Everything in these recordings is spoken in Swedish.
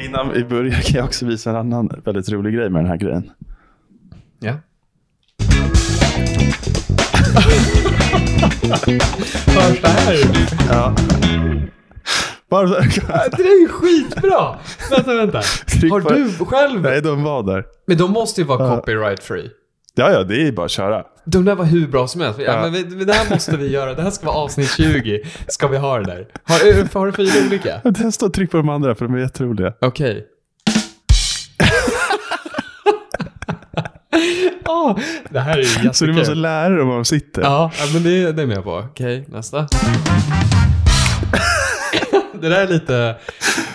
innan vi börjar kan jag också visa en annan väldigt rolig grej med den här grejen. Ja. Hörs det här? Ja. Bara så här, Äh, Det där är ju skitbra! Vänta, vänta. Tryck Har på- du själv? Nej, de var där. Men de måste ju vara copyright free. Ja, ja, det är bara att köra. De där var hur bra som helst. Ja, Ja. men vi, men det här måste vi göra. Det här ska vara avsnitt 20. Ska vi ha det där? Har, har du fyra olika? Testa och tryck på de andra för de är jätteroliga. Okej. Ah, det här är ju jättekul. Så du måste lära dig var de sitter. Ja, ja, men det, det är jag med på. Okej, nästa. det där är lite,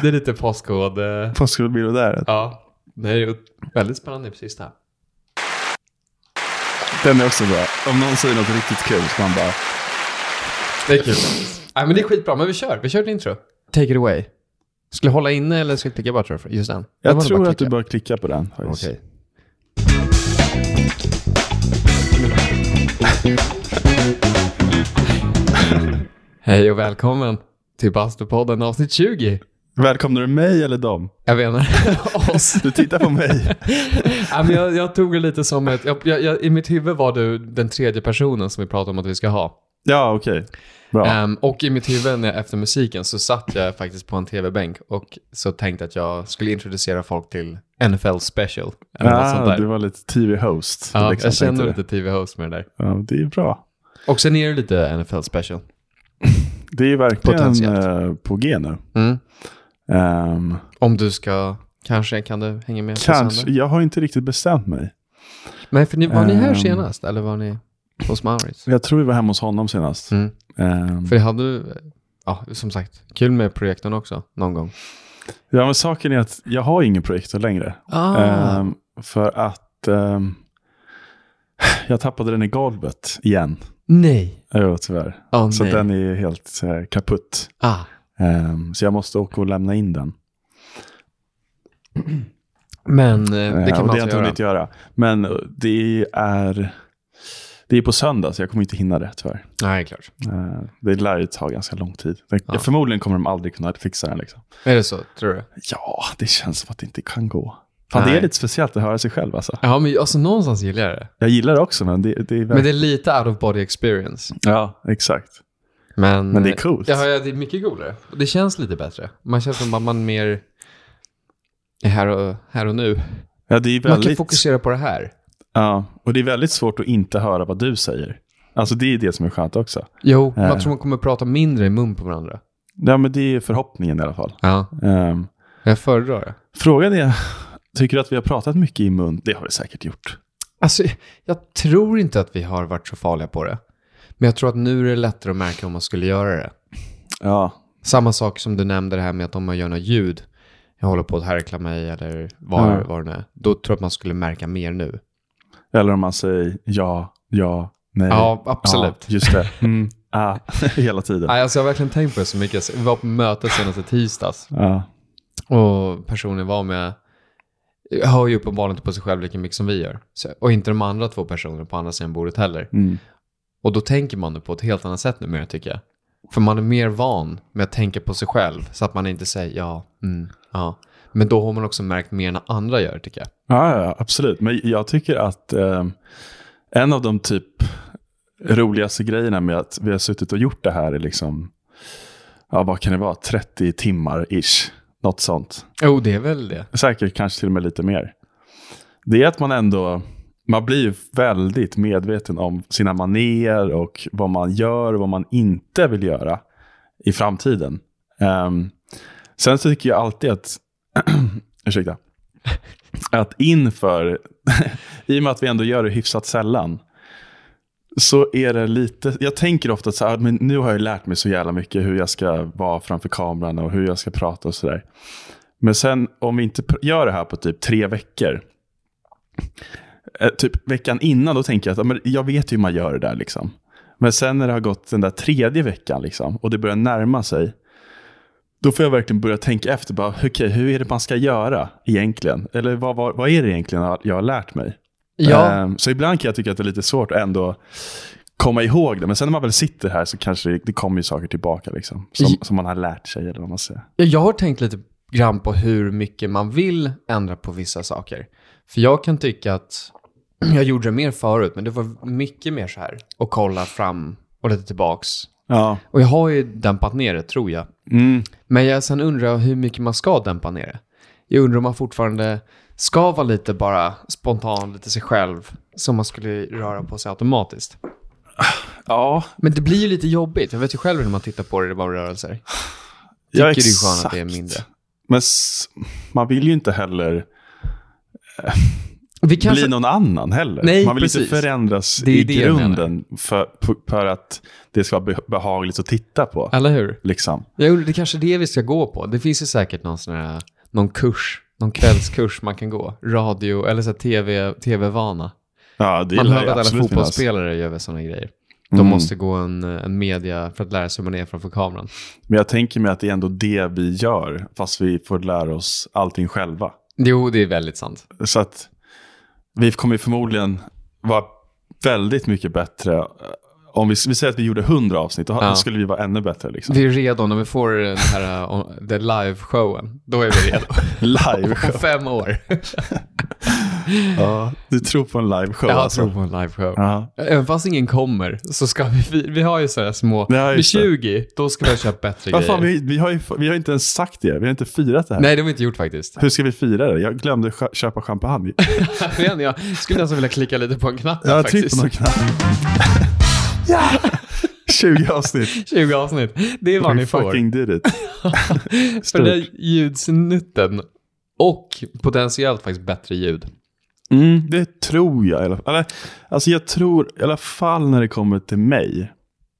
det är lite postkod. eh, Postkodmiljonären. Ja, det är ju väldigt spännande precis det här. Den är också bra. Om någon säger något riktigt kul så man bara... Det är kul. Nej, men det är skitbra, men vi kör. Vi kör ett intro. Take it away. Ska jag hålla inne eller ska jag klicka bara tror du? Just den. Den var Jag det tror bara att du klicka. bör klicka på den. faktiskt. Okej. Hej och välkommen till Bastupodden avsnitt 20. Välkomnar du mig eller dem? Jag menar oss. Du tittar på mig. ja, men jag, jag tog det lite som ett... Jag, jag, jag, I mitt huvud var du den tredje personen som vi pratade om att vi ska ha. Ja, okej. Bra. Ehm, och i mitt huvud när jag, efter musiken så satt jag faktiskt på en tv-bänk och så tänkte att jag skulle introducera folk till NFL special. Eller något sånt ah, där. du var lite TV-host. ja, liksom, jag känner tänkte lite tv-host med det där. du. Ja, det är bra. Och sen är det lite NFL special. Det är ju verkligen Potentiellt. eh, på G nu. Mm. Ehm, Om du ska... Kanske kan du hänga med? på kanske, söndag? jag har inte riktigt bestämt mig. Men för ni, var ni här Ehm. senast? Eller var ni hos Maurits? Jag tror vi var hemma hos honom senast. Mm. Ehm, För det hade du... Ja, som sagt. Kul med projektorn också. Någon gång. ja, men saken är att jag har ingen projektor längre. Ah. Ehm, för att ehm, jag tappade den i golvet igen. Nej. Jo, tyvärr. Åh, Så nej. den är helt eh, kaputt. Ah. Ehm, så jag måste åka och lämna in den. Men eh, det Eh, och kan man det har jag alltså inte göra. hunnit göra. Men eh, det är, det är på söndag, så jag kommer inte hinna det tyvärr. Nej, klart. Eh, Det lär ju ta ganska lång tid. Det- Ja. Förmodligen kommer de aldrig kunna fixa den. Liksom. Är det så? Tror du? Ja, det känns som att det inte kan gå. Fan, det Nej. är lite speciellt att höra sig själv. Alltså. Ja, men alltså någonstans gillar jag det. Jag gillar det också, men det, det är Men verkligen... det är lite out of body experience. Ja, exakt. Men, eh, Men det är coolt. Ja, ja, det är mycket coolare. Och det känns lite bättre. Man känns som att man mer är här och, här och nu. Ja, det är Man kan väldigt... fokusera på det här. Ja, och det är väldigt svårt att inte höra vad du säger. Alltså det är det som är skönt också. Jo, man Ja. tror man kommer prata mindre i mun på varandra. Ja, men det är förhoppningen i alla fall. Ja, Ehm, jag föredrar det. frågan är, tycker du att vi har pratat mycket i mun? Det har vi säkert gjort. Alltså, jag tror inte att vi har varit så farliga på det. Men jag tror att nu är det lättare att märka om man skulle göra det. Ja, Samma sak som du nämnde det här med att om man gör något ljud, jag håller på att härkla mig eller vad Ja. vad det nu är, då tror jag att man skulle märka mer nu. eller om man säger ja, ja, nej. Ja, absolut. Ja, just det. Mm, ah, hela tiden. Nej, alltså jag har verkligen tänkt på det så mycket. Vi var på möte senaste tisdags Ja, och personen var med, jag hör ju uppenbarligen inte på sig själv lika mycket som vi gör. Så, och inte de andra två personerna på andra sidan bordet heller. mm. Och då tänker man det på ett helt annat sätt numera tycker jag. För man är mer van med att tänka på sig själv så att man inte säger ja, mm, ja. Men då har man också märkt mer när andra gör tycker jag. ja, ja, absolut. Men jag tycker att ehm, en av de typ roligaste grejerna med att vi har suttit och gjort det här är liksom, ja vad kan det vara, 30 timmar ish. Något sånt. Jo, det är väl det. Säkert kanske till och med lite mer. Det är att man ändå, man blir ju väldigt medveten om sina manér och vad man gör och vad man inte vill göra i framtiden. Ehm, sen så tycker jag alltid att, ursäkta, att inför, i och med att vi ändå gör det hyfsat sällan, så är det lite, jag tänker ofta att så här, "Ah, men nu har jag lärt mig så jävla mycket hur jag ska vara framför kameran och hur jag ska prata och sådär. Men sen om vi inte pr- gör det här på typ tre veckor, eh, typ veckan innan, då tänker jag att ja, men jag vet ju hur man gör det där. Liksom. Men sen när det har gått den där tredje veckan liksom, och det börjar närma sig, då får jag verkligen börja tänka efter, bara, okej, hur är det man ska göra egentligen? Eller vad, vad, vad är det egentligen jag har lärt mig? Ehm, Så ibland kan jag tycka att det är lite svårt att ändå komma ihåg det. Men sen när man väl sitter här så kanske det, det kommer ju saker tillbaka liksom, som, I- som man har lärt sig. Eller vad man säger. Ja, Jag har tänkt lite grann på hur mycket man vill ändra på vissa saker. För jag kan tycka att jag gjorde det mer förut, men det var mycket mer så här. Och kolla fram och lite tillbaks. Ja. Och jag har ju dämpat ner det, tror jag. Mm. Men jag sen undrar jag hur mycket man ska dämpa ner det. Jag undrar om man fortfarande ska vara lite bara spontan, lite sig själv, som man skulle röra på sig automatiskt. ja. Men det blir ju lite jobbigt. Jag vet ju själv när man tittar på det, det är bara rörelser. Ja, Tycker det är skönt att det är exakt. mindre. Men s- man vill ju inte heller Vi kanske... bli någon annan heller. Alltså- Nej, man vill precis. inte förändras Det är i det jag menar. grunden för, för att det ska vara beh- behagligt att titta på. Eller hur? Liksom. Jag undrar, det kanske är det vi ska gå på. Det finns ju säkert någon sån här, någon kurs, någon kvällskurs man kan gå. Radio eller så här TV, TV-vana. Ja, det Man gillar hör jag att alla absolut finnas. fotbollsspelare gör väl sådana grejer. De Mm. måste gå en, en media för att lära sig hur man är framför kameran. Men jag tänker mig att det är ändå det vi gör, fast vi får lära oss allting själva. Jo, det är väldigt sant. Så att vi kommer ju förmodligen vara väldigt mycket bättre. eh, Om vi, vi säger att vi gjorde 100 avsnitt, då Ja. skulle vi vara ännu bättre. Liksom. Vi är redo när vi får den här eh, om- the live-showen. Då är vi redo. Live. Om fem år. ja, du tror på en liveshow? Jag alltså. tror på en live-show. Ja. Även fast ingen kommer så ska vi, vi, vi har ju sådana små, Ja, vid just det. 20, då ska vi ha köpt bättre Vad grejer. fan, vi, vi, har ju, vi har inte ens sagt det. Vi har inte firat det här. Nej, det har vi inte gjort faktiskt. Hur ska vi fira det? Jag glömde sk- köpa champagne. typ Men jag skulle nästan vilja klicka lite på en knapp här, Jag har tryckt på faktiskt. någon knapp. ja! 20 avsnitt. 20 avsnitt. Det är vad We ni får. fucking did it. För den där ljudsnutten. Och potentiellt faktiskt bättre ljud. Mm, det tror jag i alla fall. Eller, alltså jag tror, i alla fall när det kommer till mig.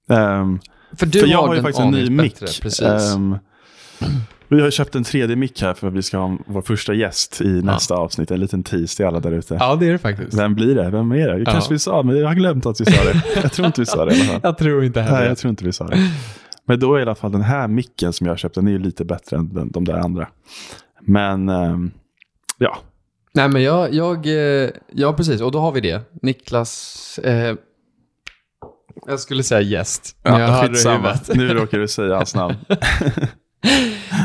Ehm, För du för jag har, har ju den faktiskt en ny aningen mick. bättre, Precis. Ehm, vi har köpt en 3D-mick här för att vi ska ha vår första gäst i nästa avsnitt. En liten tease till alla där ute. ja, det är det faktiskt. Vem blir det? Vem är det? Det kanske vi sa, men jag har glömt att vi sa det. Jag tror inte vi sa det i alla fall. Jag tror inte heller Nej, det. jag tror inte vi sa det. Men då är i alla fall den här micken som jag har köpt, den är ju lite bättre än den, de där andra. Men ehm, ja, Nej, men jag, jag, eh, ja precis. Och då har vi det. Niklas, eh, jag skulle säga gäst. men jag hörde i skitsamma. huvudet. Nu råkar du säga hans namn.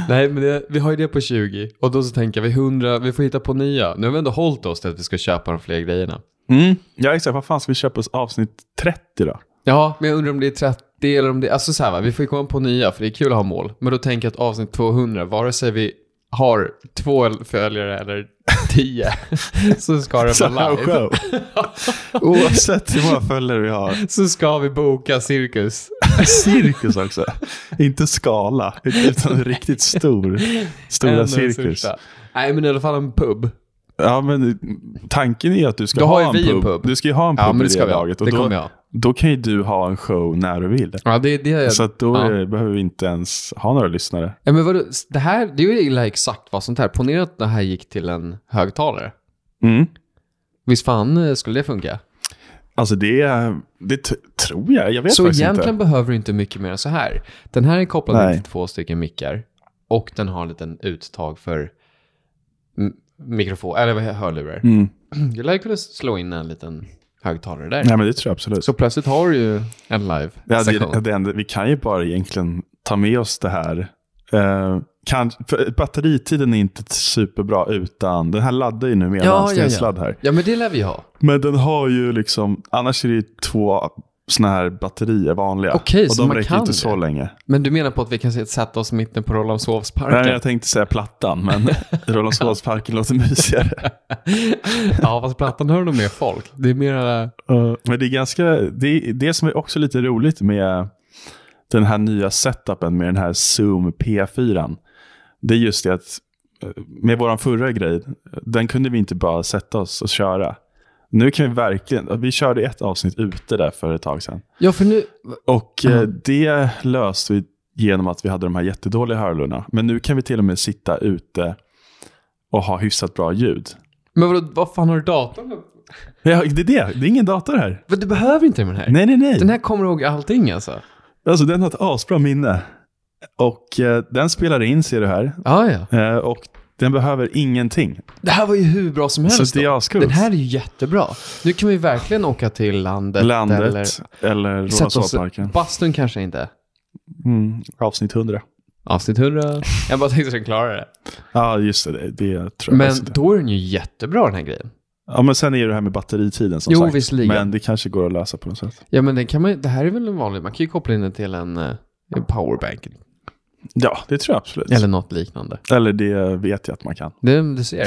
Nej, men det, vi har ju det på 20. Och då så tänker vi 100, vi får hitta på nya. Nu har vi ändå hållit oss till att vi ska köpa de fler grejerna. Mm. Ja, exakt. Vad fan ska vi köpa oss avsnitt 30 då? Ja, men jag undrar om det är 30 eller om det är... Alltså så här va, vi får ju komma på nya för det är kul att ha mål. Men då tänker jag att avsnitt 200, vare sig vi har två följare eller 10 så ska det vara Samma live. show. Oavsett hur många följare vi har. Så ska vi boka cirkus. Cirkus också. Inte skala, utan riktigt stor. En Stora och cirkus. största. Nej, men i alla fall en pub. Ja, men tanken är ju att du ska Då har ha ju en vi pub. en pub. Du ska ju ha en pub Ja, men i det ska vi ha. laget. Och Det då, kommer jag ha. då kan ju du ha en show när du vill. Ja, det, det är... Så att då Ja. eh, behöver vi inte ens ha några lyssnare. ja, men vadå, det här, det är ju illa exakt vad sånt här. Ponera att det här gick till en högtalare. Mm. Visst fan eh, skulle det funka? Alltså det, det t- tror jag. Jag vet Så faktiskt egentligen inte. behöver du inte mycket mer än så här. Den här är kopplad Nej. till två stycken mickar och den har en liten uttag för m- mikrofon, eller vad- hörlurar. Mm. Du lär kunna slå in en liten högtalare där. Nej, men det tror jag absolut. Så plötsligt har du ju en Ja, det, live-session. det enda, vi kan ju bara egentligen ta med oss det här. Eh, kan, för batteritiden är inte superbra utan, den här laddar ju nu med en Ja, anställningssladd här. Ja, men det lär vi ha. Men den har ju liksom, annars är det ju två sådana här batterier vanliga. Okej, och så de man räcker kan inte det. så länge. Men du menar på att vi kan se- sätta oss mitt på Rålambshovsparken? Nej, jag tänkte säga plattan, men Rålambshovsparken låter mysigare. ja, fast plattan hör nog mer folk. Det är mer... eh, Eh, men det är ganska, det är det som är också lite roligt med den här nya setupen med den här Zoom P4. Det är just det att eh, med vår förra grej, den kunde vi inte bara sätta oss och köra. Nu kan vi verkligen, vi körde ett avsnitt ute där för ett tag sedan. Ja, för nu... Och eh, det löste vi genom att vi hade de här jättedåliga hörlurarna. Men nu kan vi till och med sitta ute och ha hyfsat bra ljud. Men vadå, vad fan har du datorn upp? Ja, det är det, det är ingen dator här. Men Du behöver inte den här. Nej, nej, nej. Den här kommer ihåg allting alltså. Alltså den har ett asbra minne. Och eh, den spelar in ser du här. Ja, ja. Eh, och den behöver ingenting. Det här var ju hur bra som helst. Så det då. är ascoolt. Den här är ju jättebra. Nu kan vi verkligen åka till landet. Landet Eller... eller Sätta oss... Rålambshovsparken. Bastun kanske inte. Mm, avsnitt 100. Avsnitt 100. Jag bara tänkte att den klarar det. Ja, just det. Det tror jag Men faktiskt inte. då är den ju jättebra den här grejen. Ja, men sen är det här med batteritiden som Jo, sagt. visserligen. Men det kanske går att lösa på något sätt. Ja, men den kan man, ju- det här är väl en vanlig, man kan ju koppla in den till en, eh, en powerbank Ja, det tror jag absolut. eller Eller, något liknande. det vet jag att man kan. Du, du ser.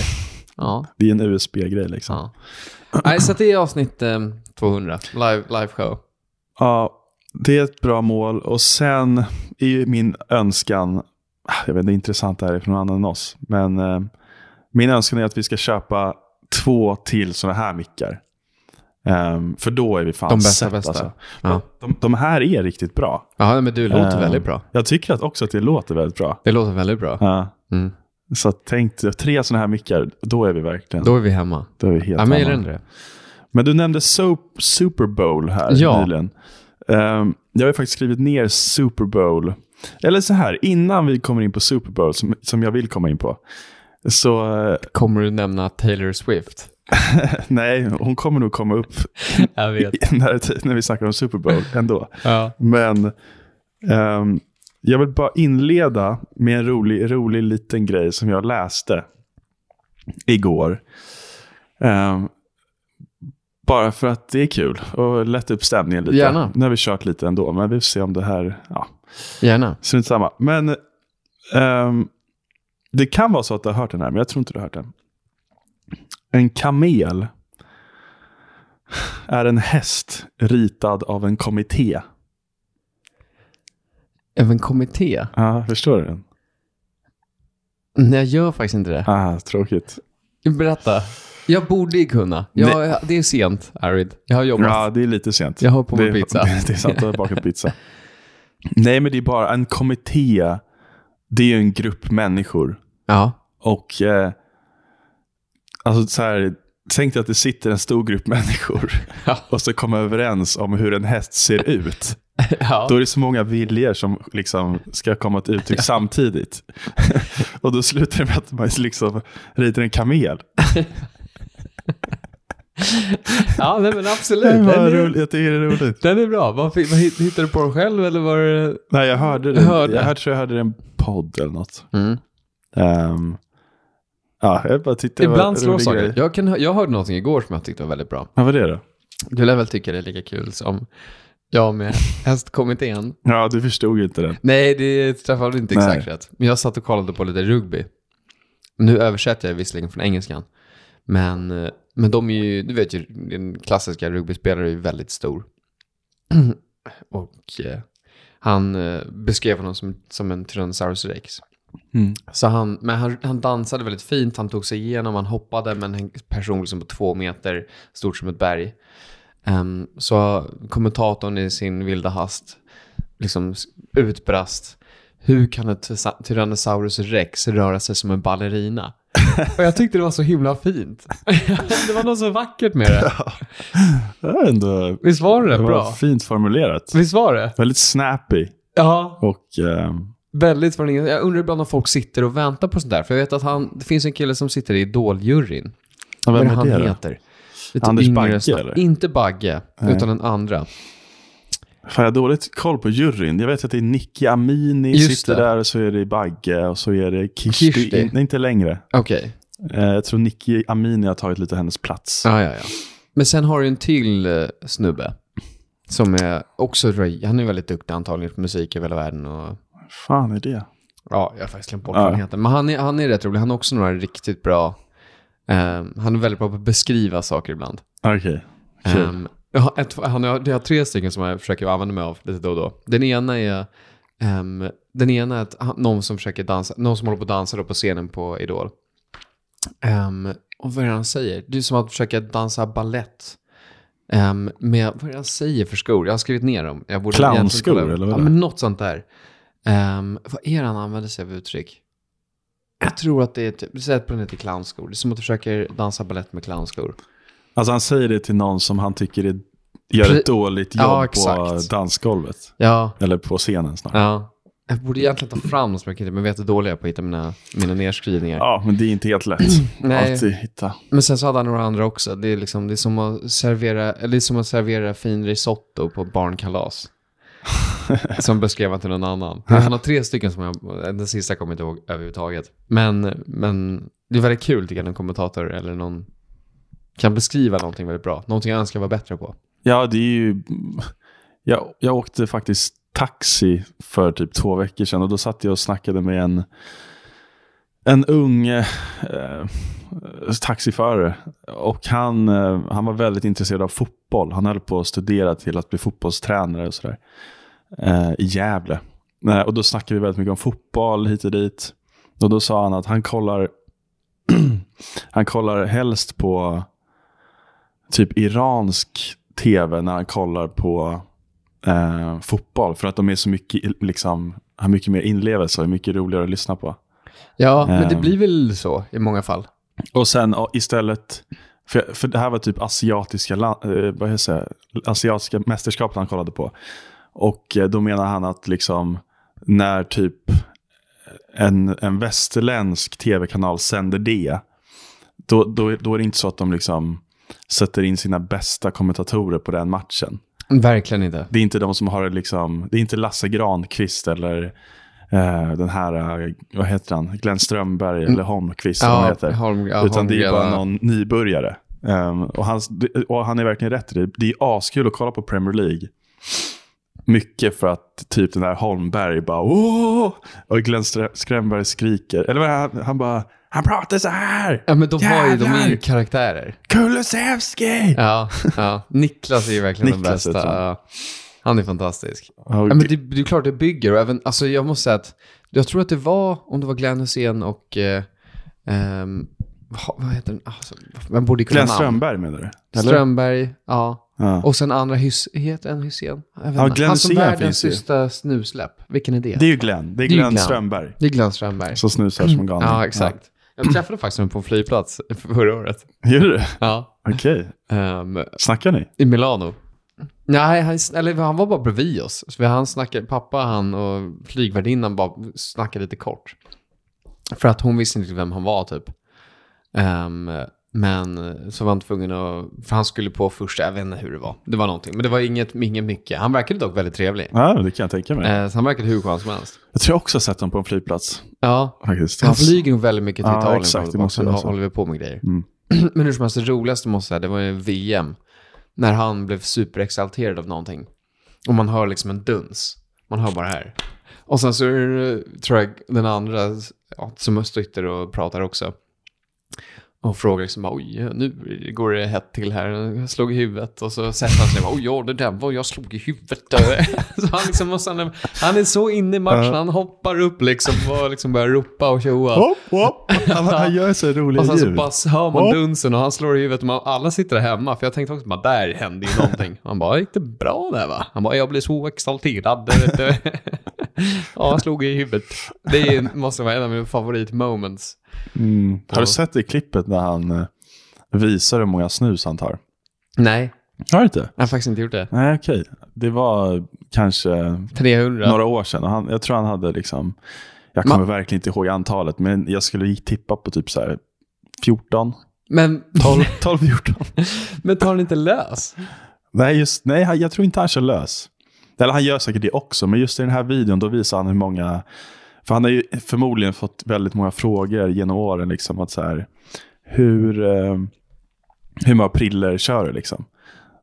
Ja. Det är en USB-grej liksom. ja. Nej, så att det är avsnitt eh, 200, live, live show. Ja, det är ett bra mål. Och sen är ju min önskan, ah, jag vet inte, det är intressant det här är för någon annan än oss, men eh, min önskan är att vi ska köpa två till sådana här mickar. Ehm, för då är vi fan De bästa, set, bästa. Alltså. Ja. De, de här är riktigt bra. Ja, men du låter Ehm, väldigt bra. Jag tycker att också att det låter väldigt bra. Det låter väldigt bra. Ja. Mm. Så tänk dig, tre sådana här mickar, då är vi verkligen Då är vi hemma. då är vi helt Ja, hemma. men jag gillar ändå det. Men du nämnde soap, Super Bowl här Ja. nyligen. Ehm, jag har ju faktiskt skrivit ner Super Bowl. Eller så här, innan vi kommer in på Super Bowl, som, som jag vill komma in på. Så eh, Kommer du nämna Taylor Swift? nej, hon kommer nog komma upp Jag vet. när, när vi snackar om Super Bowl ändå. Ja. Men ehm, jag vill bara inleda med en rolig, rolig liten grej som jag läste igår. Ehm, bara för att det är kul och lätta upp stämningen lite. Gärna. Nu har vi kört lite ändå, men vi får se om det här... Ja, Gärna. strunt samma. Men ehm, det kan vara så att du har hört den här, men jag tror inte du har hört den. En kamel är en häst ritad av en kommitté. Även kommitté? Ja, förstår du den? Nej, jag gör faktiskt inte det. Ah, tråkigt. Berätta. Jag borde ju kunna. Jag, jag- det är sent, Arid. Jag har jobbat. Ja, det är lite sent. Jag har på det, mig pizza. Det, det är sant, jag har bakat pizza. Nej, men det är bara en kommitté. Det är ju en grupp människor. Ja. Och eh, alltså så här, tänk dig att det sitter en stor grupp människor Ja. och så kommer överens om hur en häst ser ut. ja. Då är det så många viljor som liksom ska komma till uttryck samtidigt. och då slutar det med att man liksom rider en kamel. ja, nej, men absolut. Det Den var är, roligt, jag tycker det är roligt. den är bra. Vad fick- vad hitt- hittade du på den själv eller var det... Nej, jag hörde det. Jag hörde. Jag hörde, tror jag hörde det i en podd eller något. Mm. Ehm, ja, jag bara tyckte det var en Ibland slår rolig saker. grej. Jag, kan, hö- jag hörde någonting igår som jag tyckte var väldigt bra. Vad var det då? Du lär väl tycka det är lika kul som jag med hästkommittén. Ja, du förstod ju inte den. Nej, det träffade inte Nej. exakt rätt. Men jag satt och kollade på lite rugby. Nu översätter jag visserligen från engelskan. Men, eh, men de är ju, du vet ju, den klassiska rugbyspelaren är ju väldigt stor. och eh, han eh, beskrev honom som, som en Tyrannosaurus rex. Mm. Så han, men han, han dansade väldigt fint, han tog sig igenom, han hoppade med en person liksom på två meter, stort som ett berg. Ehm, så kommentatorn i sin vilda hast liksom s- utbrast. Hur kan ett tysa- Tyrannosaurus rex röra sig som en ballerina? Och jag tyckte det var så himla fint. det var något så vackert med det. Det var ändå Visst var det det var bra? fint formulerat. Visst var det? Väldigt snappy. Ja, Och ehm, väldigt från ingen... Jag undrar ibland om folk sitter och väntar på sånt där. För jag vet att han... det finns en kille som sitter i Idol-juryn. ja, Vad vem var är han det då? heter? Lite Anders yngre Bagge, snabbt. eller? Inte Bagge, Nej. utan den andra. Fan, jag har dåligt koll på juryn. Jag vet att det är Nicky Amini Just sitter det. där och så är det Bagge och så är det Kishti. Kishti. In, nej, inte längre. Okej. Eh, jag tror Nicky Amini har tagit lite hennes plats. Ja, ja, ja. Men sen har du en till eh, snubbe. Som är också, han är väldigt duktig antagligen på musik över hela världen och fan är det? ja, jag har faktiskt glömt bort Ja. vad han heter. Men han är, han är rätt rolig, han har också några riktigt bra, eh, han är väldigt bra på att beskriva saker ibland. Okej. Kul. Ehm, jag har ett, han har, jag har tre stycken som jag försöker använda mig av lite då och då. Den ena är, ehm, den ena är att han, någon som försöker dansa, någon som håller på att dansa då på scenen på Idol. Ehm, och vad är det han säger? Det är som att försöka dansa ballett. Um, med, vad är det han säger för skor? Jag har skrivit ner dem. Jag borde egentligen Clownskor, kolla upp. eller vad är Ja, det? men något sånt där. Ehm, vad är det han använder sig av för uttryck? Jag tror att det är typ, säg att på den heter clownskor. Det är som att du försöker dansa ballett med clownskor. Alltså han säger det till någon som han tycker är, gör Pre- ett dåligt Ja, jobb på exakt. dansgolvet. Ja, Eller på scenen snarare. Ja. Jag borde egentligen ta fram så mycket, men vet hur dålig jag är på att hitta mina, mina nedskrivningar. Ja, men det är inte helt lätt. Nej. Alltid hitta. Men sen så hade han några andra också. Det är, liksom, det är, som, att servera, eller det är som att servera fin risotto på barnkalas. Som beskrev han till någon annan. Han har tre stycken som jag, den sista kommer jag inte ihåg överhuvudtaget. Men, men det är väldigt kul tycker jag, när en kommentator eller någon kan beskriva någonting väldigt bra. Någonting jag önskar vara bättre på. Ja, det är ju... Jag, jag åkte faktiskt taxi för typ två veckor sedan och då satt jag och snackade med en, en ung eh, taxiförare. Och han, eh, han var väldigt intresserad av fotboll. Han höll på att studera till att bli fotbollstränare och sådär. Eh, I Gävle. Eh, och då snackade vi väldigt mycket om fotboll hit och dit. Och då sa han att han kollar, han kollar helst på typ iransk tv när han kollar på eh, fotboll. För att de är så mycket, liksom, har mycket mer inlevelse och är mycket roligare att lyssna på. Ja, men men det det blir väl så i många fall. Och sen ja, istället, för, för det här var typ asiatiska, la- eh, vad heter det, asiatiska mästerskapet han kollade på. Och eh, då menar han att liksom, när typ en, en västerländsk tv-kanal sänder det, då, då, då är det inte så att de liksom sätter in sina bästa kommentatorer på den matchen. Verkligen inte. Det är inte de som har det liksom, det är inte Lasse Granqvist eller eh, den här, eh, vad heter han, Glenn Strömberg eller Holmqvist som han heter. Holm, Mm. ja, Utan det är Holmgren, bara ja. någon nybörjare. Ehm, och, han, och han är verkligen rätt i det. Det är askul att kolla på Premier League. Mycket för att typ den där Holmberg bara åh! Och Glenn Strö- Strömberg skriker. Eller vad är han, han bara han pratar så här! Ja, men de, har ju, de är ju Jävlar! karaktärer. Kulusevski! Ja, ja. Niklas är ju verkligen den Niklas bästa. heter han. Ja. Han är fantastisk. Och- Ja, men det, det är klart det bygger. Och även, alltså jag måste säga att jag tror att det var, om det var Glenn Hussein och... Eh, ehm, vad, vad heter den? Alltså, man borde kunna Glenn namn. Strömberg menar du? Eller? Strömberg, ja. Ja. Och sen andra, hys, heter en Hussein? Jag vet Ja, inte. Glenn Han som Hysén världens finns ju. sista snusläpp. Vilken är det? Det är ju Glenn. Det är Det är Glenn, Glenn. Strömberg. Det är Glenn Strömberg. Som snusar som en galning. Ja, exakt. Jag träffade faktiskt honom på en flygplats förra året. Ja. Gör du det? Ja. Okej. Ehm, Snackar ni? I Milano? Nej, han, eller han var bara bredvid oss. Så vi- han snackade, pappa, han och flygvärdinnan bara snackade lite kort. För att hon visste inte vem han var typ. Ehm, men så var han tvungen att, för han skulle på första, jag vet inte hur det var. Det var någonting, men det var inget, inget mycket. Han verkade dock väldigt trevlig. Ja, det kan jag tänka mig. Eh, så han verkade hur skön som helst. Jag tror jag också har sett dem på en flygplats. Ja, Faktiskt. han flyger nog väldigt mycket till Alltså- Ja, Italien. exakt, och det måste så vara så. håller vi på med grejer. Mm. Men hur som helst, det roligaste måste jag säga, det var ju VM. När han blev superexalterad av någonting. Och man hör liksom en duns. Man hör bara här. Och sen så är det, tror jag, den andra ja, som sitter och pratar också. Och frågar liksom bara, oj, nu går det hett till här. Jag slog i huvudet. Och så sätter han sig och bara, oj, ja, det där var jag slog i huvudet. så han, liksom, måste- han, är, han är så inne i matchen, han hoppar upp liksom och liksom börjar ropa och tjoa. Hopp, hopp. Han, han gör så roliga Och sen så ljud. bara hör man Ja. dunsen och han slår i huvudet och man, alla sitter där hemma. För jag tänkte också bara, där hände ju någonting. Han bara, gick det bra där va? Han bara, jag blev så exalterad. Vet du. ja, han slog i huvudet. Det är, ju- måste vara en av mina favoritmoments. Mm. Har du sett det klippet när han eh, visar hur många snus han tar? Nej, Har du inte? jag har faktiskt inte gjort det. Nej, okej. Det var kanske 300. några år sedan. Och han, jag tror han hade liksom... Jag kommer verkligen inte ihåg antalet, men jag skulle tippa på typ så här 14. Men, 12, 12 14. men tar den inte lös? Nej, just, nej, han- jag tror inte han kör lös. Eller han gör säkert det också, men just i den här videon då visar han hur många... För han har ju förmodligen fått väldigt många frågor genom åren. Liksom, att så här, hur, eh, hur många priller kör du? Liksom.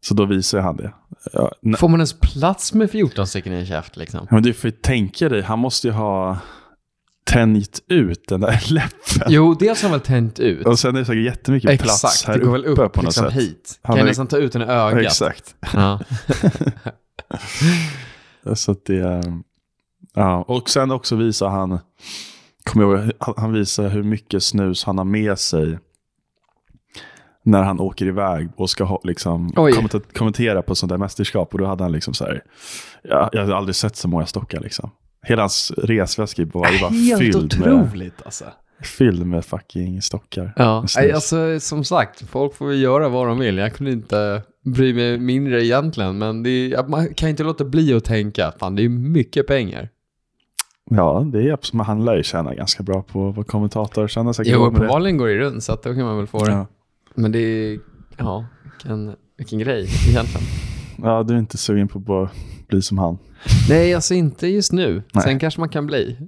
Så då visar han det. Ja, nej, Får man ens plats med 14 stycken i en käft liksom? men du får ju tänka dig, han måste ju ha tänjt ut den där läppen. Jo, dels har man väl tänkt ut. Och sen är det säkert jättemycket Alltså, plats Exakt, här det går väl uppe upp på något liksom sätt. hit. Han Kan jag är- nästan ta ut den i ögat. Exakt. Ja. Så att det är... Ja, och sen också visar han, kommer jag ihåg, han- han visar hur mycket snus han har med sig när han åker iväg och ska ha, liksom, Oj. kommenta- kommentera på sånt där mästerskap. Och då hade han liksom så här, jag, jag har aldrig sett så många stockar liksom. Hela hans resväska var ju bara Helt fylld med, otroligt alltså. fylld med fucking stockar. Ja, Snus. nej, alltså som sagt, folk får ju göra vad de vill. Jag kunde inte bry mig mindre egentligen, men det är, man kan inte låta bli att tänka, fan det är mycket pengar. Ja, det är absolut, men han lär ju tjäna ganska bra på att vara kommentator. Så han har säkert Jo, råd med det. uppenbarligen går det runt, så att då kan man väl få det. Ja. Men det är, ja, vilken, vilken grej egentligen. ja, du är inte sugen på att bara bli som han. Nej, alltså inte just nu. Nej. Sen kanske man kan bli.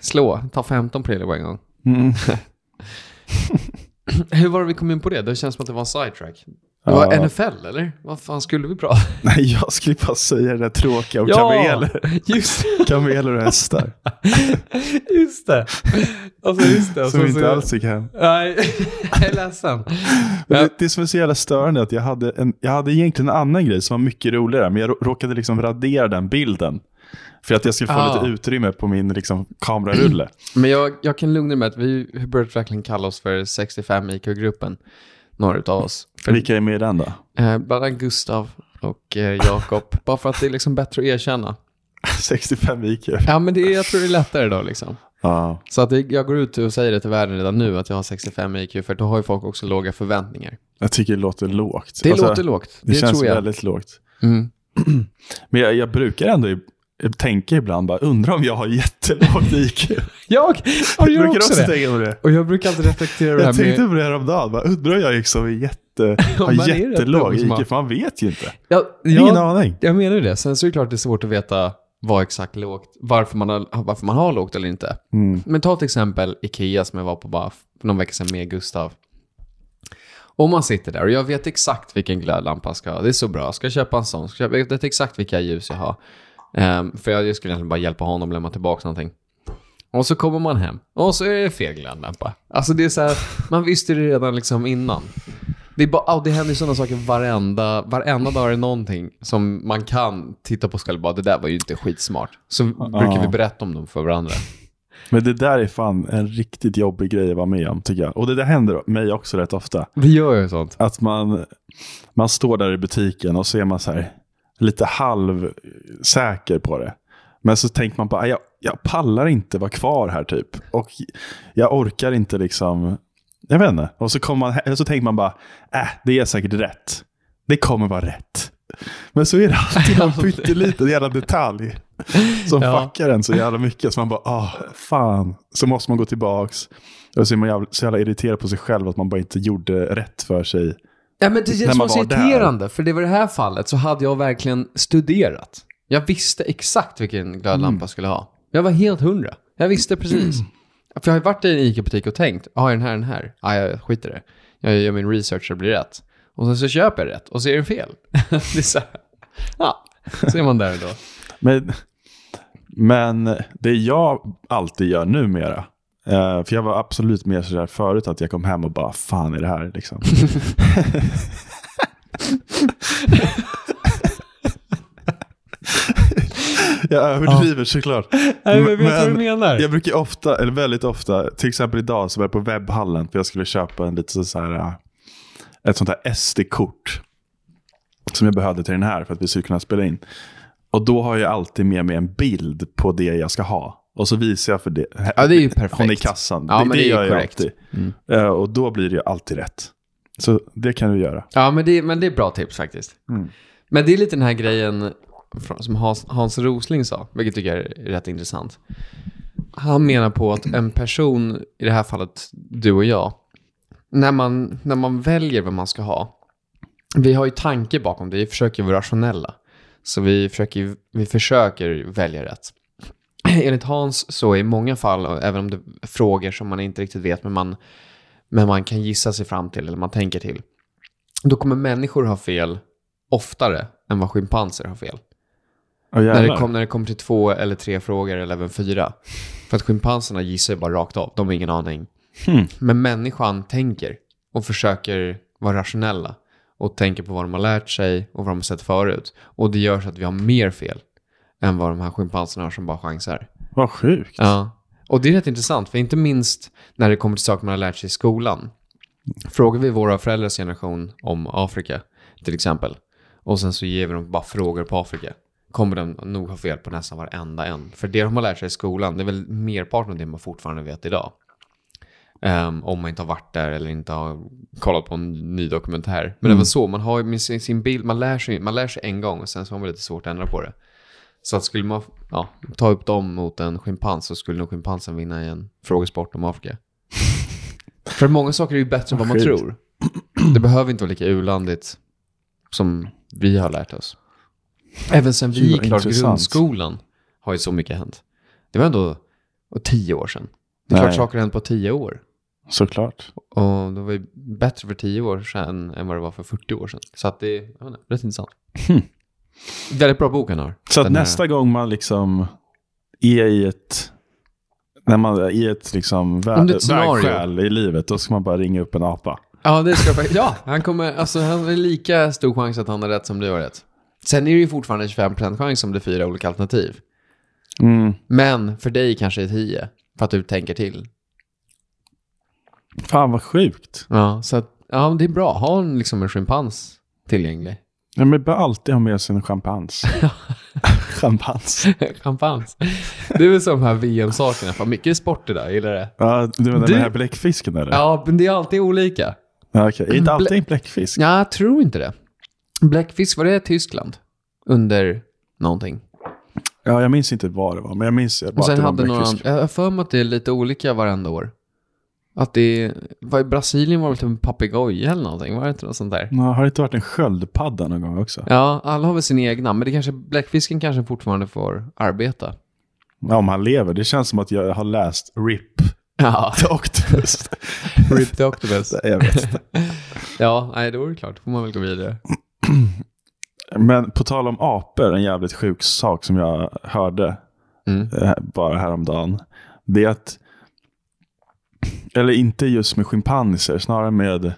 Slå, ta 15 prillor på en gång. Mm. Hur var det vi kom in på det? Det känns som att det var en sidetrack. Det var Ja. NFL, eller? Vad fan skulle vi prata om? Nej, jag skulle bara säga det där tråkiga om Ja! kameler. Just, Kameler och hästar. just det. Alltså, just det. Och som så- inte så- alls gick hem. Nej, jag är ledsen. Men Ja. Det, det som är så jävla störande är att jag hade, en, jag hade egentligen en annan grej som var mycket roligare, men jag rå- råkade liksom radera den bilden. För att jag skulle få Ah. lite utrymme på min liksom, kamerarulle. Men jag, jag kan lugna dig med att vi började verkligen kalla oss för 65 IQ-gruppen. Några utav oss. För, Vilka är med i den då? eh, bland annat Gustav och eh, Jakob. Bara för att det är liksom bättre att erkänna. 65 IQ. Ja, men det är, jag tror det är lättare då liksom. Ja. Så att det, jag går ut och säger det till världen redan nu att jag har 65 IQ för då har ju folk också låga förväntningar. Jag tycker det låter lågt. Det Alltså, låter lågt, Det, det, känns tror jag. väldigt lågt. Mm. Men jag, jag brukar ändå i- tänka ibland, bara, undrar om jag har jättelågt IQ. Jag, och jag brukar också, också det. tänka på det. Och jag brukar alltid reflektera över det Jag här med... tänkte på det häromdagen, bara, undrar om jag liksom är jätte, har man är rätt jättelåg låg som har- IQ, för man vet ju inte. Jag, Ingen jag, aning. jag menar ju det. Sen så är det klart det är svårt att veta vad exakt lågt, varför man har, varför man har lågt eller inte. Mm. Men ta till exempel Ikea som jag var på bara f- någon vecka sedan med Gustav. Om man sitter där och jag vet exakt vilken glödlampa jag ska ha. Det är så bra. Ska jag köpa en sån? Ska jag, jag vet exakt vilka ljus jag har. Ehm, för jag skulle egentligen bara hjälpa honom lämna tillbaka någonting. Och så kommer man hem och så är det fel glödlampa. Alltså det är så här, man visste det redan liksom innan. Det, är bara, oh, det händer ju sådana saker varenda, varenda dag är det någonting som man kan titta på och själv och bara, det där var ju inte skitsmart. Så brukar vi berätta om dem för varandra. Men det där är fan en riktigt jobbig grej att vara med om, tycker jag. Och det där händer mig också rätt ofta. Vi gör ju sånt. Att man, man står där i butiken och så är man så här lite halvsäker på det. Men så tänker man bara, "Ah, jag, jag pallar inte vara kvar här typ. Och jag orkar inte liksom, jag vet inte. Och så, kommer man, he- så tänker man bara, äh, det är säkert rätt. Det kommer vara rätt. Men så är det alltid någon pytteliten jävla detalj som Ja. fuckar en så jävla mycket. Så man bara, ah, fan. Så måste man gå tillbaks. Och så är man jävla, så jävla irriterad på sig själv att man bara inte gjorde rätt för sig. Ja, men det När känns man så var där. irriterande, för det var det här fallet så hade jag verkligen studerat. Jag visste exakt vilken glödlampa jag skulle ha. Jag var helt hundra. Jag visste precis. För jag har ju varit i en ICA-butik och tänkt, har jag den här, den här? Ah, jag skiter i det. Jag gör min research så det blir rätt. Och sen så köper jag rätt och så är det fel. det är så här. Ja, så är man där då. Men, men det jag alltid gör numera, eh, för jag var absolut mer sådär förut att jag kom hem och bara, fan är det här liksom. jag överdriver såklart. Nej, men vet du vad du menar? Jag brukar ofta, eller väldigt ofta, till exempel idag så var jag på webbhallen för jag skulle köpa en lite så här, äh, ett sånt här SD-kort. Som jag behövde till den här för att vi skulle kunna spela in. Och då har jag alltid med mig en bild på det jag ska ha. Och så visar jag för det. Ja, det är ju perfekt. Hon i kassan. Ja, det, men det, det är ju gör jag korrekt. Mm. alltid. Eh, och då blir det ju alltid rätt. Så det kan du göra. Ja, men det, men det är bra tips faktiskt. Men det är lite den här grejen från- som Hans, Hans Rosling sa, vilket tycker jag är rätt intressant. Han menar på att en person, i det här fallet du och jag, när man, när man väljer vad man ska ha, vi har ju tanke bakom det, vi försöker vara rationella. Så vi försöker, vi försöker välja rätt. Enligt Hans så i många fall, och även om det är frågor som man inte riktigt vet, men man, men man kan gissa sig fram till, eller man tänker till, då kommer människor ha fel oftare än vad schimpanser har fel. Och När det, kom, när det kommer till två eller tre frågor eller även fyra. För att schimpanserna gissar ju bara rakt av, de har ingen aning. Hmm. Men människan tänker och försöker vara rationella och tänker på vad de har lärt sig och vad de har sett förut. Och det gör så att vi har mer fel än vad de här schimpanserna har som bara chansar. Vad sjukt. Ja. Och det är rätt intressant, för inte minst när det kommer till saker man har lärt sig i skolan. Frågar vi våra föräldrars generation om Afrika, till exempel, och sen så ger vi dem bara frågor på Afrika, kommer de nog ha fel på nästan varenda en. För det de har lärt sig i skolan, det är väl merparten av det man fortfarande vet idag. Ehm, om man inte har varit där eller inte har kollat på en ny dokumentär. Men det var så, man har ju med sin, sin bild, man lär, sig, man lär sig en gång och sen så har man lite svårt att ändra på det. Så att skulle man ja, ta upp dem mot en schimpans så skulle nog schimpansen vinna i en frågesport om Afrika. För många saker är ju bättre än vad man Sjukt. tror. Det behöver inte vara lika ulandigt som vi har lärt oss. Även sen Gud, vi vad gick klart intressant. grundskolan har ju så mycket hänt. Det var ändå och tio år sedan. Det är klart Nej. saker har hänt på tio år. Såklart. Och det var ju bättre för tio år sedan än vad det var för 40 år sedan. Så att det är jag vet inte, rätt intressant. Hmm. Väldigt bra bok han har. Så att Den här- nästa gång man liksom är i ett... När man är i ett liksom Om vä- det är ett scenario. vägskäl i livet, då ska man bara ringa upp en apa. Ja, det ska jag faktiskt. Ja, han kommer, alltså han är lika stor chans att han har rätt som du har rätt. Sen är det ju fortfarande 25% chans som det är fyra olika alternativ. Mm. Men för dig kanske det är 10, för att du tänker till. Fan vad sjukt. Ja, så att, ja, men det är bra. Ha en, liksom en schimpans tillgänglig. Ja, men bör alltid ha med sig en champans. champans. Champans. Det är väl som de här VM-sakerna. Fan, mycket sport det där, jag gillar det. Ja, du menar Du- den här bläckfisken eller? Ja, men det är alltid olika. Ja, okej. Är inte alltid Blä- en bläckfisk? Ja, jag tror inte det. Blackfish, var det Tyskland? Under någonting. Ja, jag minns inte vad det var, men jag minns bara Och sen att det hade var en några bläckfisk. andra, jag har för mig att det är lite olika varenda år. Att det är, vad i Brasilien var det typ en papegoja eller någonting, var det inte något sånt där? Ja, har det inte varit en sköldpadda någon gång också? Ja, alla har väl sina egna, men det kanske, bläckfisken kanske fortfarande får arbeta. Ja, om han lever. Det känns som att jag har läst RIP. Ja, Octopus. Rip the Octopus. jag vet inte. Ja, nej, då är det klart, får man väl gå vidare. Men på tal om apor, en jävligt sjuk sak som jag hörde Mm. eh, bara häromdagen. Det är att, eller inte just med schimpanser, snarare med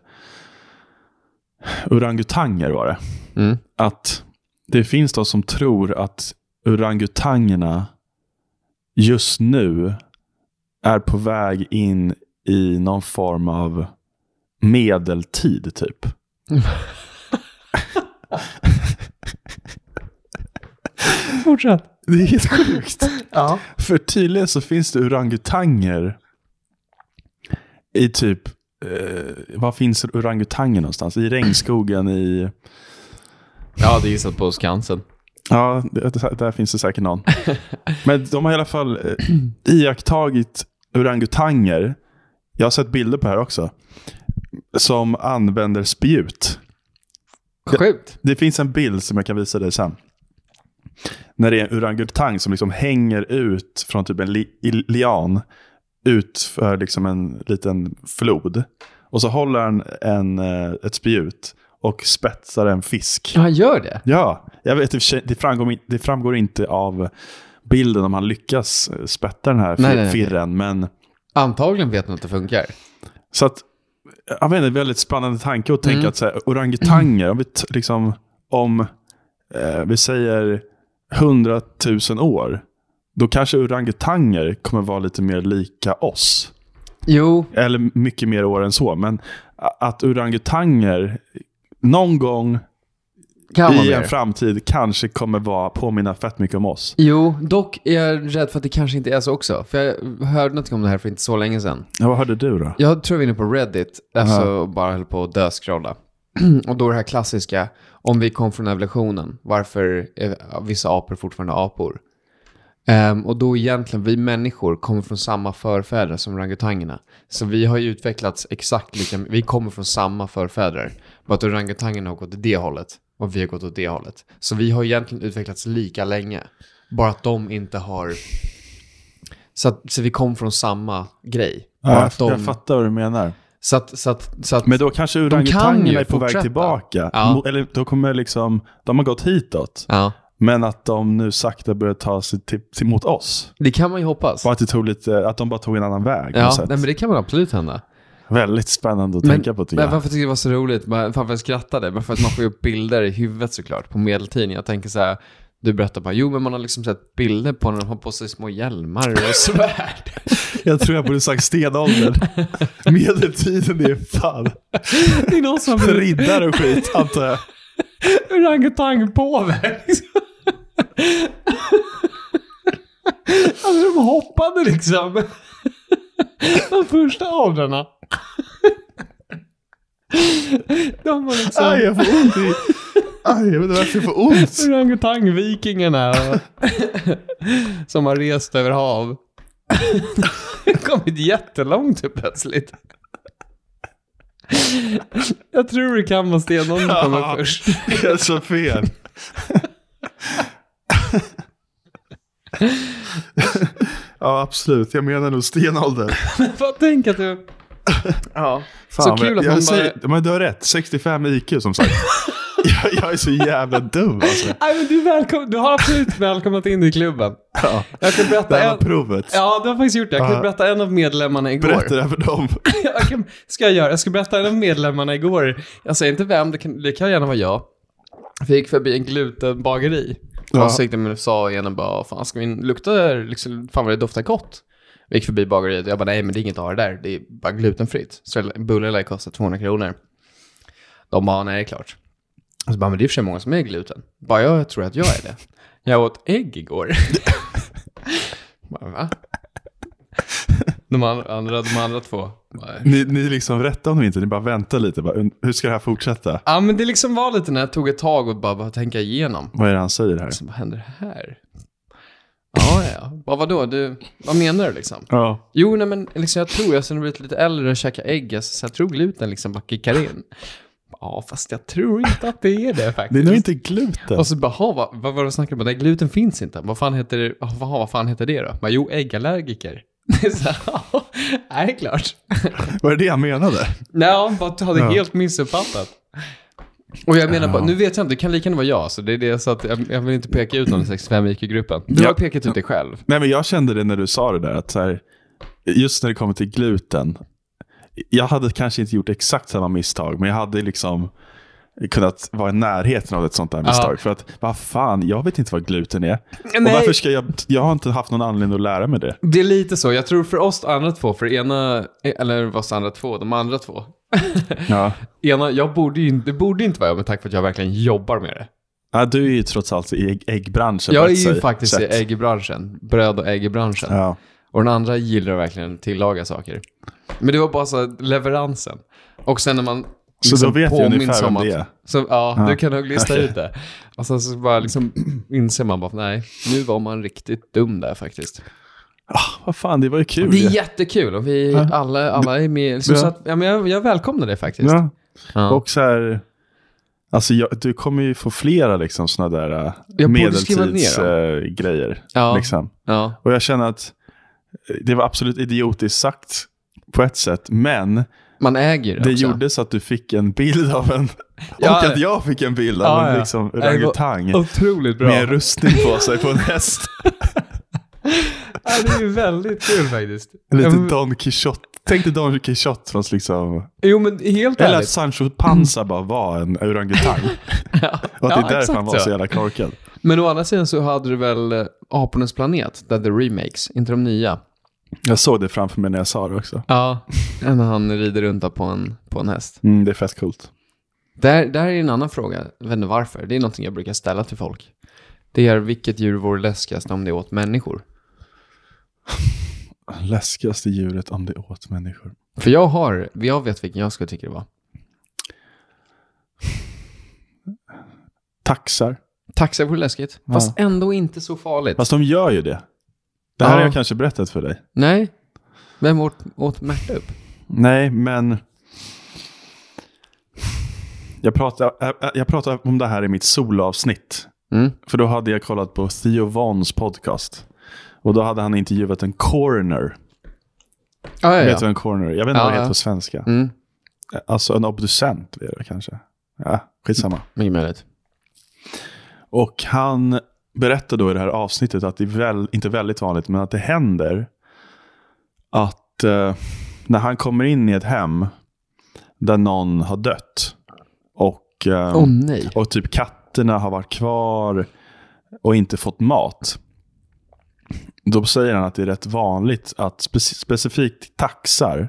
orangutanger var det. Mm. Att det finns de som tror att orangutangerna just nu är på väg in i någon form av medeltid typ. Fortsätt. Det är helt sjukt. Ja. För tydligen så finns det orangutanger i typ, eh, var finns orangutanger någonstans? I regnskogen i, Ja, det är gissat på Skansen. ja, det- där finns det säkert någon. Men de har i alla fall eh, iakttagit orangutanger, jag har sett bilder på det här också, som använder spjut. Sjukt. Det finns en bild som jag kan visa dig sen. När det är en orangutang som liksom hänger ut från typ en li- i- lian ut för liksom en liten flod. Och så håller han en, eh, ett spjut och spetsar en fisk. Ja, han gör det. Ja, jag vet i och för sig- det framgår, in- det framgår inte av bilden om han lyckas eh, spetta den här fir- Nej, nej, nej. firren. Men, Antagligen vet han att det funkar. så att, jag vet inte, väldigt spännande tanke att Mm. tänka att så här, orangutanger, om vi t- liksom, om eh, vi säger hundratusen år, då kanske orangutanger kommer vara lite mer lika oss. Jo, Eller mycket mer år än så, men a- att orangutanger någon gång kan man i göra en det. framtid kanske kommer vara, påminna fett mycket om oss. Jo, dock är jag rädd för att det kanske inte är så också. För jag hörde någonting om det här för inte så länge sedan. Ja, vad hörde du då? Jag tror vi är inne på Reddit, alltså och bara höll på att döskrolla. och då det här klassiska, om vi kom från evolutionen, varför är vissa apor fortfarande apor? Ehm, och då egentligen, vi människor kommer från samma förfäder som orangutangerna. Så vi har ju utvecklats exakt lika, vi kommer från samma förfäder. Bara att orangutangerna har gått åt det hållet och vi har gått åt det hållet. Så vi har egentligen utvecklats lika länge. Bara att de inte har... Så, att, så vi kom från samma grej. Bara Ja, att jag, de... jag fattar vad du menar. Så att, så att, så att, Men då kanske kan ju orangutangerna är på fortsätta. väg tillbaka. Ja. Mo- Eller då kommer liksom, de har gått hitåt. ja, Men att de nu sakta börjar ta sig till, till, mot oss. det kan man ju hoppas. Och att, det tog lite, att de bara tog en annan väg. på något Ja, sätt. nej, men det kan väl absolut hända. Väldigt spännande att tänka på tycker men jag. varför tycker jag det var så roligt? Bara- Varför jag skrattade? Bara för att man får ju upp bilder i huvudet såklart på medeltiden. Jag tänker så här, du berättar bara, jo men man har liksom sett bilder på när de har på sig små hjälmar och svärd. Jag tror jag borde sagt stenåldern. Medeltiden är fan det är någon som riddare och skit antar jag. orangutangpåve. Liksom. Alltså de hoppade liksom. De första åldrarna. De var liksom... Aj, jag får ont i... Aj, jag vet inte varför jag får ont. Orangutangvikingarna och- som har rest över hav. kommit jättelångt helt plötsligt. Jag tror det kan vara stenåldern som kommer Ja. först. Jag är så fel. ja, absolut. Jag menar nog stenålder. Vad tänker du? Ja. Fan, så men kul att jag man bara... säger, Men du har rätt. 65 IQ som sagt. jag, jag är så jävla dum alltså. Nej, men du, är välkom... du har absolut välkomnat in i klubben. Ja. Jag kan Det berätta här en... var provet. Ja, du har faktiskt gjort det. Jag kan Ja. berätta en av medlemmarna igår. Berätta det här för dem. jag kan... Ska jag göra? Jag ska berätta en av medlemmarna igår. Jag säger inte vem, det kan, det kan gärna vara jag. Vi gick förbi en glutenbageri. Ja. Och så gick de och sa ena bara, fan ska min lukta, liksom, fan vad det doftar gott. Vi gick förbi bageriet och jag bara, nej men det är inget att ha det där, det är bara glutenfritt. Så en bulle lär kosta 200 kronor. De bara, nej det är klart. Och så Alltså, bara, men det är i och för sig många som är gluten. Bara, jag tror att jag är det. Jag åt ägg igår. bara, va? De andra, andra- de andra två. Bara, Ni, ni liksom rättar honom inte, ni bara väntar lite. Bara, "Un- hur ska det här fortsätta? Ja men det liksom var lite när jag tog ett tag och bara, bara tänka igenom. Vad är det han säger här? Så vad händer här? Ja, ja. Vad, vadå? Du, vad menar du liksom? Ja. Jo, nej men liksom, jag tror, jag sen blivit lite äldre och käkat ägg, alltså, så jag tror gluten liksom bara kickar in. Ja, fast jag tror inte att det är det Det är faktiskt. nog inte gluten. Och så bara, "Ha, vad, vad var det du snackade om? Nej, gluten finns inte. Vad fan heter det, "Ha, vad, vad fan heter det då? Bara, jo, äggallergiker. Det är så här, "Ja, nej, det är klart. Vad är det han menade? Nej, han bara hade Ja. helt missuppfattat. Och jag menar bara, Ja. nu vet jag inte, det kan lika gärna vara jag, så det är det så att jag, jag vill inte peka ut någon i 65 IQ-gruppen. Du Ja. har pekat ut dig själv. Nej, men jag kände det när du sa det där. Att så här, just när det kommer till gluten. Jag hade kanske inte gjort exakt samma misstag, men jag hade liksom kunnat vara i närheten av ett sånt där misstag. För att, vad fan, jag vet inte vad gluten är. Och Nej. varför ska jag, jag har inte haft någon anledning att lära mig det. Det är lite så, jag tror för oss andra två, för ena, eh, eller vad sa andra två, de andra två. Ja. ena, jag borde ju inte, det borde inte vara jag, men tack för att jag verkligen jobbar med det. Ja, du är ju trots allt i ägg, äggbranschen. på Jag är ett ju sä- faktiskt i sätt. äggbranschen, bröd och äggbranschen. Ja. Och den andra gillar verkligen att tillaga saker. Men det var bara så här, leveransen. Och sen när man liksom Så då vet jag ungefär vem det är. Så, ja, Ja, du kan nog lista okej. ut det. Och sen så bara liksom inser man bara, nej, nu var man riktigt dum där faktiskt. Ah, vad fan, det var ju kul. Det ju. är jättekul och vi alla, alla är med. Liksom, Ja. så att, ja, men jag, jag välkomnar det faktiskt. ja. Ja. Och så här, alltså jag, du kommer ju få flera liksom sådana där äh, Jag borde skriva ner dem. medeltidsgrejer. Ja. liksom. Ja. Och jag känner att eh, det var absolut idiotiskt sagt på ett sätt, men Man äger det, det också. gjorde så att du fick en bild av en, och Ja. att jag fick en bild av Ja, en ja. liksom, Det var orangutang Otroligt bra. med en rustning på sig på en häst. Ja, det är ju väldigt kul faktiskt. Ja, Lite men- Don Quixote. Tänk dig Don Quixote fast liksom... Jo, men helt Eller att ärligt. Sancho Panza bara var en orangutang. Ja. Och att Ja, det är därför exakt han var så. så jävla korkad. Men å andra sidan så hade du väl eh, Apornas planet, där the remakes, inte de nya. Jag såg det framför mig när jag sa det också. Ja. När han rider runt där på en, på en häst. Mm, det är fett coolt. Där, där är en annan fråga, jag vet inte varför. Det är någonting jag brukar ställa till folk. Det är vilket djur vore läskigast om det åt människor? Läskigaste djuret om det åt människor. För jag har, jag vet vilken jag skulle tycka det var. Taxar. Taxar vore läskigt, fast ändå inte så farligt. Fast de gör ju det. Det här har Ja. jag kanske berättat för dig. Nej, vem åt, åt Märta upp? Nej, men... Jag pratar, äh, äh, jag pratar om det här i mitt solavsnitt. Mm. För då hade jag kollat på Theo Vons podcast. Och då hade han intervjuat en coroner. Ah, ja, Vet du ja. vad en coroner är? Jag vet inte Ja, vad det ja. heter på svenska. Mm. Alltså en obducent är det kanske. Ja, skitsamma. Mycket möjligt. Och han berättar då i det här avsnittet att det är väl, inte väldigt vanligt, men att det händer att eh, när han kommer in i ett hem där någon har dött och, eh, Åh oh, nej. och typ katterna har varit kvar och inte fått mat. Då säger han att det är rätt vanligt att speci- specifikt taxar,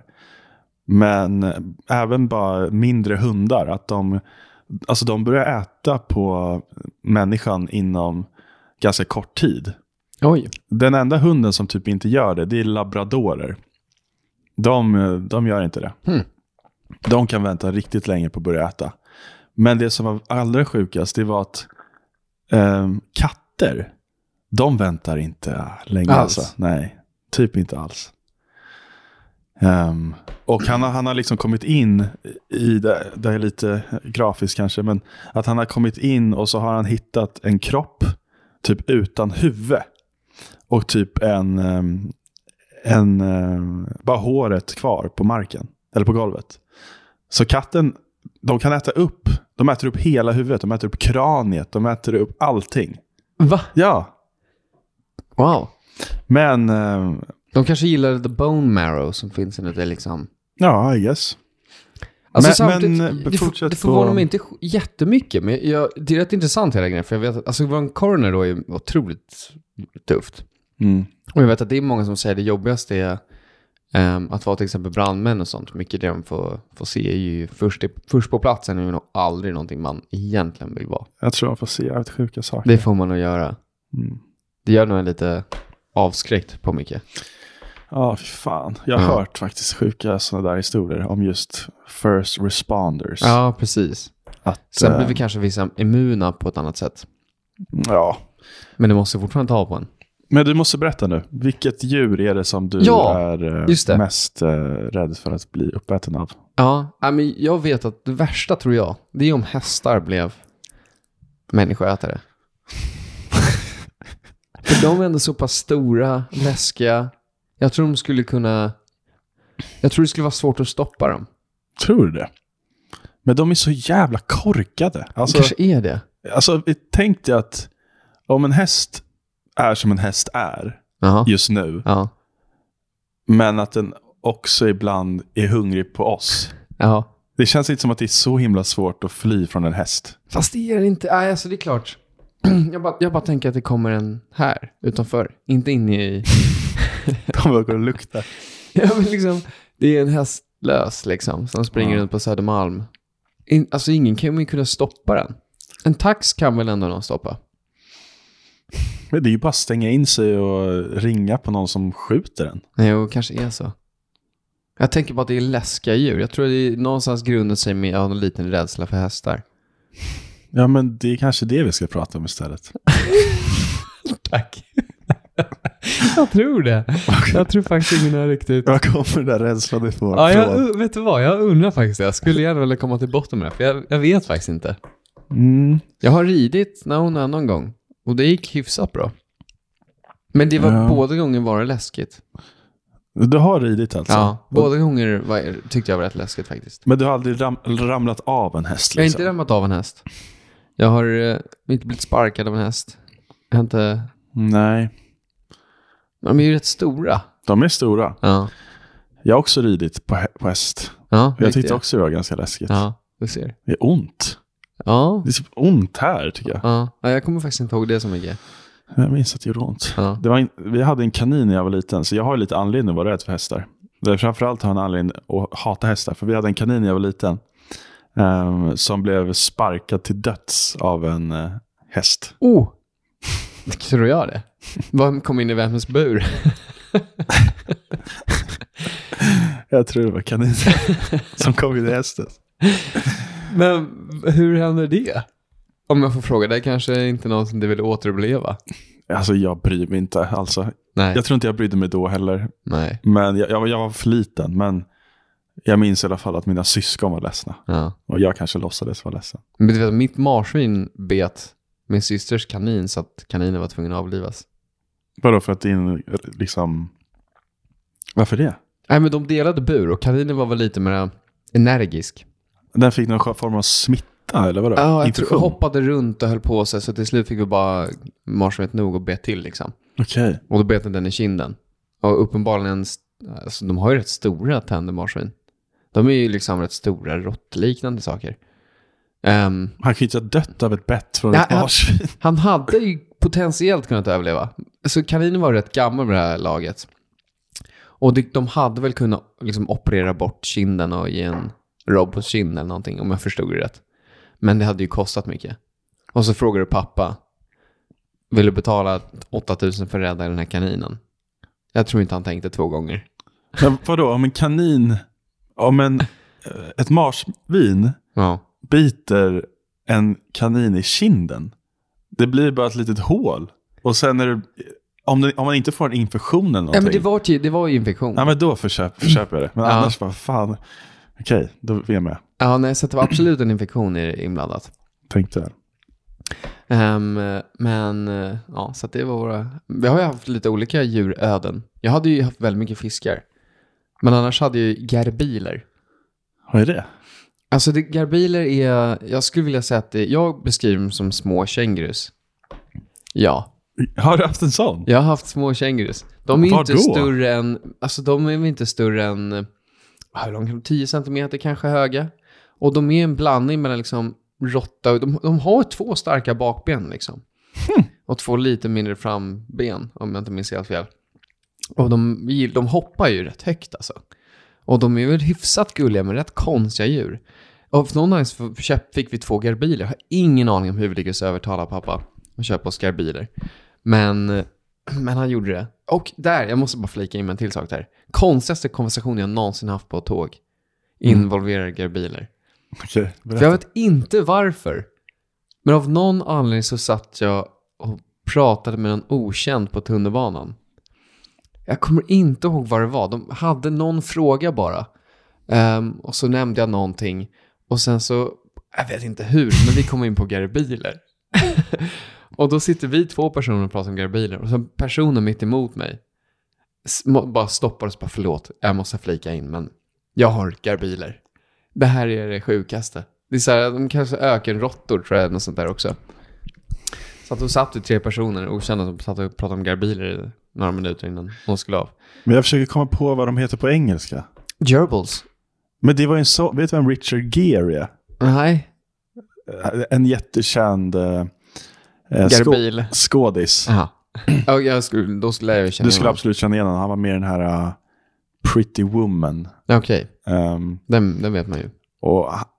men även bara mindre hundar, att de, alltså de börjar äta på människan inom ganska kort tid. Oj. Den enda hunden som typ inte gör det, det är labradorer. De, eh, de gör inte det. Hmm. De kan vänta riktigt länge på att börja äta. Men det som var allra sjukast, det var att ehm, katter, de väntar inte länge. Alls. Alltså. Nej, typ inte alls. Ehm, och han har, han har liksom kommit in i, det, det är lite grafiskt kanske, men att han har kommit in och så har han hittat en kropp, typ utan huvud. Och typ en, ehm, en ehm, bara håret kvar på marken. Eller på golvet. Så katten, de kan äta upp. De äter upp hela huvudet, de äter upp kraniet, de äter upp allting. Va? Ja, Wow. men ehm, De kanske gillar the bone marrow som finns inuti liksom. ja, I guess. Alltså Men- samtidigt, men, eh, det, för, fortsätt det förvånar på- mig inte sj- jättemycket, men jag, det är rätt intressant hela grejen, för jag vet att, alltså att vara en coroner då är otroligt tufft. Mm. Och jag vet att det är många som säger det jobbigaste är ehm, att vara till exempel brandmän och sånt. Mycket det de får, får se är ju först, i- först på platsen är ju nog aldrig någonting man egentligen vill vara. Jag tror de får se jävligt sjuka saker. Det får man nog göra. Mm. Det gör nog en lite avskräckt på mycket. Ja, fy fan. Jag har Ja. hört faktiskt sjuka sådana där historier om just first responders. Ja, precis. Att, Sen eh, blir vi kanske vissa immuna på ett annat sätt. Mm, ja. Men det måste fortfarande ta på en. Men du måste berätta nu. Vilket djur är det som du Ja, är eh, just det. mest eh, rädd för att bli uppäten av? Ja, nej, men jag vet att det värsta tror jag, det är om hästar blev människoätare. För de är ändå så pass stora, läskiga. Jag tror de skulle kunna... Jag tror det skulle vara svårt att stoppa dem. Tror du det? Men de är så jävla korkade. Alltså, Kanske är det. alltså tänk dig att om en häst är som en häst är Jaha. just nu, Ja. men att den också ibland är hungrig på oss. Jaha. Det känns inte som att det är så himla svårt att fly från en häst. Fast det är det inte. Nej, alltså det är klart. Jag bara, jag bara tänker att det kommer en här utanför. Inte inne i... De bara går och luktar. Ja, men liksom, det är en hästlös liksom, som springer Ja. runt på Södermalm. In, alltså ingen kan ju kunna stoppa den. En tax kan väl ändå någon stoppa? Men det är ju bara att stänga in sig och ringa på någon som skjuter den. Nej, Jo, kanske är så. Jag tänker bara att det är läskiga djur. Jag tror att det är någonstans grunden sig med jag har en liten rädsla för hästar. Ja, men det är kanske det vi ska prata om istället. Tack. jag tror det. Jag tror faktiskt ingen är riktigt... Var kommer den där rädslan ifrån? Ja, Från- jag, vet du vad? Jag undrar faktiskt. Jag skulle gärna vilja komma till botten med det, för jag, jag vet faktiskt inte. Mm. Jag har ridit när hon är någon gång och det gick hyfsat bra. Men det var Ja. båda gånger var det läskigt. Du har ridit alltså? Ja, båda gånger var, tyckte jag var rätt läskigt faktiskt. Men du har aldrig ram ramlat av en häst? Jag har Liksom. inte ramlat av en häst. Jag har eh, inte blivit sparkad av en häst. Jag har inte... Nej, De är ju rätt stora. de är stora. Ja. Jag har också ridit på, hä på häst. ja Jag riktigt. tyckte också det var ganska läskigt. Ja, du ser. Det är ont. Ja. Det är typ ont här tycker jag. Ja. ja, jag kommer faktiskt inte ihåg det så mycket. Jag minns att det gjorde ont. Ja. Det var in, vi hade en kanin när jag var liten, så jag har ju lite anledning att vara rädd för hästar. Det är Framförallt har jag en anledning att hata hästar, för vi hade en kanin när jag var liten ehm, som blev sparkad till döds av en eh, häst. Oh! Tror jag det? Vad kom in i vems bur? Jag tror det var kaninen som kom in i hästen. Men hur händer det? Om jag får fråga, det är kanske inte någon som du vill återuppleva? Alltså jag bryr mig inte. Alltså, Nej. jag tror inte jag brydde mig då heller, Nej. men jag, jag, var- jag var för liten. Men jag minns i alla fall att mina syskon var ledsna. Ja. Och jag kanske låtsades vara ledsen. Men du vet, mitt marsvin bet min systers kanin så att kaninen var tvungen att avlivas. Vadå för att din, liksom... Varför det? Nej, men de delade bur och kaninen var väl lite mer energisk. Den fick någon form av smitta eller vadå? Ja, jag tror, Infektion? hoppade runt och höll på sig så till slut fick vi bara marsvinet nog och bet till liksom. Okej. Och då bet den den i kinden. Och uppenbarligen, alltså, de har ju rätt stora tänder marsvin. De är ju liksom rätt stora råttliknande saker. Ehm, Han kan ju inte ha dött av ett bett från Ja, ett ja. marsvin. Han hade ju potentiellt kunnat överleva. Så kaninen var rätt gammal med det här laget. Och de, de hade väl kunnat liksom operera bort kinden och ge en robotkind eller någonting, om jag förstod det rätt. Men det hade ju kostat mycket. Och så frågade pappa, vill du betala 8000 för att rädda den här kaninen? Jag tror inte han tänkte två gånger. Men vadå, om en kanin, om en, eh, ett marsvin Ja. biter en kanin i kinden, det blir bara ett litet hål. Och sen är det, om, den, om man inte får en infektion eller någonting, Nej, men det var, ju- det var ju infektion. ja, men då förköp, förköper jag det. Men Ja. annars bara, fan, okej, då är jag med. Ja, nej, så det var absolut en infektion i- inblandat. Tänkte jag. Ehm, men eh, ja, så att det var våra... Vi har ju haft lite olika djuröden. Jag hade ju haft väldigt mycket fiskar. Men annars hade jag ju gerbiler. Vad är det? Alltså det, gerbiler är... Jag skulle vilja säga att det, jag beskriver dem som små kängurus. Ja, Har du haft en sån? jag har haft små kängurus. De är ju Var inte då? större än... Alltså de är väl inte större än... eh, Hur långt? kan de- 10 centimeter kanske höga. Och de är en blandning mellan liksom råtta och... De, de har två starka bakben liksom. Och två lite mindre framben, om jag inte minns helt fel. Och de, gill- de hoppar ju rätt högt alltså. Och de är väl hyfsat gulliga, men rätt konstiga djur. Och för någon anledning så köp- fick vi två garbiler. Jag har ingen aning om hur vi lyckades övertala pappa att köpa oss garbiler. Men, men han gjorde det. Och där, jag måste bara flika in med en till sak där. Konstigaste konversation jag någonsin haft på ett tåg involverar garbiler. Okej, För jag berätta. vet inte varför. Men av någon anledning så satt jag och pratade med någon okänd på tunnelbanan. Jag kommer inte ihåg vad det var. De hade någon fråga bara. Ehm, och så nämnde jag någonting. Och sen så, jag vet inte hur, men vi kom in på garbiler. och då sitter vi två personer och pratar om garbiler. Och sen personen mitt emot mig sm- bara stoppar oss och bara förlåt, jag måste flika in, men jag har garbiler. Det här är det sjukaste. Det är så här, de kanske ökenråttor tror jag, något sånt där också. Så att då satt det tre personer, okända, som satt och pratade om garbiler i några minuter innan de skulle av. Men jag försöker komma på vad de heter på engelska. Gerbils? Men det var ju en så... Vet du vem Richard Gere är? Nej. Eh, En jättekänd eh, eh, skå- Garbil? skådis. Jaha. Ja, jag skulle, då skulle jag ju känna Du skulle honom. absolut känna igen honom. Han var med i den här eh, Pretty Woman. Okej, Ehm, den, den vet man ju. och ha-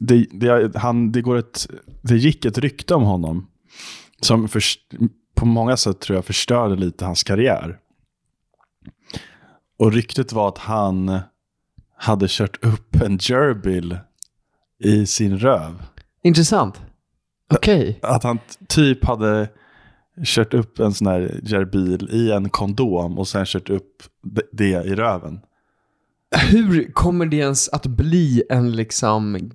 det, det, han, det, går ett, det gick ett rykte om honom som förs- på många sätt tror jag förstörde lite hans karriär. Och ryktet var att han hade kört upp en gerbil i sin röv. Intressant. Okej. Att han t- typ hade kört upp en sån här gerbil i en kondom och sen kört upp d- det i röven. Hur kommer det ens att bli en liksom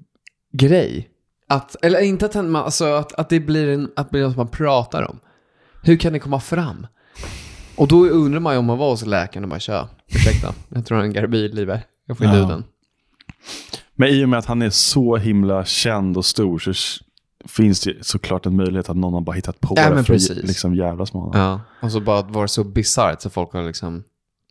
grej? Att, eller inte att, en, alltså, att, att det blir en, att det blir något man pratar om. Hur kan det komma fram? Och då undrar man ju om man var hos läkaren och bara tja, ursäkta, jag tror jag har en garbil i mig. Jag får inte Ja. ut den. Men i och med att han är så himla känd och stor så s- finns det ju såklart en möjlighet att någon har bara hittat på Ja, det men för precis. att liksom jävlas med honom. Ja. Och så bara att vara så bisarrt så folk har liksom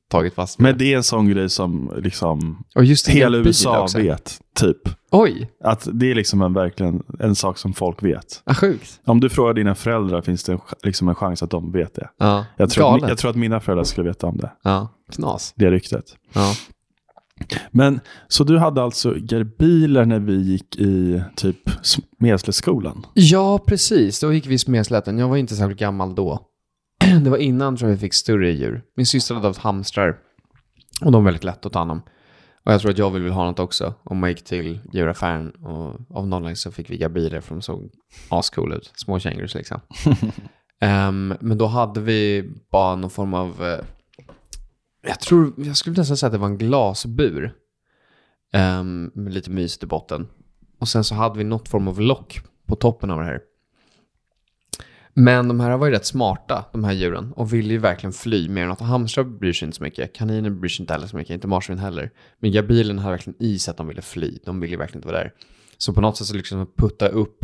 tagit fast Men det är en sån grej som liksom Och just en hela garbil USA också. vet, typ. Oj, Att det är liksom en, verkligen en sak som folk vet. vad sjukt. Om du frågar dina föräldrar finns det en, ch- liksom en chans att de vet det. Ja, Jag tror, att, galet. mi- jag tror att mina föräldrar skulle veta om det, Ja, knas. det ryktet. Ja. Men så du hade alltså gerbiler när vi gick i typ S- Meslövsskolan? Ja, precis. Då gick vi smedsläten. Jag var inte särskilt gammal då. Det var innan tror jag vi fick större djur. Min syster hade haft hamstrar. Och de var väldigt lätta att ta hand om. Och jag tror att jag ville ha något också. Om man gick till djuraffären och av någon anledning så fick vi garbiler för de såg ascoola ut. Små kängurus liksom. Ehm, men då hade vi bara någon form av... eh, jag tror, jag skulle nästan säga att det var en glasbur. Ehm, med lite mysigt i botten. Och sen så hade vi något form av lock på toppen av det här. Men de här var ju rätt smarta, de här djuren, och ville ju verkligen fly mer än att hamstrar bryr sig inte så mycket. Kaniner bryr sig inte heller så mycket, inte marsvin heller. Men garbilen hade verkligen i sig att de ville fly, de ville ju verkligen inte vara där. Så på något sätt så liksom putta upp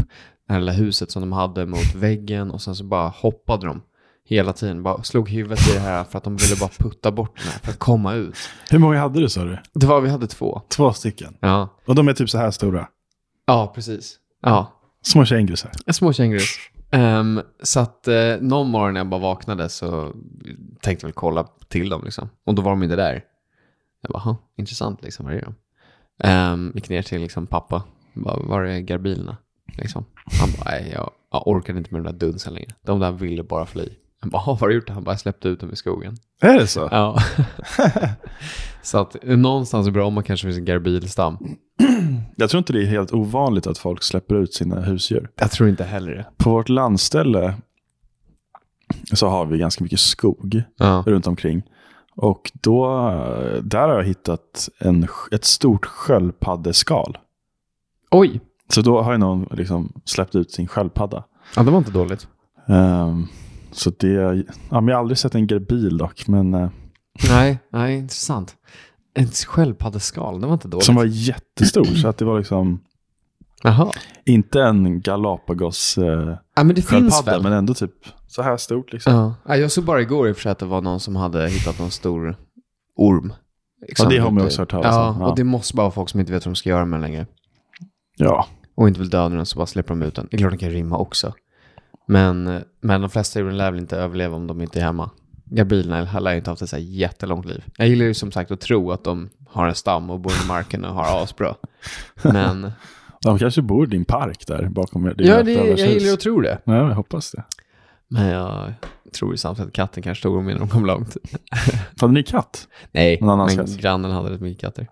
det här lilla huset som de hade mot väggen och sen så bara hoppade de hela tiden, bara slog huvudet i det här för att de ville bara putta bort den här för att komma ut. Hur många hade du sa du? Det var, vi hade två. Två stycken. Ja, Och de är typ så här stora? ja precis. Ja, Små kängurusar. Små kängurus. Ehm, så att eh, någon morgon när jag bara vaknade så tänkte jag väl kolla till dem liksom. Och då var de inte där. Jag bara, "Ha, intressant liksom, var är de? Ehm, gick ner till liksom pappa, bara, var är garbilerna? Liksom. Han bara, nej jag, jag orkade inte med den där dunsen längre. De där ville bara fly. Jag bara, "Ha, vad har du gjort? Han bara, jag släppte ut dem i skogen. Är det så? Ja. så att eh, någonstans i Bromma kanske finns en garbilstam. Jag tror inte det är helt ovanligt att folk släpper ut sina husdjur. Jag tror inte heller det. På vårt landställe så har vi ganska mycket skog Ja. runt omkring. Och då, där har jag hittat en, sk- ett stort sköldpaddeskal. Oj, Så då har ju någon liksom släppt ut sin sköldpadda. Ja, det var inte dåligt. Ehm, så det, ja, men jag har aldrig sett en gerbil dock, men eh, Nej, nej, intressant. Ett sköldpaddeskal, det var inte dåligt. som var jättestor. så att det var liksom Jaha. inte en Galapagos eh, Ja, men det finns sköldpadda, väl? men ändå typ så här stort. Liksom. Ja. Ja, jag såg bara igår i och för sig att det var någon som hade hittat någon stor orm. Ja, det har man ju också hört talas Ja, om. och det måste bara vara folk som inte vet vad de ska göra med den längre. ja. Och inte vill döda den så bara släpper de ut den. Det är klart den kan rymma också. Men, men de flesta djuren lär väl inte överleva om de inte är hemma. Garbilerna lär ju inte ha haft ett så här jättelångt liv. Jag gillar ju som sagt att tro att de har en stam och bor i marken och har asbra. Men De kanske bor i din park där bakom er. ja, det, jag gillar ju att tro det. Nej, jag hoppas det. Men jag tror ju samtidigt att katten kanske tog dem innan de kom långt. Hade ni katt? Nej, Någon annan men katt. grannen hade rätt mycket katter.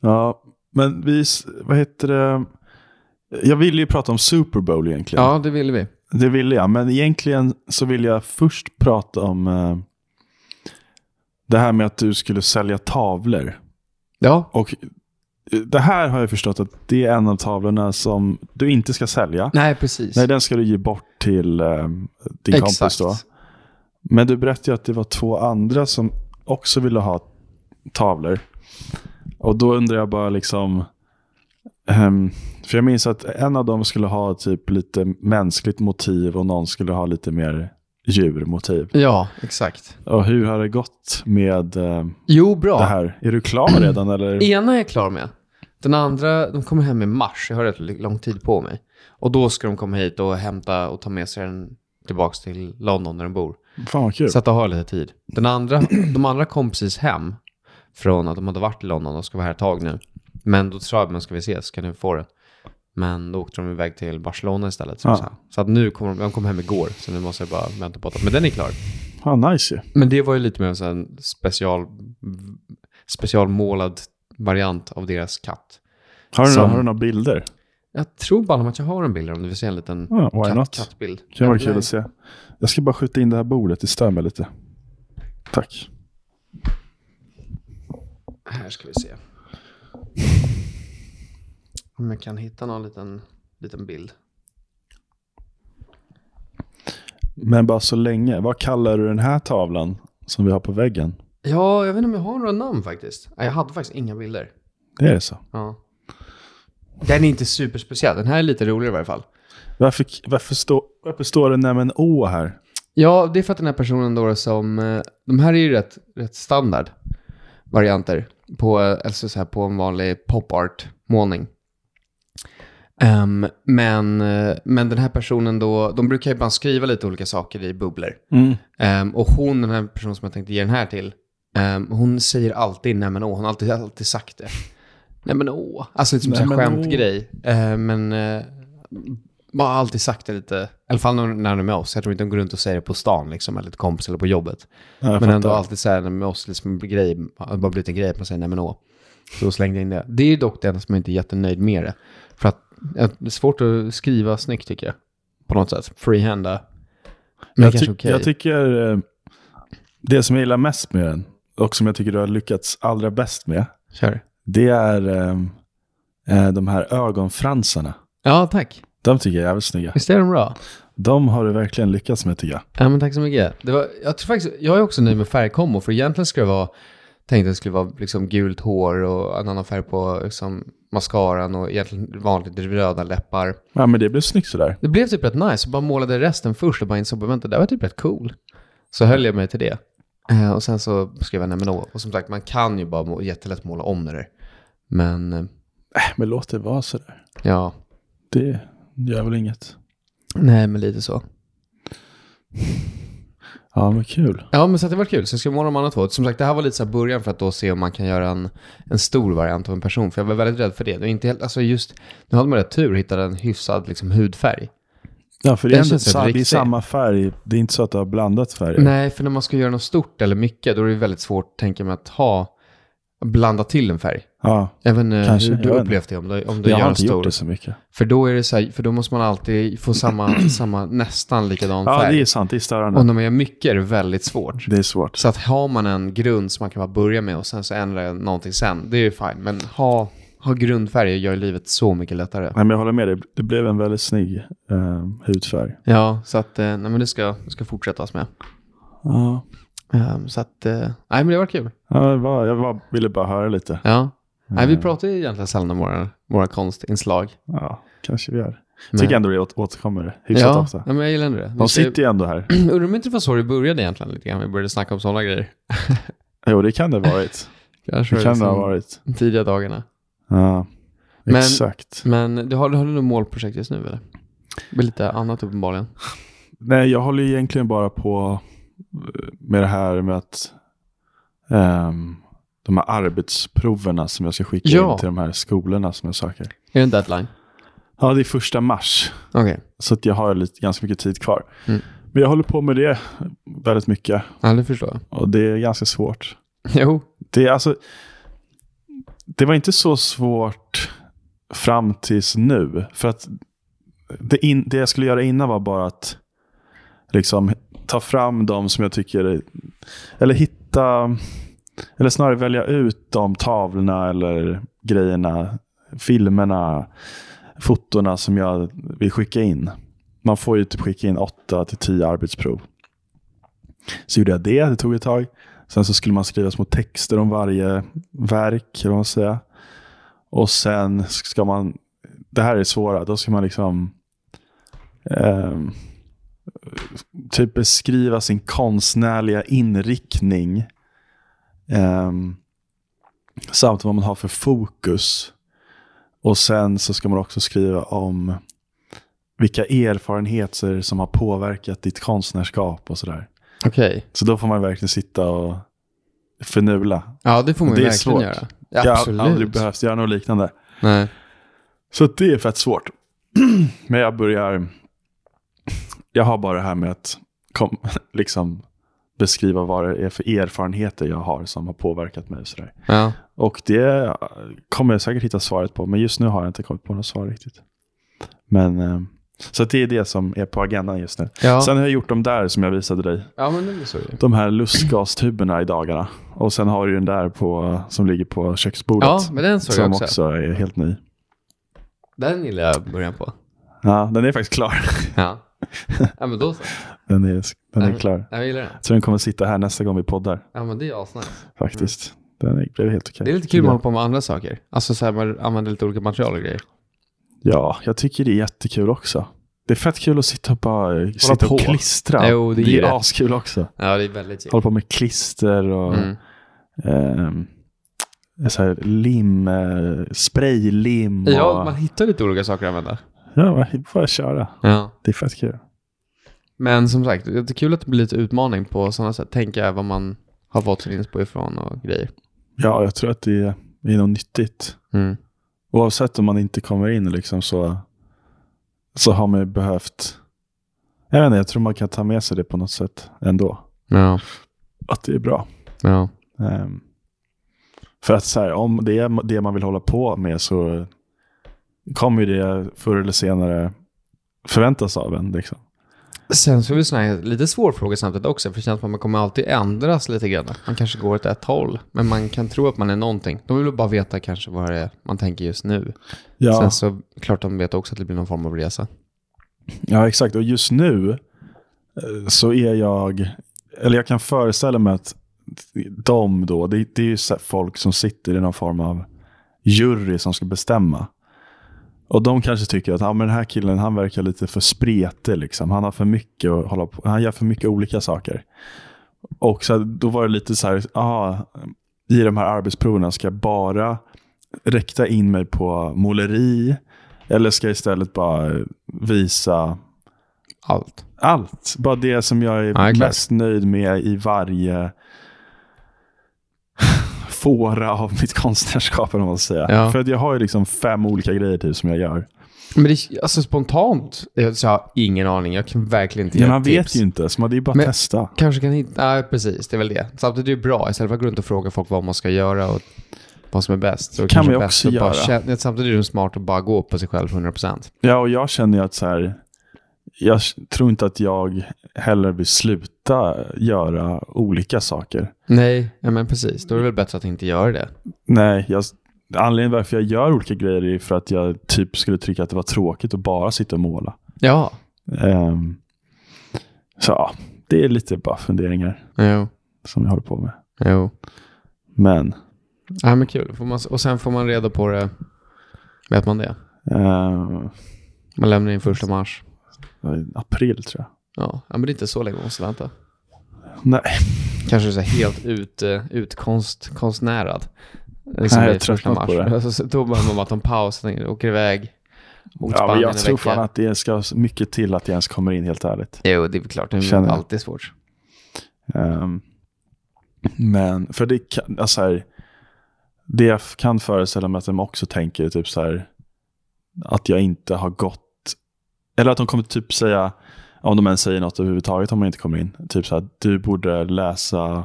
Ja, men vi, s- vad heter det? Jag ville ju prata om Super Bowl egentligen. Ja, det ville vi. Det ville jag, men egentligen så vill jag först prata om eh, det här med att du skulle sälja tavlor. Ja, Och eh, det här har jag förstått att det är en av tavlorna som du inte ska sälja. nej precis. Nej, den ska du ge bort till eh, din kompis då. Men du berättade ju att det var två andra som också ville ha tavlor. Och då undrar jag bara liksom... ehm, för jag minns att en av dem skulle ha typ lite mänskligt motiv och någon skulle ha lite mer djurmotiv. Ja, exakt. Och hur har det gått med eh, Jo, bra. det här? Är du klar redan eller? Ena är jag klar med. Den andra, de kommer hem i mars. Jag har rätt lång tid på mig. Och då ska de komma hit och hämta och ta med sig den tillbaks till London där de bor. Fan vad kul. Så att de har lite tid. Den andra, de andra kom precis hem från att de hade varit i London och ska vara här ett tag nu. Men då sa jag, men ska vi ses, kan du få den? Men då åkte de iväg till Barcelona istället. Så, Ja. så, här. så att nu kommer de, de kom hem igår, så nu måste jag bara vänta på att Men den är klar. Fan Ah, nice ju. Men det var ju lite mer en sån här special, specialmålad variant av deras katt. Har du, Som- några, har du några bilder? Jag tror bara att jag har en bild om du vill se en liten Ja, why katt, not? kattbild. Det kan vara kul att se. Jag ska bara skjuta in det här bordet, det stör mig lite. Tack. Här ska vi se. Om jag kan hitta någon liten, liten bild. Men bara så länge, vad kallar du den här tavlan som vi har på väggen? Ja, jag vet inte om jag har några namn faktiskt. Nej, jag hade faktiskt inga bilder. Det är så. Ja. Den är inte superspeciell. Den här är lite roligare i varje fall. Varför, varför, stå, varför står det nämen Å här? Ja, det är för att den här personen då som... eh, De här är ju rätt, rätt standard varianter på, eh, alltså så här, på en vanlig pop art målning. Ehm, men, eh, men den här personen då, de brukar ju ibland skriva lite olika saker i bubblor. Ehm, och hon, den här personen som jag tänkte ge den här till, ehm, hon säger alltid nej men åh, hon har alltid, alltid sagt det. Nej men åh, alltså lite som Nej, en men åh. skämtgrej. Ehm, men eh, bara alltid sagt det lite, i alla fall när när de är med oss. Jag tror inte de går runt och säger det på stan liksom, eller till kompis eller på jobbet. Ja, jag men ändå fattar. alltid så här, när de är med oss, liksom en grej, har bara blivit en grej, att man säger nej men åh. Så då slängde jag in det. Det är dock det enda som jag inte är jättenöjd med det. För att eh, det är svårt att skriva snyggt tycker jag. På något sätt, freehanda. Men jag, kanske ty- okej. jag tycker eh, det som jag gillar mest med den och som jag tycker du har lyckats allra bäst med, Kör. det är eh, eh, de här ögonfransarna. Ja, tack. De tycker jag är jävligt snygga. Visst är de bra? De har du verkligen lyckats med tycker jag. Ja, men tack så mycket. Det var, jag, tror faktiskt, jag är också nöjd med färgkombo, för egentligen skulle det vara, tänkte jag det skulle vara liksom gult hår och en annan färg på liksom, mascaran och egentligen vanligt röda läppar. Ja, men det blev snyggt sådär. Det blev typ rätt nice, och bara målade resten först och bara insåg att det där var typ rätt cool. Så höll jag mig till det. Eh, och sen så skrev jag nej men åh. Och som sagt, man kan ju bara må, jättelätt måla om det där. Men eh, Äh, men låt det vara sådär. ja, Det gör väl inget. nej men lite så. Ja, men kul. Ja, men så att det var kul. Så jag ska måla de andra två. Som sagt, det här var lite så här början för att då se om man kan göra en, en stor variant av en person. För jag var väldigt rädd för det. det var inte helt, alltså just, nu hade man rätt tur och hittade en hyfsad liksom, hudfärg. Ja, för det är, Den ändå, känns sa, rätt det är riktig. samma färg. Det är inte så att du har blandat färger. Nej, för när man ska göra något stort eller mycket, då är det väldigt svårt, tänker man, att ha, blanda till en färg. Ja, Även eh, Kanske, hur du jag vet upplevt det om du, om du jag gör har en inte gjort stor. det så mycket. För då är det så här, för då måste man alltid få samma, samma nästan likadan Ja, färg. det är sant. Det är störande. Och när man gör mycket är det väldigt svårt. Det är svårt. Så att har man en grund som man kan bara börja med och sen så ändra någonting sen, det är ju fine. Men ha Ha grundfärger gör livet så mycket lättare. Nej, men jag håller med dig. Det blev en väldigt snygg eh, hudfärg. Ja, så att eh, nej, men det ska, det ska fortsättas med. Ja. Ehm, så att, eh, nej men det var kul. Ja, jag bara, jag bara, ville bara höra lite. Ja. Nej, vi pratar ju egentligen sällan om våra, våra konstinslag. Ja, kanske vi gör. Men- Tycker ändå det åt- återkommer hyfsat ja, ofta. ja, men jag gillar ändå det. Vi De ska ju- sitter ju ändå här. Undrar om inte det var så det började egentligen lite grann. Vi började snacka om sådana grejer. Jo, det kan det ha varit. Kanske Det var kan det liksom ha varit. de tidiga dagarna. Ja, Men- exakt. Men du har, har du något målprojekt just nu eller? Det blir lite annat uppenbarligen. Nej, jag håller ju egentligen bara på eh, med det här med att ehm, de här arbetsproverna som jag ska skicka Ja. in till de här skolorna som jag söker. Är det en deadline? Ja, det är första mars. Okej. Så att jag har lite, ganska mycket tid kvar. Mm. Men jag håller på med det väldigt mycket. Ja, det förstår jag. Och det är ganska svårt. Jo. Det, är alltså, det var inte så svårt fram tills nu. För att det, in, det jag skulle göra innan var bara att liksom, ta fram de som jag tycker... är- Eller hitta... Eller snarare välja ut de tavlorna eller grejerna, filmerna, fotorna som jag vill skicka in. Man får ju typ skicka in 8 till 10 arbetsprov. Så gjorde jag det, det tog ett tag. Sen så skulle man skriva små texter om varje verk, eller vad man ska säga. Och sen ska man, det här är svåra, då ska man liksom ehm, typ beskriva sin konstnärliga inriktning. ehm, samt vad man har för fokus. Och sen så ska man också skriva om vilka erfarenheter som har påverkat ditt konstnärskap och sådär. Okej. Så då får man verkligen sitta och förnula. Ja, det får man Det ju är verkligen svårt. göra. Jag Ja, har aldrig absolut. behövt göra något liknande. Nej. Så att det är fett svårt. Men jag börjar... Jag har bara det här med att kom, liksom beskriva vad det är för erfarenheter jag har som har påverkat mig. Och, sådär. Ja. och det kommer jag säkert hitta svaret på, men just nu har jag inte kommit på något svar riktigt. Men, eh, så att det är det som är på agendan just nu. Ja. Sen har jag gjort de där som jag visade dig. ja, men det blir så ju. de här lustgastuberna i dagarna. Och sen har du den där på, som ligger på köksbordet. Ja, men den såg jag som också. också. är helt ny. Den gillar jag början på. Ja, den är faktiskt klar. Ja. ja, men då så. Den är, den är Ja. klar. Jag gillar den. Så den kommer sitta här nästa gång vi poddar, Ja, men det är asnice. faktiskt. Den är, blev helt okej. Det är lite kul att hålla på med andra saker. Alltså så här, man använder lite olika material och grejer. Ja, jag tycker det är jättekul också. Det är fett kul att sitta och bara sitta på. och klistra. Jo, det är är det. askul också. Ja, det är väldigt kul. Hålla på med klister och Mm. ehm, så här lim, eh, spraylim. Och, Ja, man hittar lite olika saker att använda. ja, man får köra. Ja. Det är fett kul. Men som sagt, det är kul att det blir lite utmaning på sådana sätt. Tänka vad man har fått sin inspo ifrån och grejer. Ja, jag tror att det är, det är något nyttigt. Mm. Oavsett om man inte kommer in liksom så, så har man ju behövt... Jag vet inte, jag tror man kan ta med sig det på något sätt ändå. Ja. Att det är bra. Ja. Ehm, för att så här, om det är det man vill hålla på med så kommer ju det förr eller senare förväntas av en. Liksom. Sen så är det sån här lite svår fråga samtidigt också, för det känns som att man kommer alltid ändras lite grann. Man kanske går åt ett håll, men man kan tro att man är någonting. De vill bara veta kanske vad det är man tänker just nu. Ja. Sen så klart de vet också att det blir någon form av resa. Ja, exakt. Och just nu eh, så är jag, eller jag kan föreställa mig att de då, det, det är ju så här folk som sitter i någon form av jury som ska bestämma. Och de kanske tycker att ah, men den här killen han verkar lite för spretig. Liksom. Han har för mycket att hålla på. Han gör för mycket olika saker. Och så, här, då var det lite så här, ah, i de här arbetsproverna ska jag bara räkta in mig på måleri. Eller ska jag istället bara visa Allt. allt. Bara det som jag är Ja, det är klart. mest nöjd med i varje fåra av mitt konstnärskap. Om man ska säga. Ja. För att jag har ju liksom fem olika grejer typ som jag gör. Men det, alltså spontant, jag så jag har ingen aning. Jag kan verkligen inte ge Men man tips. vet ju inte, så man, det är bara Men- att testa. Kanske kan hitta, nej precis, det är väl det. Samtidigt är det bra, istället för att gå runt och fråga folk vad man ska göra och vad som är bäst. Så Kan kanske man ju bäst också att bara göra. känna- samtidigt är det smart att bara gå på sig själv 100%. Ja, och jag känner ju att så här, jag s- tror inte att jag heller vill sluta göra olika saker. Nej, ja, men precis. Då är det väl bättre att inte göra det. Nej, jag, Anledningen varför jag gör olika grejer är för att jag typ skulle tycka att det var tråkigt att bara sitta och måla. Ja. Ehm, så ja, det är lite bara funderingar Jo. som jag håller på med. Jo. Men Ja, men kul. Får man, och sen får man reda på det. Vet man det? ehm, Man lämnar in första mars. april tror jag. Ja, ja men det är inte så länge man måste vänta. Nej, Kanske så här helt ut, eh, utkonst, konstnärad. Liksom Nej, jag i är trött första på det. Alltså, så då behöver man bara ta en paus, tänker, åker iväg mot ja, men Spanien jag en tror vecka. fan att det ska mycket till att jag ens kommer in helt ärligt. Jo, det är väl klart. Det är Känner jag. alltid svårt. Ehm, men, för det kan, alltså här, det jag f- kan föreställa mig att de också tänker är typ så här, att jag inte har gått, eller att de kommer typ säga, om de ens säger något överhuvudtaget om man inte kommer in, typ så här, du borde läsa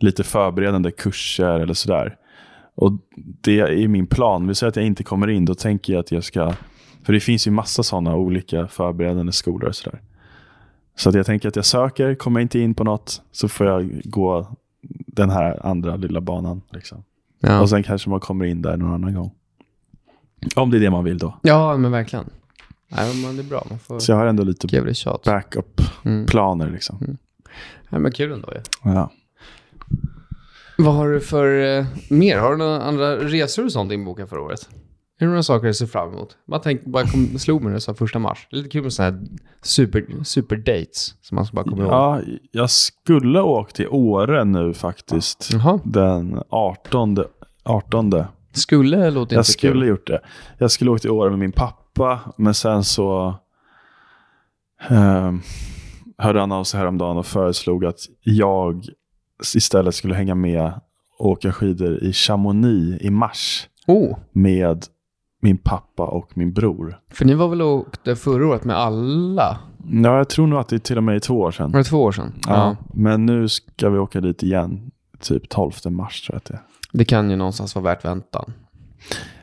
lite förberedande kurser eller sådär. Och det är min plan, vi säger att jag inte kommer in, då tänker jag att jag ska, för det finns ju massa sådana olika förberedande skolor och sådär. Så att jag tänker att jag söker, kommer jag inte in på något så får jag gå den här andra lilla banan. Liksom. Ja. Och sen kanske man kommer in där någon annan gång. Om det är det man vill då. ja, men verkligen. Nej, men det är bra. Man får Så jag har ändå lite give it a shot. Mm. backup-planer. Liksom. Ja, men kul ändå ju. Ja. Vad har du för eh, mer? Har du några andra resor och sånt inbokade förra året? Är det några saker du ser fram emot? Bara tänk, bara kom, slog mig när du sa första mars. Det är lite kul med sådana här super, super dates som man ska bara komma ihåg. ja, jag skulle ha åkt till Åre nu faktiskt. Jaha. Den 18. 18. Skulle låter Jag inte skulle kul. gjort det. Jag skulle åkt till Åre med min pappa, men sen så ehm, hörde han av sig häromdagen och föreslog att jag istället skulle hänga med och åka skidor i Chamonix i mars Oh, med min pappa och min bror. för ni var väl och åkte förra året med alla? Ja, jag tror nog att det till och med är två år sedan. Var det två år sedan? Ja, men nu ska vi åka dit igen, typ 12 mars tror jag att det är. Det kan ju någonstans vara värt väntan.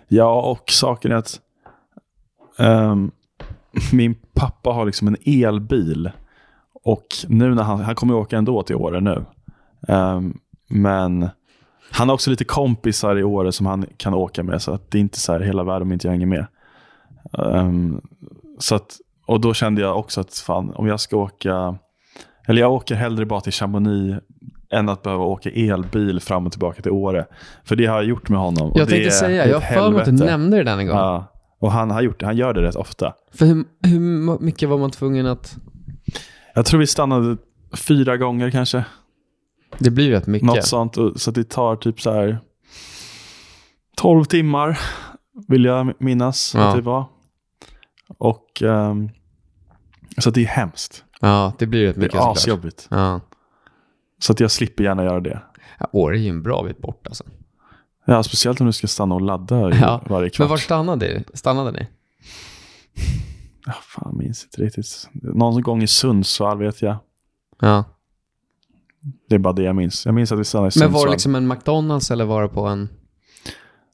Ja, och saken är att ehm, min pappa har liksom en elbil. Och nu när han, han kommer ju åka ändå till Åre nu. Ehm, men han har också lite kompisar i Åre som han kan åka med. Så att det är inte så här hela världen om inte jag hänger med. Ehm, så att, och då kände jag också att fan, om jag ska åka... Eller jag åker hellre bara till Chamonix än att behöva åka elbil fram och tillbaka till Åre. För det har jag gjort med honom. och Jag det tänkte är säga, ett jag har för mig att du helvete. nämnde det den en gång. Ja. Och han, har gjort, det- han gör det rätt ofta. För hur, hur mycket var man tvungen att... Jag tror vi stannade fyra gånger kanske. Det blir ju rätt mycket. Något sånt. Och- Så att det tar typ så här 12 timmar vill jag minnas Ja. att det var. Och ehm, så att det är hemskt. Ja, det blir ju rätt mycket Det är asjobbigt. Ja. Så att jag slipper gärna göra det. Ja, Åre är ju en bra bit bort alltså. Ja, speciellt om du ska stanna och ladda i Ja, varje Men kvart. var stannade, stannade ni? Ah, fan, minns inte riktigt. Någon gång i Sundsvall vet jag. Ja. Det är bara det jag minns. Jag minns att vi stannade i Men Sundsvall. var det liksom en McDonalds eller var det på en...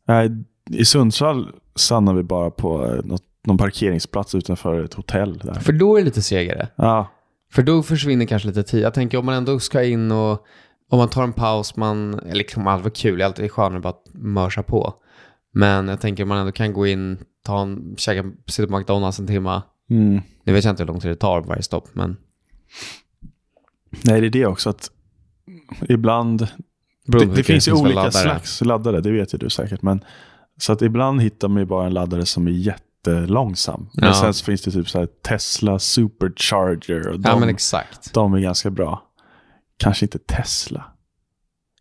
Nej, i Sundsvall stannade vi bara på eh, något, någon parkeringsplats utanför ett hotell. Där. För då är det lite segare. Ja, För då försvinner kanske lite tid. Jag tänker om man ändå ska in och... Om man tar en paus, man... Eller det kommer aldrig vara kul, det är alltid skönare att bara mörsa på. Men jag tänker om man ändå kan gå in, ta en, käka, sitta på McDonalds en timma. mm. Nu vet jag inte hur lång tid det tar på varje stopp, men... Nej, det är det också att ibland... Det, beroende på det vilka finns ju för olika laddare. slags laddare, det vet ju du säkert. Men, så att ibland hittar man ju bara en laddare som är jättelångsam. Men Ja. sen så finns det typ så här Tesla Supercharger och de, Ja, men exakt. de är ganska bra. Kanske inte Tesla.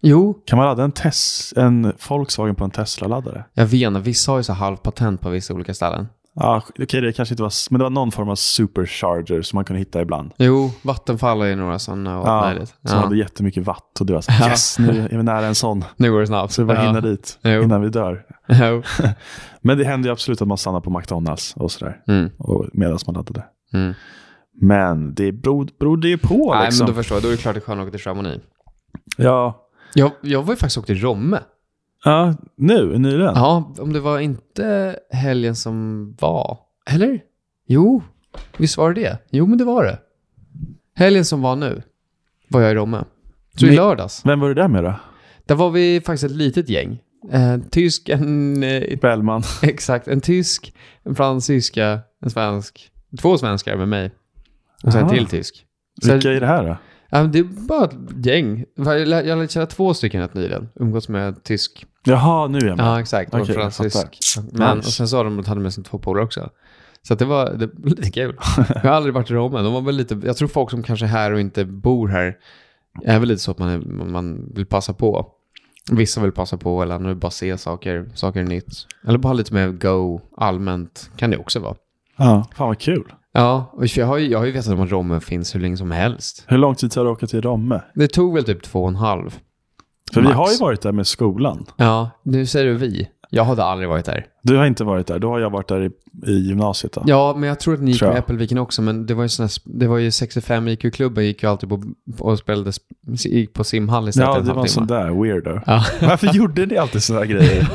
Jo, Kan man ladda en, tes, en Volkswagen på en Tesla-laddare? jag vet inte. Vissa har ju så här halvpatent på vissa olika ställen. Ja, Okej, det kanske inte var... s- Men det var någon form av supercharger som man kunde hitta ibland. Jo, Vattenfall är ju några sådana och allt möjligt. som Ja. hade jättemycket watt. Och du var så här, Ja. yes, nu är vi nära en sån. Nu går det snabbt. Så vi bara ja. hinner dit Jo. innan vi dör. Jo. Men det hände ju absolut att man stannade på McDonalds och sådär. Mm. Och medan man laddade. Mm. Men det beror- berodde ju på Nej, liksom. men då förstår jag. Då är det klart det är skönt att åka till Chamonix. ja. Jag, jag var ju faktiskt åkt till Romme. ja, nu, nyligen. Ja, om det var inte helgen som var. Eller? Jo, visst var det det? Jo, men det var det. Helgen som var nu var jag i Romme. Så i Ni- lördags. Vem var det där med då? Där var vi faktiskt ett litet gäng. Eh, En tysk, en... eh, it- Bellman. Exakt, en tysk, en fransyska, en svensk. Två svenskar med mig. Och sen en Aha. till tysk. Så- Vilka är det här då? Ja, men det är bara ett gäng. Jag lär- jag lärde känna två stycken rätt nyligen. Umgås med en tysk. Jaha, nu är jag med. Ja, exakt. Och en Okej, jag fransysk. fattar. Men, Nice. Och sen sa de att de hade med sig två polare också. Så att det var det, var lite kul. Jag har aldrig varit i Rom än. De var väl lite, jag tror folk som kanske är här och inte bor här är väl lite så att man, är, man vill passa på. Vissa vill passa på eller andra vill bara se saker, saker är nytt. Eller bara ha lite mer go allmänt kan det också vara. Ja, fan vad kul. Ja, och jag har ju, jag har ju vetat om att Rom finns hur länge som helst. Hur lång tid tar det att åka till Romme? Det tog väl typ två och en halv. För vi Max. har ju varit där med skolan. Ja, nu säger du vi. Jag hade aldrig varit där. Du har inte varit där, då har jag varit där i, i gymnasiet. Då. Ja, men jag tror att ni gick Tror med jag. Äppelviken också, men det var ju, sån här, sp- det var ju 65 IQ-klubben gick ju alltid på, och spelade, sp- gick på simhall istället Ja, en det var en sån halvtimme. där weirdo. Ja. Varför gjorde ni alltid såna här grejer?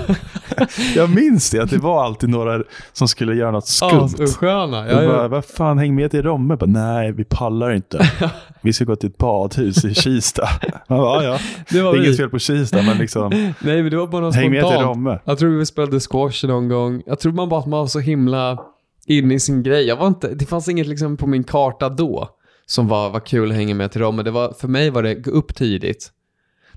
jag minns det, att det var alltid några som skulle göra något skumt. Assköna. Ja, Ja, bara, ja. Vad fan, häng med till Romme. Bara, Nej, vi pallar inte. Vi ska gå till ett badhus i Kista. Man bara, ja, ja. Det Det var är inget vi. fel på Kista, men liksom, Nej, men det var bara något häng med till spontant. Romme. Jag tror vi spelade squash någon gång. Jag tror man bara att man var så himla inne i sin grej. Jag var inte, det fanns inget liksom på min karta då som var, var kul att hänga med till dem. Men det var, för mig var det gå upp tidigt,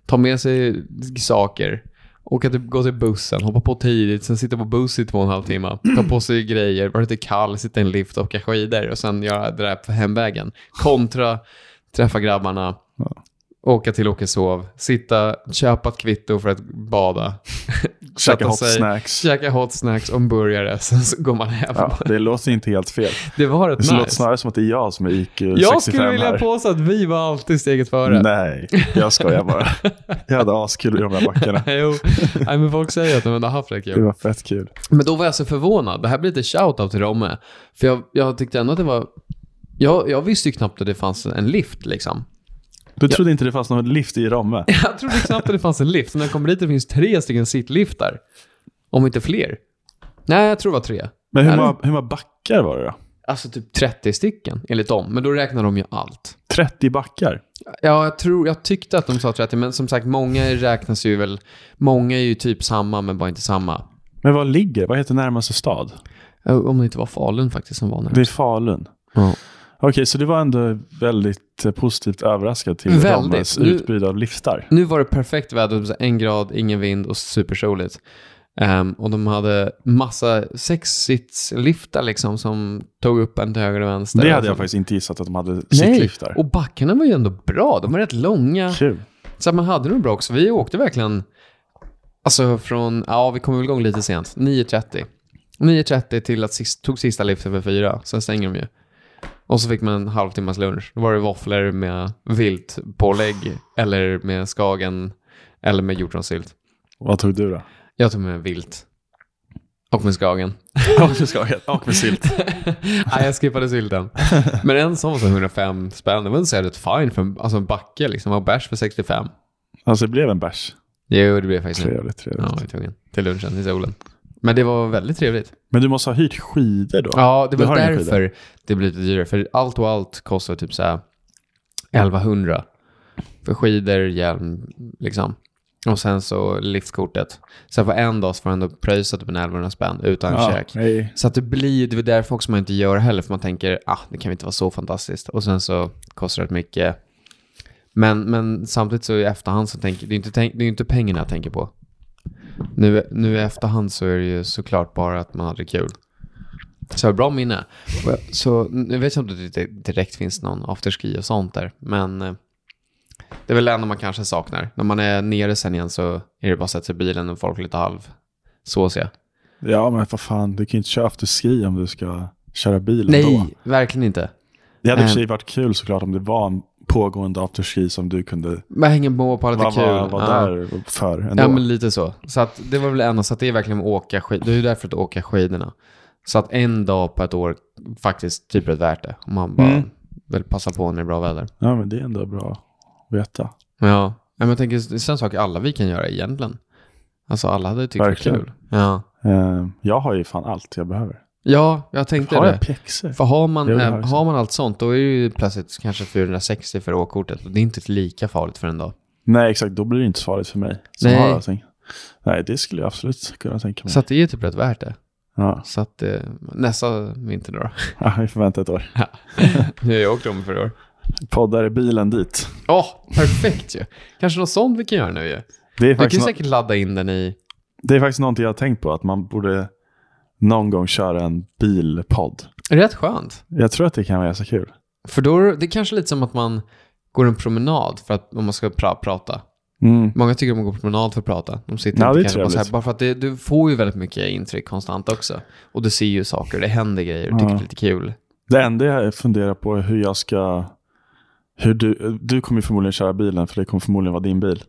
ta med sig saker, åka till, gå till bussen, hoppa på tidigt, sen sitta på buss i två och en halv timme, ta på sig grejer, vara lite kall, sitta i en lift och åka skidor och sen göra det där på hemvägen. Kontra träffa grabbarna, Ja. åka till Åkeshov, sitta, köpa ett kvitto för att bada, Käka sätta hot sig- snacks. Käka hot snacks och en burgare, sen så går man hem. Ja, det låter inte helt fel. Det var rätt Det låter nice. snarare som att det är jag som är IQ 65 Jag skulle vilja här. påstå att vi var alltid steget före. Nej, jag skojar bara. Jag hade askul i de där backarna. jo, nej, men folk säger att de ändå har haft det Det kul. var fett kul. Men då var jag så förvånad. Det här blir lite shout-out till dem med. För jag, jag tyckte ändå att det var... Jag, jag visste ju knappt att det fanns en lift liksom. Du trodde inte det fanns någon lift i Romme? Jag trodde knappt att det fanns en lift. När jag kommer dit det finns tre stycken sittliftar. Om inte fler. Nej, jag tror det var tre. Men hur Nej. många, hur många backar var det då? Alltså typ 30 stycken enligt dem. Men då räknar de ju allt. 30 backar? Ja, jag, tror, jag tyckte att de sa 30, men som sagt, många räknas ju väl... Många är ju typ samma, men bara inte samma. Men var ligger, vad heter närmaste stad? Ja, Om det inte var Falun faktiskt som var Det närmast. är Falun. Ja. Okej, så du var ändå väldigt eh, positivt överraskad till Väldigt. Rommes Du- utbud av liftar. Nu var det perfekt väder, så en grad, ingen vind och supersoligt. Ehm, och de hade massa sexsitsliftar liksom som tog upp en till höger och vänster. Det hade Alltså, jag faktiskt inte gissat att de hade Nej, sittliftar. och backarna var ju ändå bra. De var rätt långa. Kul. Så att man hade nog bra också. Vi åkte verkligen, alltså från, ja vi kom väl igång lite sent, 9.30. 9.30 till att sist, tog sista liften för fyra, sen stänger de ju. Och så fick man en halvtimmas lunch. Då var det våfflor med viltpålägg eller med skagen eller med hjortronsylt. Vad tog du då? Jag tog med vilt. Och med skagen. Och med skagen. Och med silt. Nej, jag skippade sylten. Men en sån var så 105 spänn. Det var inte så jävligt fine för en, alltså en backe liksom. Och bärs för 65. Alltså det blev en bärs. Jo, det blev faktiskt en Trevligt, trevligt. Ja, vi tog en till lunchen i solen. Men det var väldigt trevligt. Men du måste ha hyrt skidor då? Ja, det Du var har inga skidor? därför det blev lite dyrare. För allt och allt kostar typ så här 1100. För skidor, hjälm, liksom. Och sen så liftkortet. Sen för en dag så får han ändå pröjsa typ en 1100 spänn utan käk. nej. Så att det blir, det är därför också man inte gör det heller. För man tänker, ah, det kan väl inte vara så fantastiskt. Och sen så kostar det mycket. Men, men samtidigt så i efterhand så tänker, det är inte, tänk, det är inte pengarna jag tänker på. Nu, nu i efterhand så är det ju såklart bara att man hade kul. Så jag har bra minne. Och jag- Så nu vet jag inte om det direkt finns någon afterski och sånt där. Men eh, det är väl det enda man kanske saknar. När man är nere sen igen så är det bara att sätta sig i bilen och folk är lite halv såsiga. Ja, men vad fan, du kan ju inte köra afterski om du ska köra bil ändå. Nej, verkligen inte. Det hade i och för Ehm. sig varit kul såklart om det var en pågående afterski som du kunde Man hänger på på lite vara kul. var, var Ja. där för ändå. Ja, men lite så. Så att det var väl det enda. Så att det är verkligen att åka skidor. Det är ju därför att åka skidorna. Så att en dag på ett år faktiskt typ är värt det. Om man bara Mm. vill passa på när det är bra väder. Ja, men det är ändå bra att veta. Ja, ja men jag tänker det är en sak alla vi kan göra egentligen. Alltså alla hade tyckt det var Verkligen. kul. Ja. Eh, jag har ju fan allt jag behöver. ja, jag tänkte Har det. jag pjäxor? För har man, Jo, det har eh, jag har man allt sånt då är det ju plötsligt kanske 460 för åkortet. Och det är inte lika farligt för en dag. Nej, exakt. Då blir det inte svaret för mig. Som Nej. Har allting. Nej, det skulle jag absolut kunna tänka mig. Så att det är typ rätt värt det. Ja, Så att eh, nästa vinter nu då. Ja, vi får vänta ett år. Nu har jag åkt om för i år. Poddar i bilen dit. Ja, perfekt ju. Kanske något sånt vi kan göra nu ju. Det är, Vi kan ju faktiskt no- säkert ladda in den i... det är faktiskt någonting jag har tänkt på, att man borde någon gång köra en bilpodd. Rätt skönt. Jag tror att det kan vara ganska kul. För då, det är kanske lite som att man går en promenad för att om man ska pra- prata. Mm. Många tycker om att gå på promenad för att prata. De sitter Ja, det är inte kanske på så här, trevligt. bara för att det, du får ju väldigt mycket intryck konstant också. Och du ser ju saker, det händer grejer, du tycker Ja. det är lite kul. Det enda jag funderar på är hur jag ska... Hur du, du kommer ju förmodligen köra bilen, för det kommer förmodligen vara din bil.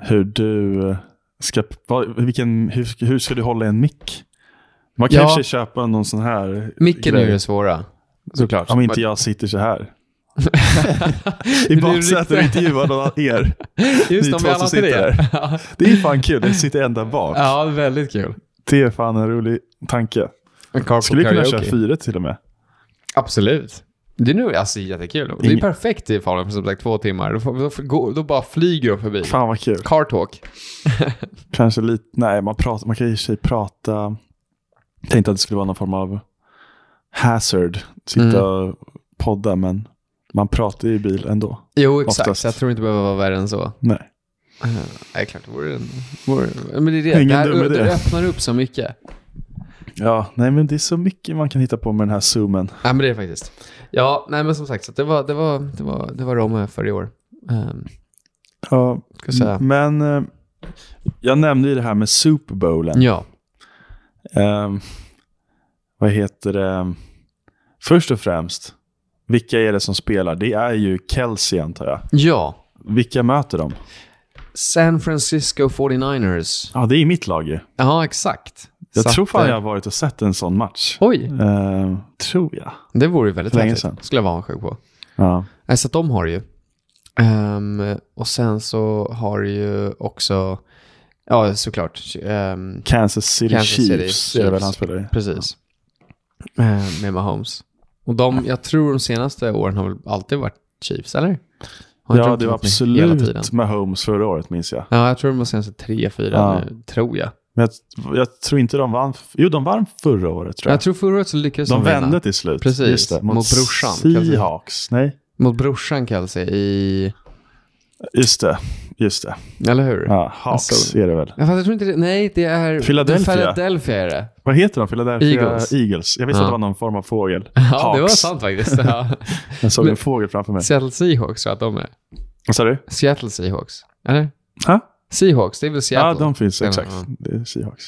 Hur du ska... vad- Vilken, hur, hur ska du hålla i en mick? Man kan Ja. i och för sig köpa någon sån här Micken är ju grej. det svåra. Såklart. Om inte jag sitter så här. I är baksätet och riktigt- intervjuar någon av er. Just ni två om vi som alla till sitter det. Det är fan kul, det sitter ända bak. ja, väldigt kul. Det är fan en rolig tanke. En carpool Skulle vi kunna karaoke. köra fyra till och med? Absolut. Det är nog alltså, jättekul. Det är Ingen- perfekt i Falun för som sagt två timmar. Då, får, då, får, gå- då bara flyger de förbi. Fan vad kul. Car talk. Kanske lite, nej man, pratar, man kan ju i och för sig prata. Tänkte att det skulle vara någon form av hazard. Mm. Sitta och podda men man pratar ju i bil ändå. Jo, exakt. Oftast. Jag tror inte det behöver vara värre än så. Nej. Eh, Nej, klart. Det vore en... Vore, men det är det. Ingen det, här, dum idé. det öppnar upp så mycket. Ja, nej men det är så mycket man kan hitta på med den här zoomen. Ja, men det är faktiskt. Ja, nej men som sagt, så att det var, det var, det var, det var Romme för i år. Um, Ja, ska jag säga. Mm, men eh, jag nämnde ju det här med Super Bowlen. Ja. Ehm, vad heter det? Först och främst, vilka är det som spelar? Det är ju Kelsey antar jag. Ja. Vilka möter de? San Francisco 49ers. Ja, det är mitt lag ju. Ja, exakt. Jag Så tror att, fan eh, jag har varit och sett en sån match. Oj, Ehm, tror jag. det vore ju väldigt Länge häftigt. sedan. Skulle jag vara avundsjuk på. Ja. Nej, så att de har det ju. Ehm, och sen så har det ju också, ja såklart, ehm, Kansas City Kansas City Chiefs är det väl Chiefs. han spelar i. precis, Ehm, med Mahomes. Och de, jag tror de senaste åren har väl alltid varit Chiefs, eller? Har inte Ja, de det var varit med Hela tiden? absolut med Holmes förra året minns jag. Ja, jag tror de har senaste tre, fyra Ja. nu, tror jag. Men jag, jag tror inte de vann. Jo, de vann förra året tror jag. Jag tror förra året så lyckades de vinna vände till slut. Precis, Just det, mot, mot brorsan, Kansas. Seahawks. Nej, mot brorsan Kelsey i, just det. Just det. eller hur? Ja, Hawks Alltså- är det väl. Ja, fast jag tror inte det, nej det är Philadelphia. Philadelphia är det. Vad heter de? Philadelphia Eagles. Eagles. Jag visste Ja. att det var någon form av fågel. Ja, det var sant faktiskt. Ja. Jag såg Men- en fågel framför mig. Seattle Seahawks tror jag att de är. Vad sa du? Seattle Seahawks. Eller? Ha? Seahawks, det är väl Seattle? Ja, de finns. Ja, Exakt. ja. Det är Seahawks.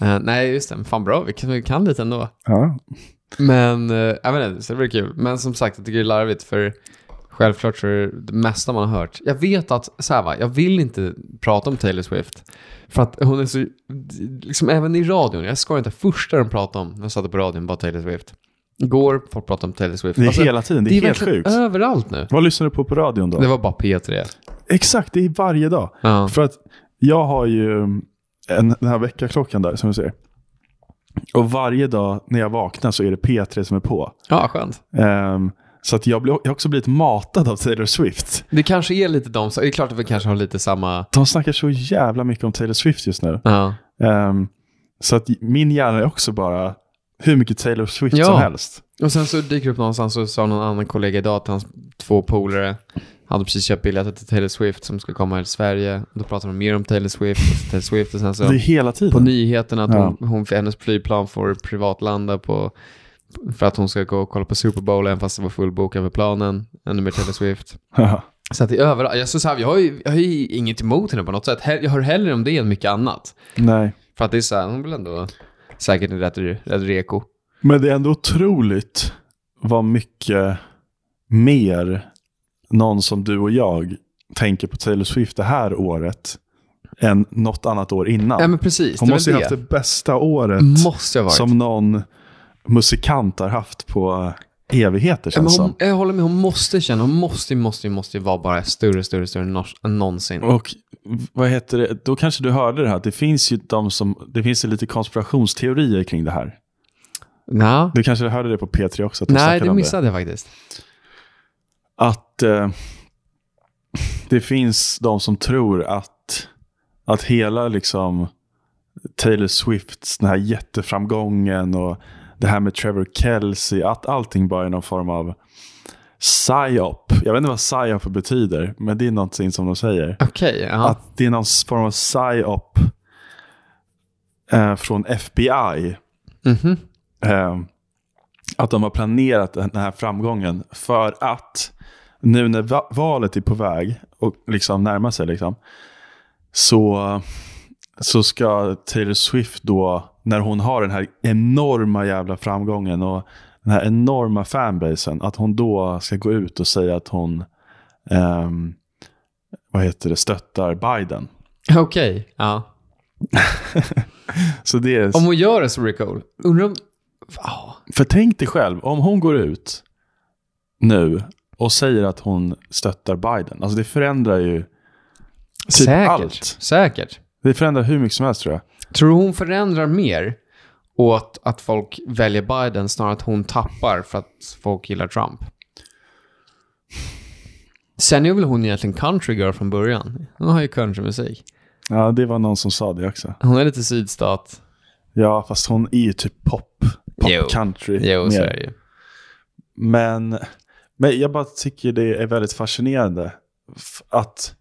Eh, nej, just det. Men Fan bra, vi kan, vi kan lite ändå. Ja. Men, uh, jag vet inte, så det blir kul. Men som sagt, jag tycker det är larvigt för självklart så är det det mesta man har hört. Jag vet att, så här va, jag vill inte prata om Taylor Swift. För att hon är så, liksom även i radion, jag skojar inte, första de pratade om när jag satte på radion var Taylor Swift. Igår, folk pratade om Taylor Swift. Det är Alltså, hela tiden. Det är, helt verkligen sjukt. överallt nu. Vad lyssnar du på på radion då? Det var bara P3. Exakt, det är varje dag. Ja. För att jag har ju mm, en, den här väckarklockan där som du ser. Och varje dag när jag vaknar så är det P3 som är på. ja, skönt. Ehm, så att jag, blir, jag har också blivit matad av Taylor Swift. Det kanske är lite de, så det är klart att vi kanske har lite samma... De snackar så jävla mycket om Taylor Swift just nu. Ja, Ehm, så att min hjärna är också bara hur mycket Taylor Swift Ja. som helst. och sen så dyker det upp någonstans så sa någon annan kollega idag att hans två polare hade precis köpt biljetter till Taylor Swift som skulle komma till Sverige. Då pratade de mer om Taylor Swift, och Taylor Swift och sen Det är så hela på tiden. nyheterna att Ja. hon, hon, hennes flygplan får privatlanda på för att hon ska gå och kolla på Super Bowl även fast det var fullbokat med planen. Ännu mer Taylor Swift. Så att det är överallt. Jag, så så här, jag, har ju, jag har ju inget emot henne på något sätt. Hell- Jag hör hellre om det än mycket annat. Nej. För att det är så här, hon vill ändå säkert en rätt, rätt reko. Men det är ändå otroligt vad mycket mer någon som du och jag tänker på Taylor Swift det här året än något annat år innan. Ja, men precis. Hon det är måste ju väl ha haft det. det bästa året Måste ha varit. som någon musikant har haft på evigheter Ja, men känns hon, som. jag håller med, hon måste känna, hon måste, måste, måste ju vara bara större, större, större än nås- än någonsin. Och vad heter det, då kanske du hörde det här, att det finns ju de som, det finns ju lite konspirationsteorier kring det här. Nå, Du kanske hörde det på P3 också? Att de nej, snackade det om missade jag faktiskt. Att eh, det finns de som tror att att hela liksom Taylor Swifts den här jätteframgången och det här med Trevor Kelsey, att allting bara är någon form av psyop. Jag vet inte vad psyop betyder, men det är någonting som de säger. Okej, jaha. Att det är någon form av psyop eh, från FBI. Mhm. Eh, att de har planerat den här framgången för att nu när va- valet är på väg och liksom närmar sig, liksom, så, så ska Taylor Swift då, när hon har den här enorma jävla framgången och den här enorma fanbasen, att hon då ska gå ut och säga att hon ehm, vad heter det, stöttar Biden. Okej, ja. Så det är, Om hon gör det så blir det cool. Undrar om... Typ Ja. För tänk dig själv, om hon går ut nu och säger att hon stöttar Biden. Alltså det förändrar ju typ säkert. allt. Säkert. Det förändrar hur mycket som helst tror jag. Tror du hon förändrar mer åt att folk väljer Biden snarare att hon tappar för att folk gillar Trump? Sen är väl hon egentligen country girl från början. Hon har ju countrymusik. Ja, det var någon som sa det också. Hon är lite sydstat. Ja, fast hon är ju typ pop. Jo. Pop country. Jo, mer. så är det ju. Men, men jag bara tycker det är väldigt fascinerande. f- Att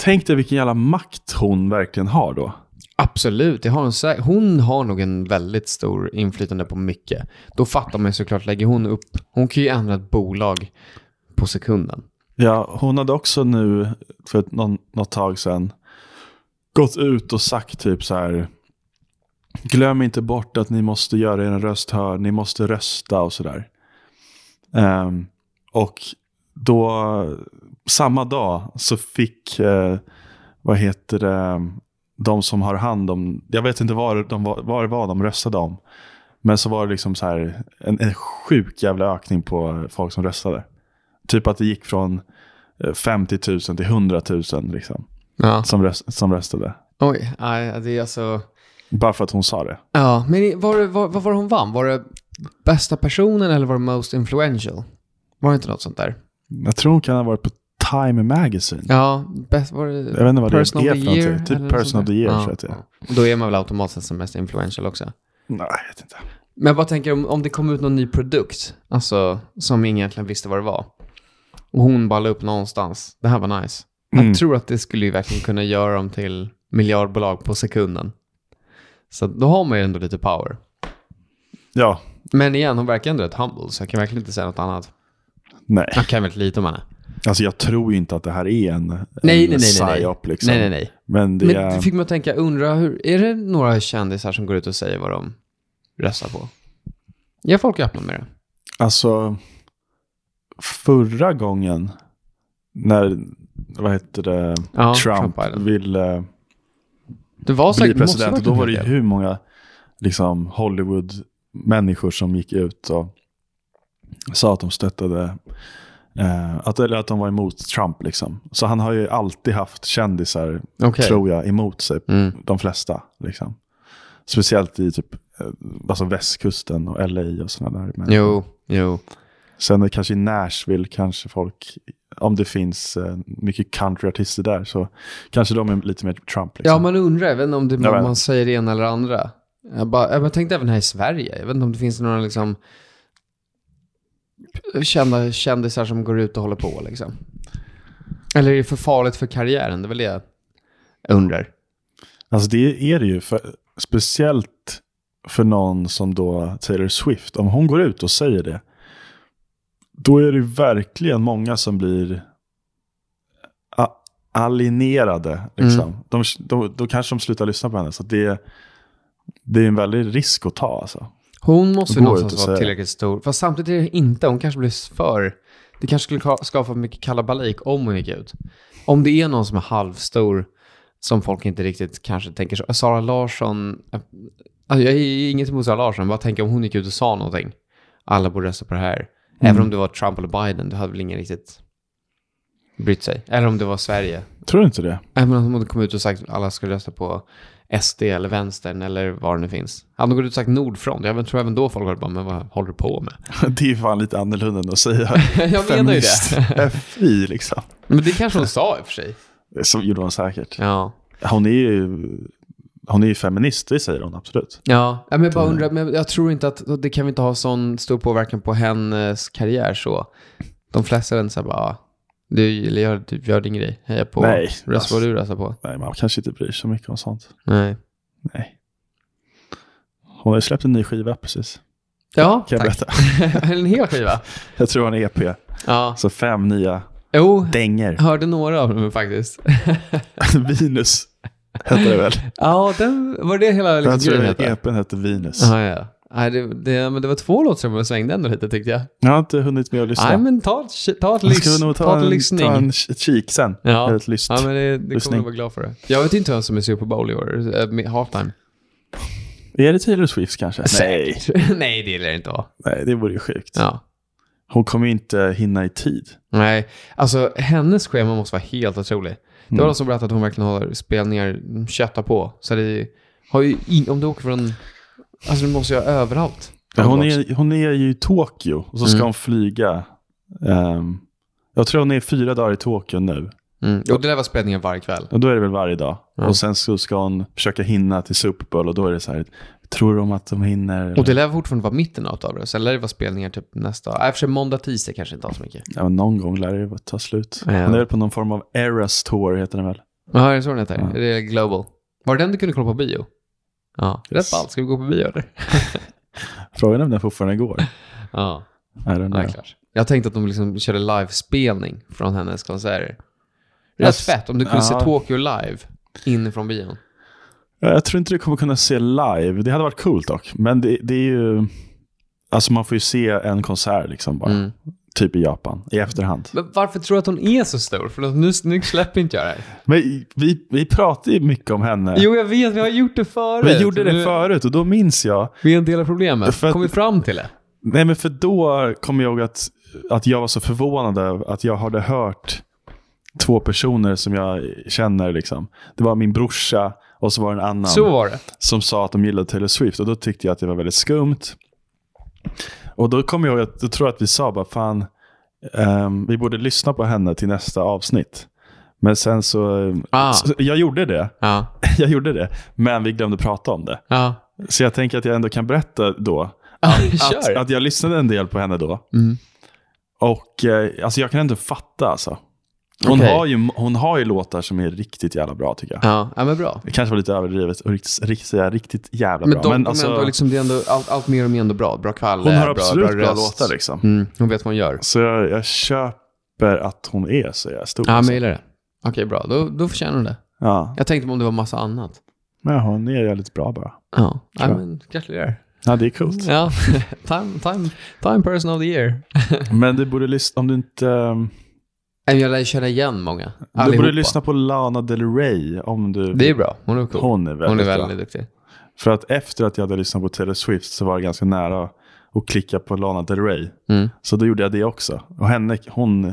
Tänk dig vilken jävla makt hon verkligen har då. Absolut, det har hon säkert. Hon har nog en väldigt stor inflytande på mycket. Då fattar man ju såklart, lägger hon upp... Hon kan ju ändra ett bolag på sekunden. Ja, hon hade också nu för ett- någon, något tag sedan gått ut och sagt typ så här. Glöm inte bort att ni måste göra er röst hörd, ni måste rösta och så där. Ehm, och då, samma dag så fick, eh, vad heter det, de som har hand om, jag vet inte vad de, var- vad det var de röstade om. Men så var det liksom så här en, en sjuk jävla ökning på folk som röstade. Typ att det gick från eh, 50 000 till 100 000 liksom, Ja. som, röst, som röstade. Oj, nej, det är alltså... Bara för att hon sa det. Ja, men var det, var, vad var det hon vann? Var det bästa personen eller var det most influential? Var det inte något sånt där? Jag tror hon kan ha varit på Time Magazine. Ja, bäst var det... Jag vet inte vad det är för Person of the year? någonting. eller Typ något Person sånt of the där? Year Ja. tror jag att det är. Då är man väl automatiskt som mest influential också. Nej, jag vet inte. Men vad tänker du om, om det kom ut någon ny produkt, alltså som ingen egentligen visste vad det var? Och hon bara la upp någonstans. Det här var nice. Mm. Jag tror att det skulle ju verkligen kunna göra dem till miljardbolag på sekunden. Så då har man ju ändå lite power. Ja, Men igen, hon verkar ändå rätt humble, så jag kan verkligen inte säga något annat. nej. Jag kan väldigt lite om henne. Alltså jag tror ju inte att det här är en, nej, en nej, nej, nej. psyop liksom. Nej, nej, nej. Men det Men är... det fick man att tänka, undra hur, är det några kändisar som går ut och säger vad de röstar på? Ja, folk är öppna med det. Alltså, förra gången när, vad heter det, Ja, Trump, Biden. ville Det var bli säkert, president. Och måste då varit var det ju en hel del. hur många liksom, Hollywood-människor som gick ut och sa att de stöttade, eh, att, eller att de var emot Trump. Liksom. Så han har ju alltid haft kändisar, Okej. tror jag, emot sig. Mm. De flesta. Liksom. Speciellt i typ, eh, alltså västkusten och LA och sådana där. Men Jo, jo. Sen är kanske i Nashville kanske folk, om det finns eh, mycket countryartister där så kanske de är lite mer Trump. Liksom. Ja, man undrar, jag vet inte om det, Jag vet. man säger det ena eller det andra. Jag, bara, jag bara tänkte även här i Sverige, jag vet inte om det finns några liksom kända kändisar som går ut och håller på liksom. Eller är det för farligt för karriären? Det är väl det jag undrar. Alltså det är det ju, för, speciellt för någon som då Taylor Swift. Om hon går ut och säger det, då är det ju verkligen många som blir a- alienerade. Liksom. Mm. De, då, då kanske de slutar lyssna på henne. Så det, det är en väldig risk att ta. Alltså. Hon måste ju Går ut och någonstans vara säger. tillräckligt stor. Fast samtidigt är det inte. Hon kanske blir för... Det kanske skulle ka- skapa mycket kalabalik om hon gick ut. Om det är någon som är halvstor som folk inte riktigt kanske tänker så. Sara Larsson... eh, Alltså jag är ju inget emot Sara Larsson. Bara tänk om hon gick ut och sa någonting. Alla borde rösta på det här. Även om det var Trump eller Biden. Du hade väl ingen riktigt brytt sig. Eller om det var Sverige. Tror du inte det? Även om hon kom ut och sagt att alla ska rösta på SD eller vänstern eller vad det nu finns. Hade hon gått ut och sagt Nordfront, jag tror även då folk hade bara, men vad håller du på med? Det är ju fan lite annorlunda än att säga jag menar ju feminist det. FI liksom. men det kanske hon sa i och för sig. Det så gjorde hon säkert. Ja. Hon är ju, hon är ju feminist, det säger hon absolut. Ja, ja men jag bara undrar, men jag tror inte att det kan vi inte ha sån stor påverkan på hennes karriär så. De flesta är så här bara, ja, du gör, du gör din grej, heja på, Nej, rösta alltså. vad du röstar på. Nej, man kanske inte bryr sig så mycket om sånt. Nej. Nej. Hon har ju släppt en ny skiva precis. Ja, Kan jag tack. berätta. en hel skiva. Jag tror hon är EP. Ja, Så fem nya jo, dänger. hörde några av dem faktiskt. Venus heter det väl? Ja, den, var det hela liksom, Jag tror grejen att hette? EPn heter Venus. Ja, ja. Nej, det, det, men det var två låtar som jag svängde ändå lite tyckte jag. Jag har inte hunnit med att lyssna. Nej, men ta, ett- ta, ett Jag lyx, ska nog ta ta ett en, lyssning. ta en k- ett kik sen. Ja. Eller ett lyst. Ja, men det, det kommer Lyssning. du vara glad för. Det. Jag vet inte vem som är Super Bowl i år. eh, med Halftime. Är det Taylor Swift kanske? Nej, Nej, det gillar jag inte vara. nej det vore ju sjukt. Ja. Hon kommer ju inte hinna i tid. Nej, alltså hennes schema måste vara helt otroligt. Det Mm. var någon som berättade att hon verkligen har spelningar, de köttar på. Så det har ju, in, om du åker från, alltså du måste ju ha överallt. Men Hon är, hon är ju i Tokyo och så ska Mm. hon flyga. Ehm, jag tror hon är fyra dagar i Tokyo nu. Mm. Och det där var spelningar varje kväll. Och då är det väl varje dag. Mm. Och sen så ska hon försöka hinna till Super Bowl och då är det så här. Tror de att de hinner? Och det lär fortfarande vara mitten av det. Sen lär det vara spelningar typ nästa, nej i och för sig måndag, tisdag kanske inte har så mycket. Ja, men någon gång lär det ju ta slut. Ja. Hon är väl på någon form av Eras Tour heter den väl? Ja, är det så den heter? Ja. Är det Global? Var det den du kunde kolla på bio? Ja, Yes. rätt ballt. Ska vi gå på bio eller? Frågan är om den fortfarande går. Ja, Är den ja där? klart. Jag tänkte att de liksom körde livespelning från hennes konserter. Rätt Yes. fett om du kunde Ja. se Tokyo live inifrån bion. Ja, Jag tror inte du kommer kunna se live. Det hade varit coolt dock. Men det, det är ju... Alltså man får ju se en konsert liksom bara. Mm. Typ i Japan, i efterhand. Men varför tror du att hon är så stor? För nu, nu släpper inte jag det här. Men vi, vi pratade ju mycket om henne. Jo, jag vet. Mm. Vi har gjort det förut. vi gjorde det Nu- förut och då minns jag. Vi är en del av problemet. För att- Kom vi fram till det? Nej men för då kom jag ihåg att, att jag var så förvånad över att jag hade hört två personer som jag känner. Liksom. Det var min brorsa och så var det en annan. Så var det. som sa att de gillade Taylor Swift och då tyckte jag att det var väldigt skumt. Och då kommer jag ihåg att, då tror jag att vi sa bara fan, ehm, vi borde lyssna på henne till nästa avsnitt. Men sen så, Ah. så jag gjorde det, Ja. jag gjorde det, men vi glömde prata om det. Ja. Så jag tänker att jag ändå kan berätta då att, Kör. att jag lyssnade en del på henne då. Mm. Och eh, alltså jag kan ändå fatta alltså. Hon, Okej. har ju, hon har ju låtar som är riktigt jävla bra tycker jag. Ja. ja, men bra. Det kanske var lite överdrivet och riktigt, riktigt, säga riktigt jävla Men, bra. de, men de alltså- är ändå liksom, det är ändå, allt, allt mer och mer ändå bra. Bra kvalitet, Hon har bra, absolut bra, röst. låtar liksom. Mm, hon vet vad hon gör. Så jag, jag köper att hon är så jävla stor. Ja, men alltså. jag gillar det. Okej, bra. Då, då förtjänar hon det. ja. Jag tänkte om det var massa annat. men hon är jävligt bra bara. Ja, ja Tror jag. men gratulerar. Ja, det är coolt. Ja, time, time, time person of the year. Mm. Men du borde lyssna, om du inte... ehm, Nej, men Jag lär ju köra igen många. Du Allihopa. borde lyssna på Lana Del Rey om du... Det är bra. Hon är cool. Hon är väldigt, Hon är bra. väldigt duktig. För att efter att jag hade lyssnat på Taylor Swift så var jag ganska nära att klicka på Lana Del Rey. Mm. Så då gjorde jag det också. Och henne, hon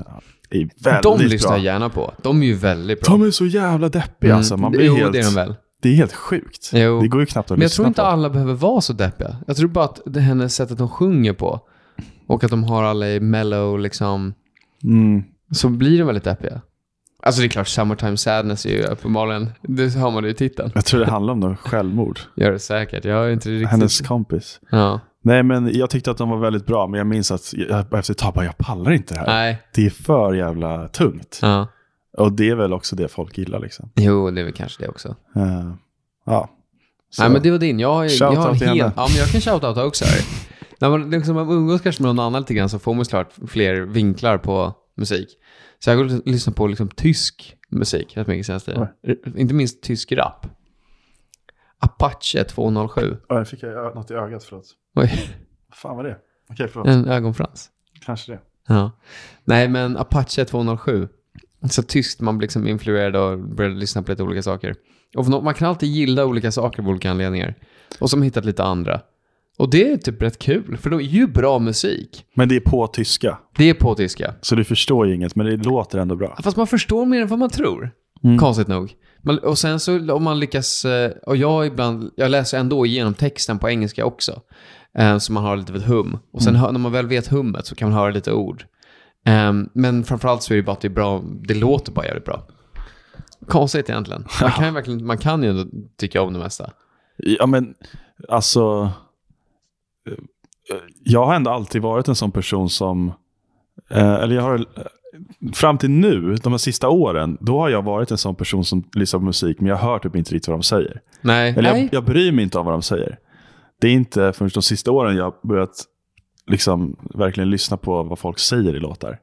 är väldigt De lyssnar bra. jag gärna på. De är ju väldigt bra. Mm. De är så jävla deppiga alltså. Man blir jo, helt, det är de väl. det är helt sjukt. Jo. Det går ju knappt att Men jag lyssna tror inte på. alla behöver vara så deppiga. Jag tror bara att det hennes sättet de sjunger på och att de har alla i mellow liksom, Mm. så blir de väldigt deppiga. Alltså det är klart, Summertime Sadness är ju uppenbarligen, det hör man ju i titeln. Jag tror det handlar om något självmord. Gör det säkert, jag är inte riktigt... Hennes kompis. Ja. Nej, men jag tyckte att de var väldigt bra, men jag minns att jag, efter ett tag bara, jag pallar inte det här. Nej. Det är för jävla tungt. Ja. Och det är väl också det folk gillar liksom. Jo, det är väl kanske det också. Eh, ja. Så. Nej, men det var din. Jag, har ju- jag Shoutout har en till hel... henne. Ja, men jag kan shoutouta också. Här. När man, liksom, man umgås kanske med någon annan lite grann så får man såklart fler vinklar på musik. Så jag går och lyssnar på liksom, tysk musik rätt mycket senaste tiden. Inte minst tysk rap. Apache 207. Ja, jag fick ö- något i ögat, förlåt. Oj, Vad fan var det? Okej, förlåt. en ögonfrans. Kanske det. Ja. Nej, men Apache 207. Så tyskt, man blir liksom influerad och började lyssna på lite olika saker. Och för nå- man kan alltid gilla olika saker av olika anledningar. Och som hittat lite andra. Och det är typ rätt kul, för det är ju bra musik. Men det är på tyska, Det är på tyska. så du förstår ju inget, men det låter ändå bra. Fast man förstår mer än vad man tror. Mm. Konstigt nog. Man, och sen så om man lyckas, eh, och jag ibland, jag läser ändå igenom texten på engelska också. Eh, så man har lite av ett hum. Mm. Och sen hör, när man väl vet hummet så kan man höra lite Ehm, ord. Eh, men framförallt så är det bara att det är bra, det låter bara jävligt bra. konstigt egentligen. Man kan ju, verkligen, man kan ju ändå tycka om det mesta. Ja, men alltså... eh, Jag har ändå alltid varit en sån person som... Eh, eller jag har... eh, Fram till nu, de här sista åren, då har jag varit en sån person som lyssnar på musik, men jag hör typ inte riktigt vad de säger. Nej. Eller jag, Nej. jag bryr mig inte om vad de säger. Det är inte förrän de sista åren jag har börjat liksom verkligen lyssna på vad folk säger i låtar.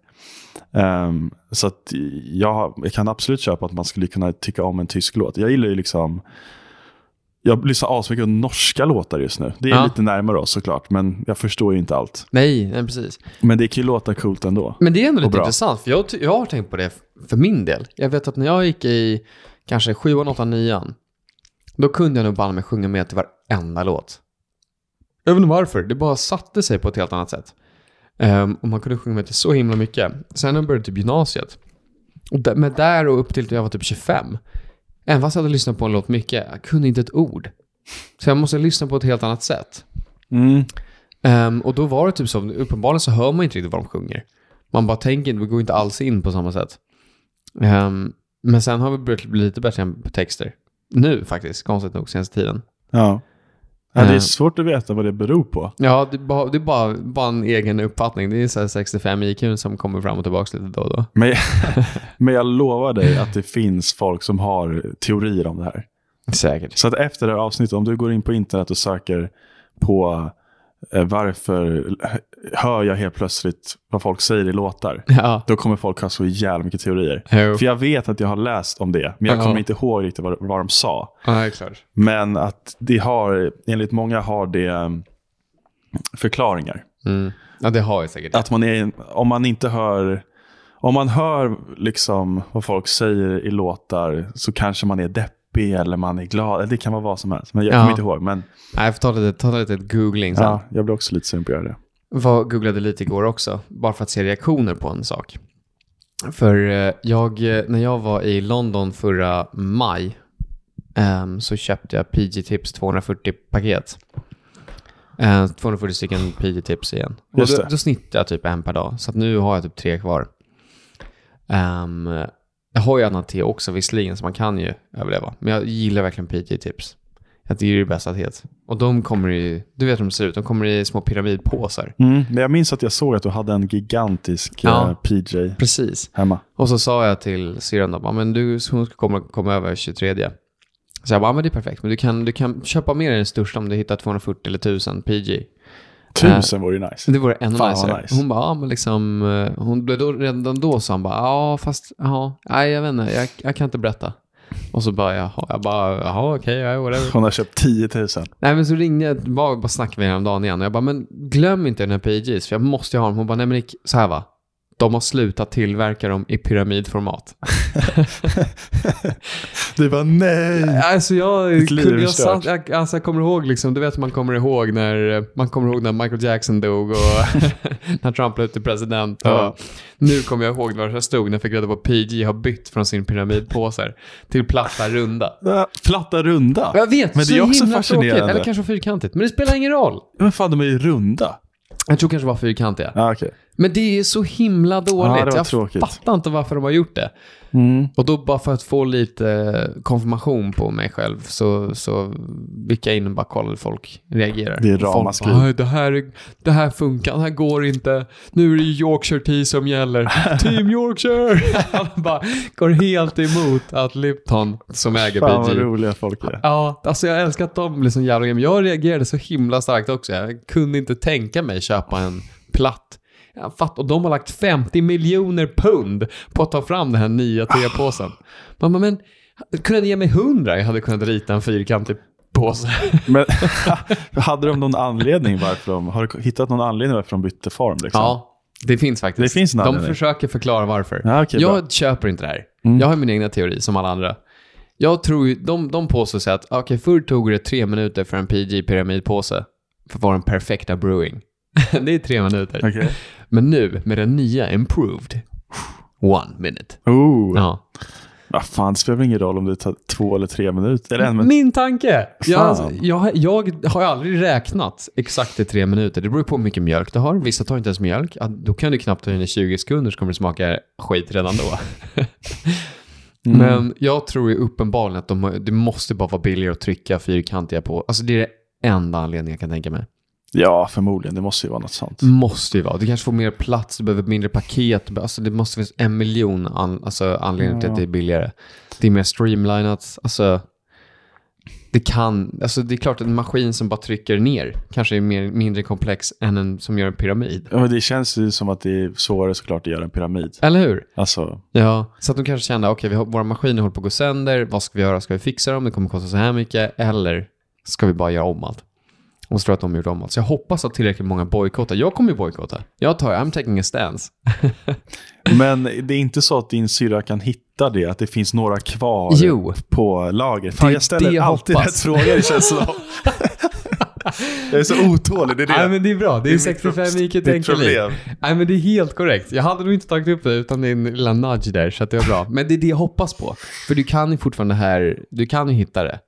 Ehm, så att jag, har- jag kan absolut köpa att man skulle kunna tycka om en tysk låt. Jag gillar ju liksom... Jag lyssnar asmycket på norska låtar just nu. Det är Ja. lite närmare oss såklart, men jag förstår ju inte allt. Nej, nej, precis. Men det kan ju låta coolt ändå. Men det är ändå Och lite bra. intressant, för jag, ty- jag har tänkt på det f- för min del. Jag vet att när jag gick i kanske sjuan, åttan, nian, då kunde jag nog banne mig sjunga med till varenda låt. Jag vet inte varför, det bara satte sig på ett helt annat sätt. Ehm, och man kunde sjunga med till så himla mycket. Sen när jag började typ gymnasiet, och där, men där och upp till jag var typ 25, även fast jag hade lyssnat på en låt mycket, jag kunde inte ett ord. Så jag måste lyssna på ett helt annat sätt. Mm. Ehm, och då var det typ så, uppenbarligen så hör man inte riktigt vad de sjunger. Man bara tänker inte, vi går inte alls in på samma sätt. Ehm, men sen har vi börjat bli lite bättre på texter. Nu faktiskt, konstigt nog, senaste tiden. Ja. Ja, det är Eh. svårt att veta vad det beror på. Ja, det är bara, det är bara, bara en egen uppfattning. Det är så här 65 IQ som kommer fram och tillbaka lite då och då. Men jag, men jag lovar dig att det finns folk som har teorier om det här. Säkert. Så att efter det här avsnittet, om du går in på internet och söker på eh, varför hör jag helt plötsligt vad folk säger i låtar, Ja. då kommer folk ha så jävla mycket teorier. Jo. För jag vet att jag har läst om det, men jag Ja. kommer inte ihåg riktigt vad, vad de sa. Ja, det är klart. Men att det har, enligt många har det eh, förklaringar. Mm. Ja, det har jag säkert. Att man är, om man inte hör, om man hör liksom vad folk säger i låtar så kanske man är deppig eller man är glad. Eller Det kan vara vad som helst, men jag Ja. kommer inte ihåg. Men Nej, jag får ta lite, ta lite googling sen. Ja, jag blir också lite sugen på att göra det. var, googlade lite igår också, bara för att se reaktioner på en sak. För eh, jag, eh, när jag var i London förra maj ehm, så köpte jag PG Tips 240-paket. Eh, 240 stycken PG Tips igen. Och Just då, det. då snittar jag typ en per dag, så att nu har jag typ tre kvar. Ehm, jag har ju annat te också visserligen, så man kan ju överleva. Men jag gillar verkligen PG Tips. Jag tycker det är det bästa teet. Och de kommer i, du vet hur de ser ut, de kommer i små pyramidpåsar. Mm, Men jag minns att jag såg att du hade en gigantisk Ja. eh, PJ Precis. hemma. Och så sa jag till syrran då, bara, men du, hon ska komma, komma över 23. Så jag bara, ja, men det är perfekt, men du kan, du kan köpa med dig den största om du hittar 240 eller 1000 PG. Tusen vore ju Så nice. det vore ännu Fan, vad nicer. nice. Hon bara, ja men liksom, eh, hon blev då, redan då sa hon bara, ja fast, ja, nej jag vet inte, jag, jag kan inte berätta. Och så bara, jaha, jag bara, jaha okej, ja, whatever. Hon har köpt 10 000. Nej men så ringde jag, bara, bara snackade vi häromdagen igen och jag bara, men glöm inte den här PJs för jag måste ju ha dem. Hon bara, nej men Nick, så här va. De har slutat tillverka dem i pyramidformat. Du bara nej. Alltså jag, Ditt liv kunde, är jag, förstört. satt, jag, alltså jag kommer ihåg liksom, du vet man kommer ihåg när, man kommer ihåg när Michael Jackson dog och när Trump blev till president. Och Ja. Nu kommer jag ihåg var jag stod när jag fick reda på att PJ har bytt från sin pyramidpåsar till platta runda. Äh, Platta runda. Jag vet, Men det är så också himla fascinerande. tråkigt. Eller kanske fyrkantigt, men det spelar ingen roll. Men fan, de är ju runda. Jag tror kanske det var fyrkantiga. Ja, okej. Men det är så himla Ja, det dåligt. var jag tråkigt. fattar inte varför de har gjort det. Och då bara för att få lite konfirmation på mig själv så, så vickade jag in och bara kollade hur folk reagerar. Det är Och folk ramaskri. bara, "Aj, det här, det här funkar, det här går inte. Nu är det Yorkshire Tea som gäller. Team Yorkshire! Han bara går helt emot att Lipton, som äger Fan vad BG, roliga folk är. Ja, alltså jag älskar att de blev så jävla men Jag reagerade så himla starkt också. Jag kunde inte tänka mig köpa en platt. Jag fatt, och de har lagt 50 miljoner pund på att ta fram den här nya tepåsen. Man bara, men kunde ni ge mig 100? Jag hade kunnat rita en fyrkantig påse. Men hade de någon anledning varför de, har du hittat någon anledning varför de bytte form? Liksom? Ja, det finns faktiskt. Det finns en de anledning. försöker förklara varför. Ja, okej, jag köper inte det här. Mm. Jag har min egna teori, som alla andra. Jag tror ju, de, de påstår sig att ah, okej, förr tog det tre minuter för en PG-pyramidpåse för att vara den perfekta brewing. det är tre minuter. Okej. Men nu, med den nya improved, one minute. Oh. Ja. Ah, fan, det spelar väl ingen roll om det tar två eller tre minuter. Eller en minut. Min tanke! Jag, alltså, Fan. jag, jag har ju aldrig räknat exakt i tre minuter. Det beror på hur mycket mjölk du har. Vissa tar inte ens mjölk. Ja, Då kan du knappt ta in i 20 sekunder så kommer det smaka skit redan då. Mm. Men jag tror ju uppenbarligen att de, har- det måste bara vara billigare att trycka fyrkantiga på. Alltså det är det enda anledningen jag kan tänka mig. Ja, förmodligen. Det måste ju vara något sånt. Måste ju vara. Du kanske får mer plats, du behöver mindre paket. du be- Alltså det måste finnas en miljon an, alltså anledningar till att det är billigare. Det är mer streamlinat. Alltså, det kan, alltså det är klart att en maskin som bara trycker ner kanske är mer, mindre komplex än en som gör en pyramid. Ja, men det känns ju som att det är svårare såklart att göra en pyramid. Eller hur? Alltså, Ja, så att de kanske kände, okej, vi har- våra maskiner håller på att gå sönder, vad ska vi göra? Ska vi fixa dem? Det kommer kosta så här mycket. Eller ska vi bara göra om allt? Och så tror jag att de gjorde om allt. Så jag hoppas att tillräckligt många bojkottar. Jag kommer ju bojkotta. Jag tar, I'm taking a stance. men det är inte så att din syra kan hitta det, att det finns några kvar Jo. på lagret. Fan, Det är jag ställer det jag alltid hoppas. rätt frågor, det känns som. jag är så otålig, det är det. Nej men det är bra, det är, mitt 65 pro- IQ mitt tänker problem. vi. Nej men det är helt korrekt. Jag hade nog inte tagit upp det utan din lilla nudge där så att det var bra. Men det är det jag hoppas på. För du kan ju fortfarande här, du kan ju hitta det.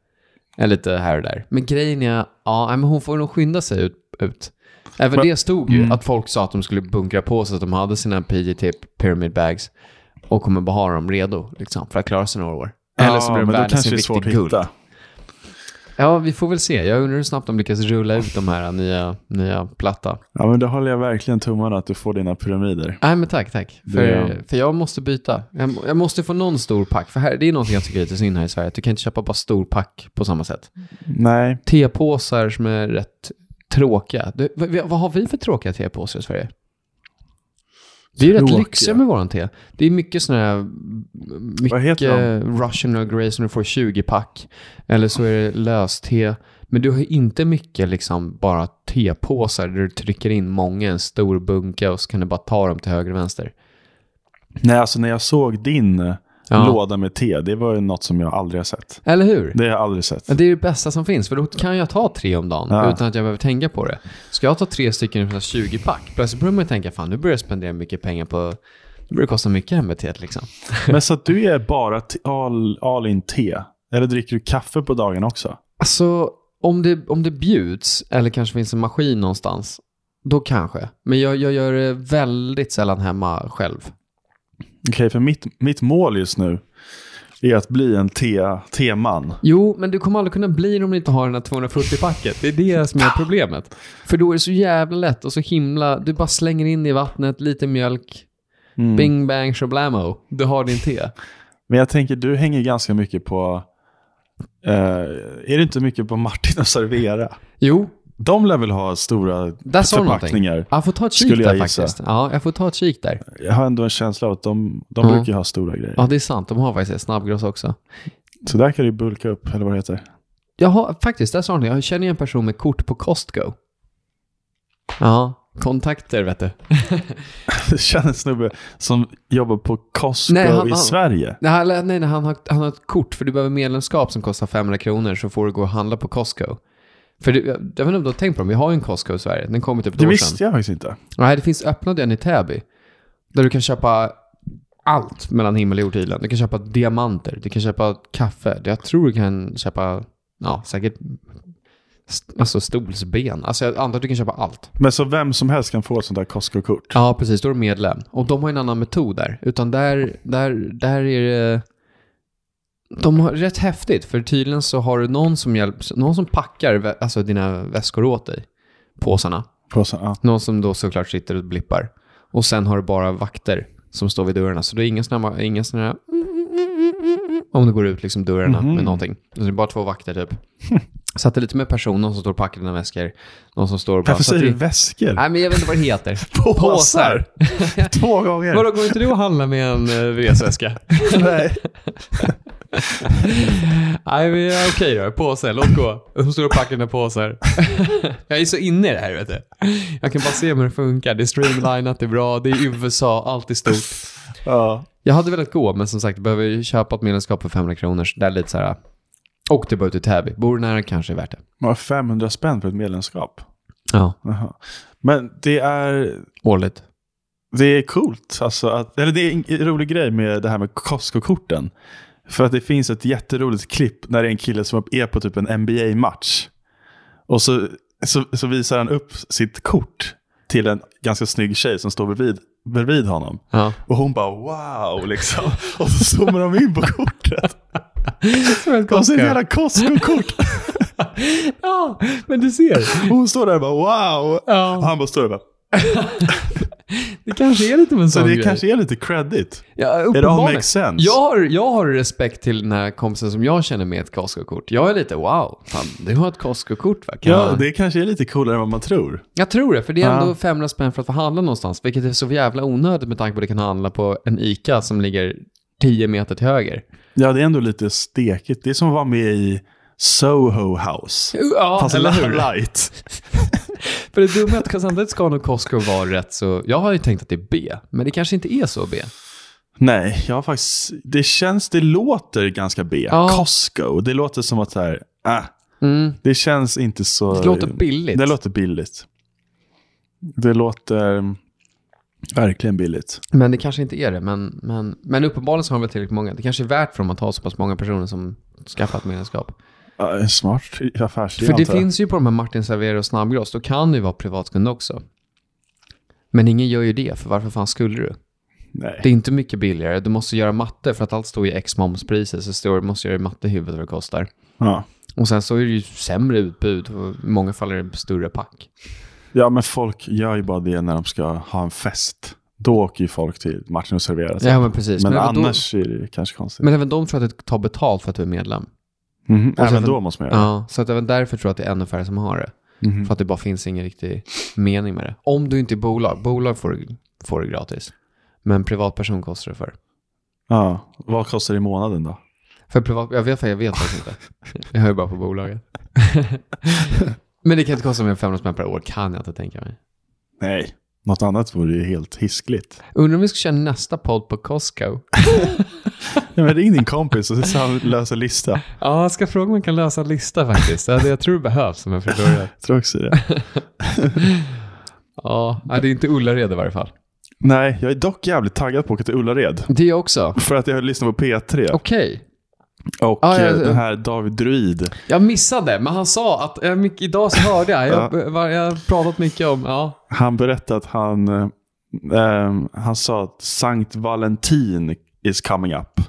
Eller lite här och där. Men grejen är, ja nej, men hon får nog skynda sig ut. ut. Även Men- Mm. det stod ju att folk sa att de skulle bunkra på sig att de hade sina PG-tip pyramid bags och kommer bara ha dem redo liksom, för att klara sig några år. Eller så Ja, blir de men då värda kanske sin det är svårt vikt i att guld. hitta. Ja, vi får väl se. Jag undrar hur snabbt de lyckas rulla ut de här nya, nya platta. Ja, men då håller jag verkligen tummarna att du får dina pyramider. Nej men tack, tack. För, Det- för jag måste byta. Jag, jag måste få någon stor pack. För här, det är något jag tycker är lite synd här i Sverige. Att du kan inte köpa bara stor pack på samma sätt. Nej, Tepåsar som är rätt tråkiga. Du, vad, vad har vi för tråkiga tepåsar i Sverige? Vi är ju rätt Tråkiga. lyxiga med våran te. Det är mycket sådana här... mm, Vad heter Mycket Russian Earl Grey som du får 20-pack. Eller så är det löste. Men du har ju inte mycket liksom bara tepåsar där du trycker in många i en stor bunke och så kan du bara ta dem till höger och vänster. Nej alltså när jag såg din eh, Ja. låda med te, det var ju något som jag aldrig har sett. Eller hur? Det har jag aldrig sett. Men Det är det bästa som finns, för då kan jag ta tre om dagen Ja. utan att jag behöver tänka på det. Ska jag ta tre stycken från 20-pack, plötsligt börjar man ju tänka, fan nu börjar jag spendera mycket pengar på, nu börjar det kosta mycket MBT liksom. Men så att du är bara te- all, all in te? Eller dricker du kaffe på dagen också? Alltså, om det, om det bjuds, eller kanske finns en maskin någonstans, då kanske. Men jag, jag gör det väldigt sällan hemma själv. Okej, för mitt, mitt mål just nu är att bli en te, teman. Jo, men du kommer aldrig kunna bli det om du inte har den här 240-packet. Det är det som är problemet. För då är det så jävla lätt och så himla... Du bara slänger in det i vattnet, lite mjölk, Mm. bing bang shablamo. Du har din te. Men jag tänker, du hänger ganska mycket på... eh, är det inte mycket på Martin och Servera? Jo, De lär väl ha stora där sa du någonting. förpackningar. Jag får ta ett kik Skulle jag där gissa. faktiskt. Ja, jag får ta ett kik där. Jag har ändå en känsla av att de, de Ja. brukar ju ha stora grejer. Mm. Ja, det är sant. De har faktiskt ett snabbgross också. Så där kan du bulka upp, eller vad det heter. Jag har faktiskt, där sa du någonting. Jag känner ju en person med kort på Costco. Ja, kontakter vet du. Jag känner en snubbe som jobbar på Costco Nej, han- i han- Sverige. Nej, han- nej, nej han, har, han har ett kort för du behöver medlemskap som kostar 500 kronor så får du gå och handla på Costco. För det, jag jag vet inte om du har tänkt på det, men vi har ju en Costco i Sverige. Den kom ju typ ett Det år visste sedan. jag faktiskt inte. Nej, det finns öppnade en i Täby. Där du kan köpa allt mellan himmel och jord tydligen. Du kan köpa diamanter, du kan köpa kaffe. Jag tror du kan köpa, ja säkert, st- alltså stolsben. Alltså jag antar att du kan köpa allt. Men så vem som helst kan få ett sånt där Costco-kort? Ja, precis. Då är du medlem. Och de har en annan metod där. Utan där, där, där är det... De har rätt häftigt, för tydligen så har du någon som, hjälps, någon som packar vä- alltså dina väskor åt dig, påsarna. På så, ja. Någon som då såklart sitter och blippar. Och sen har du bara vakter som står vid dörrarna. Så det är inga såna här, inga såna här om du går ut liksom dörrarna med någonting. Så det är bara två vakter typ. Så att det är lite mer person, någon som står och packar dina väskor. Någon som står och bara... Varför så att säger du det, väskor? nej men jag vet inte vad det heter. Påsar. Två gånger. Vadå, går inte du och handlar med en eh, resväska? Nej. Nej, men ja, okej då. Påse, låt gå. De står och packar dina påsar. jag är så inne i det här, vet du. Jag kan bara se hur det funkar. Det är streamlinat, det är bra, det är USA, allt är stort. Ja. Jag hade velat gå, men som sagt, behöver ju köpa ett medlemskap för 500 kronor. Så det är lite så här... äh, Och det är bara ut i Täby. Bor du nära kanske är värt det. Man har 500 spänn för ett medlemskap. Ja. Jaha. Men det är, Årligt. det är coolt. Alltså att, eller det är en rolig grej med det här med Costco-korten. För att det finns ett jätteroligt klipp när det är en kille som är på typ en NBA-match. Och så, så, så visar han upp sitt kort till en ganska snygg tjej som står bredvid, bredvid honom. Ja. Och hon bara wow liksom. Och så zoomar de in på kortet. De ser ett jävla Costco-kort. Ja, men du ser. Och hon står där och bara wow. Och Ja, han bara står där och bara. det kanske är lite av en Så sån det grej. kanske är lite credit. ja, It all uppenbarligen. makes sense. Jag har, jag har respekt till den här kompisen som jag känner med ett Costco-kort. Jag är lite wow, fan, du har ett Costco-kort va? Kan Ja, jag- det kanske är lite coolare än vad man tror. Jag tror det, för det är Ja. ändå 500 spänn för att få handla någonstans, vilket är så jävla onödigt med tanke på att du kan handla på en ICA som ligger 10 meter till höger. Ja, det är ändå lite stekigt. Det är som att vara med i Soho House. Ja, Fast eller hur? light. För det dumma är att samtidigt ska nog Costco vara rätt så... Jag har ju tänkt att det är B, men det kanske inte är så B. Nej, jag har faktiskt... Det känns... Det låter ganska B. Ja. Costco. Det låter som att så här... ah, Mm. det känns inte så... Det låter billigt. Det låter billigt. Det låter mm, verkligen billigt. Men det kanske inte är det. Men, men, men uppenbarligen så har de väl tillräckligt många. Det kanske är värt för dem att ha så pass många personer som skaffat medlemskap. Ja, en smart affärsidé, För det antar jag. finns ju på de här Martin Servera och Snabbgross, då kan du ju vara privatkund också. Men ingen gör ju det, för varför fan skulle du? Nej. Det är inte mycket billigare. Du måste göra matte för att allt står i x momspriser så står, måste göra matte i huvudet vad det kostar. Ja. Och sen så är det ju sämre utbud och i många fall är det större pack. ja, men folk gör ju bara det när de ska ha en fest. Då åker ju folk till matchen och serverar sig. Ja, men precis. Men, även annars är det ju kanske Då, konstigt. men även de tror att du tar betalt för att du är medlem. Mhm, Även sen- då måste man Ja. göra det. så att även därför tror jag att det är ännu färre som har det. Mhm. För att det bara finns ingen riktig mening med det. Om du inte är bolag. Bolag får, du- får du gratis. Men privatperson kostar det för. Ja. Vad kostar det i månaden då? För privat, jag vet, jag vet faktiskt inte. Jag hör ju bara på bolaget. men det kan inte kosta mer än 500 spänn per år, kan jag inte tänka mig. Nej. Något annat vore ju helt hiskligt. Undrar om vi ska köra nästa podd på Costco? Ja, men ring din kompis och så han löser lista. Ja, jag ska fråga om man kan lösa en lista faktiskt. Ja, det- Jag tror det behövs om jag får börja. Jag tror också det. Ja, nej, det är inte Ullared i varje fall. Nej, jag är dock jävligt taggad på att åka till Ullared. Det är jag också. För att jag lyssnar på P3 Okej. och Ja, ja, eh, ja. den här David Druid. Jag missade, men han sa att... eh, mycket- idag så hörde jag. Jag var- jag har pratat mycket om... Ja. Han berättade att han, eh, ehm, han sa att Sankt Valentin is coming up.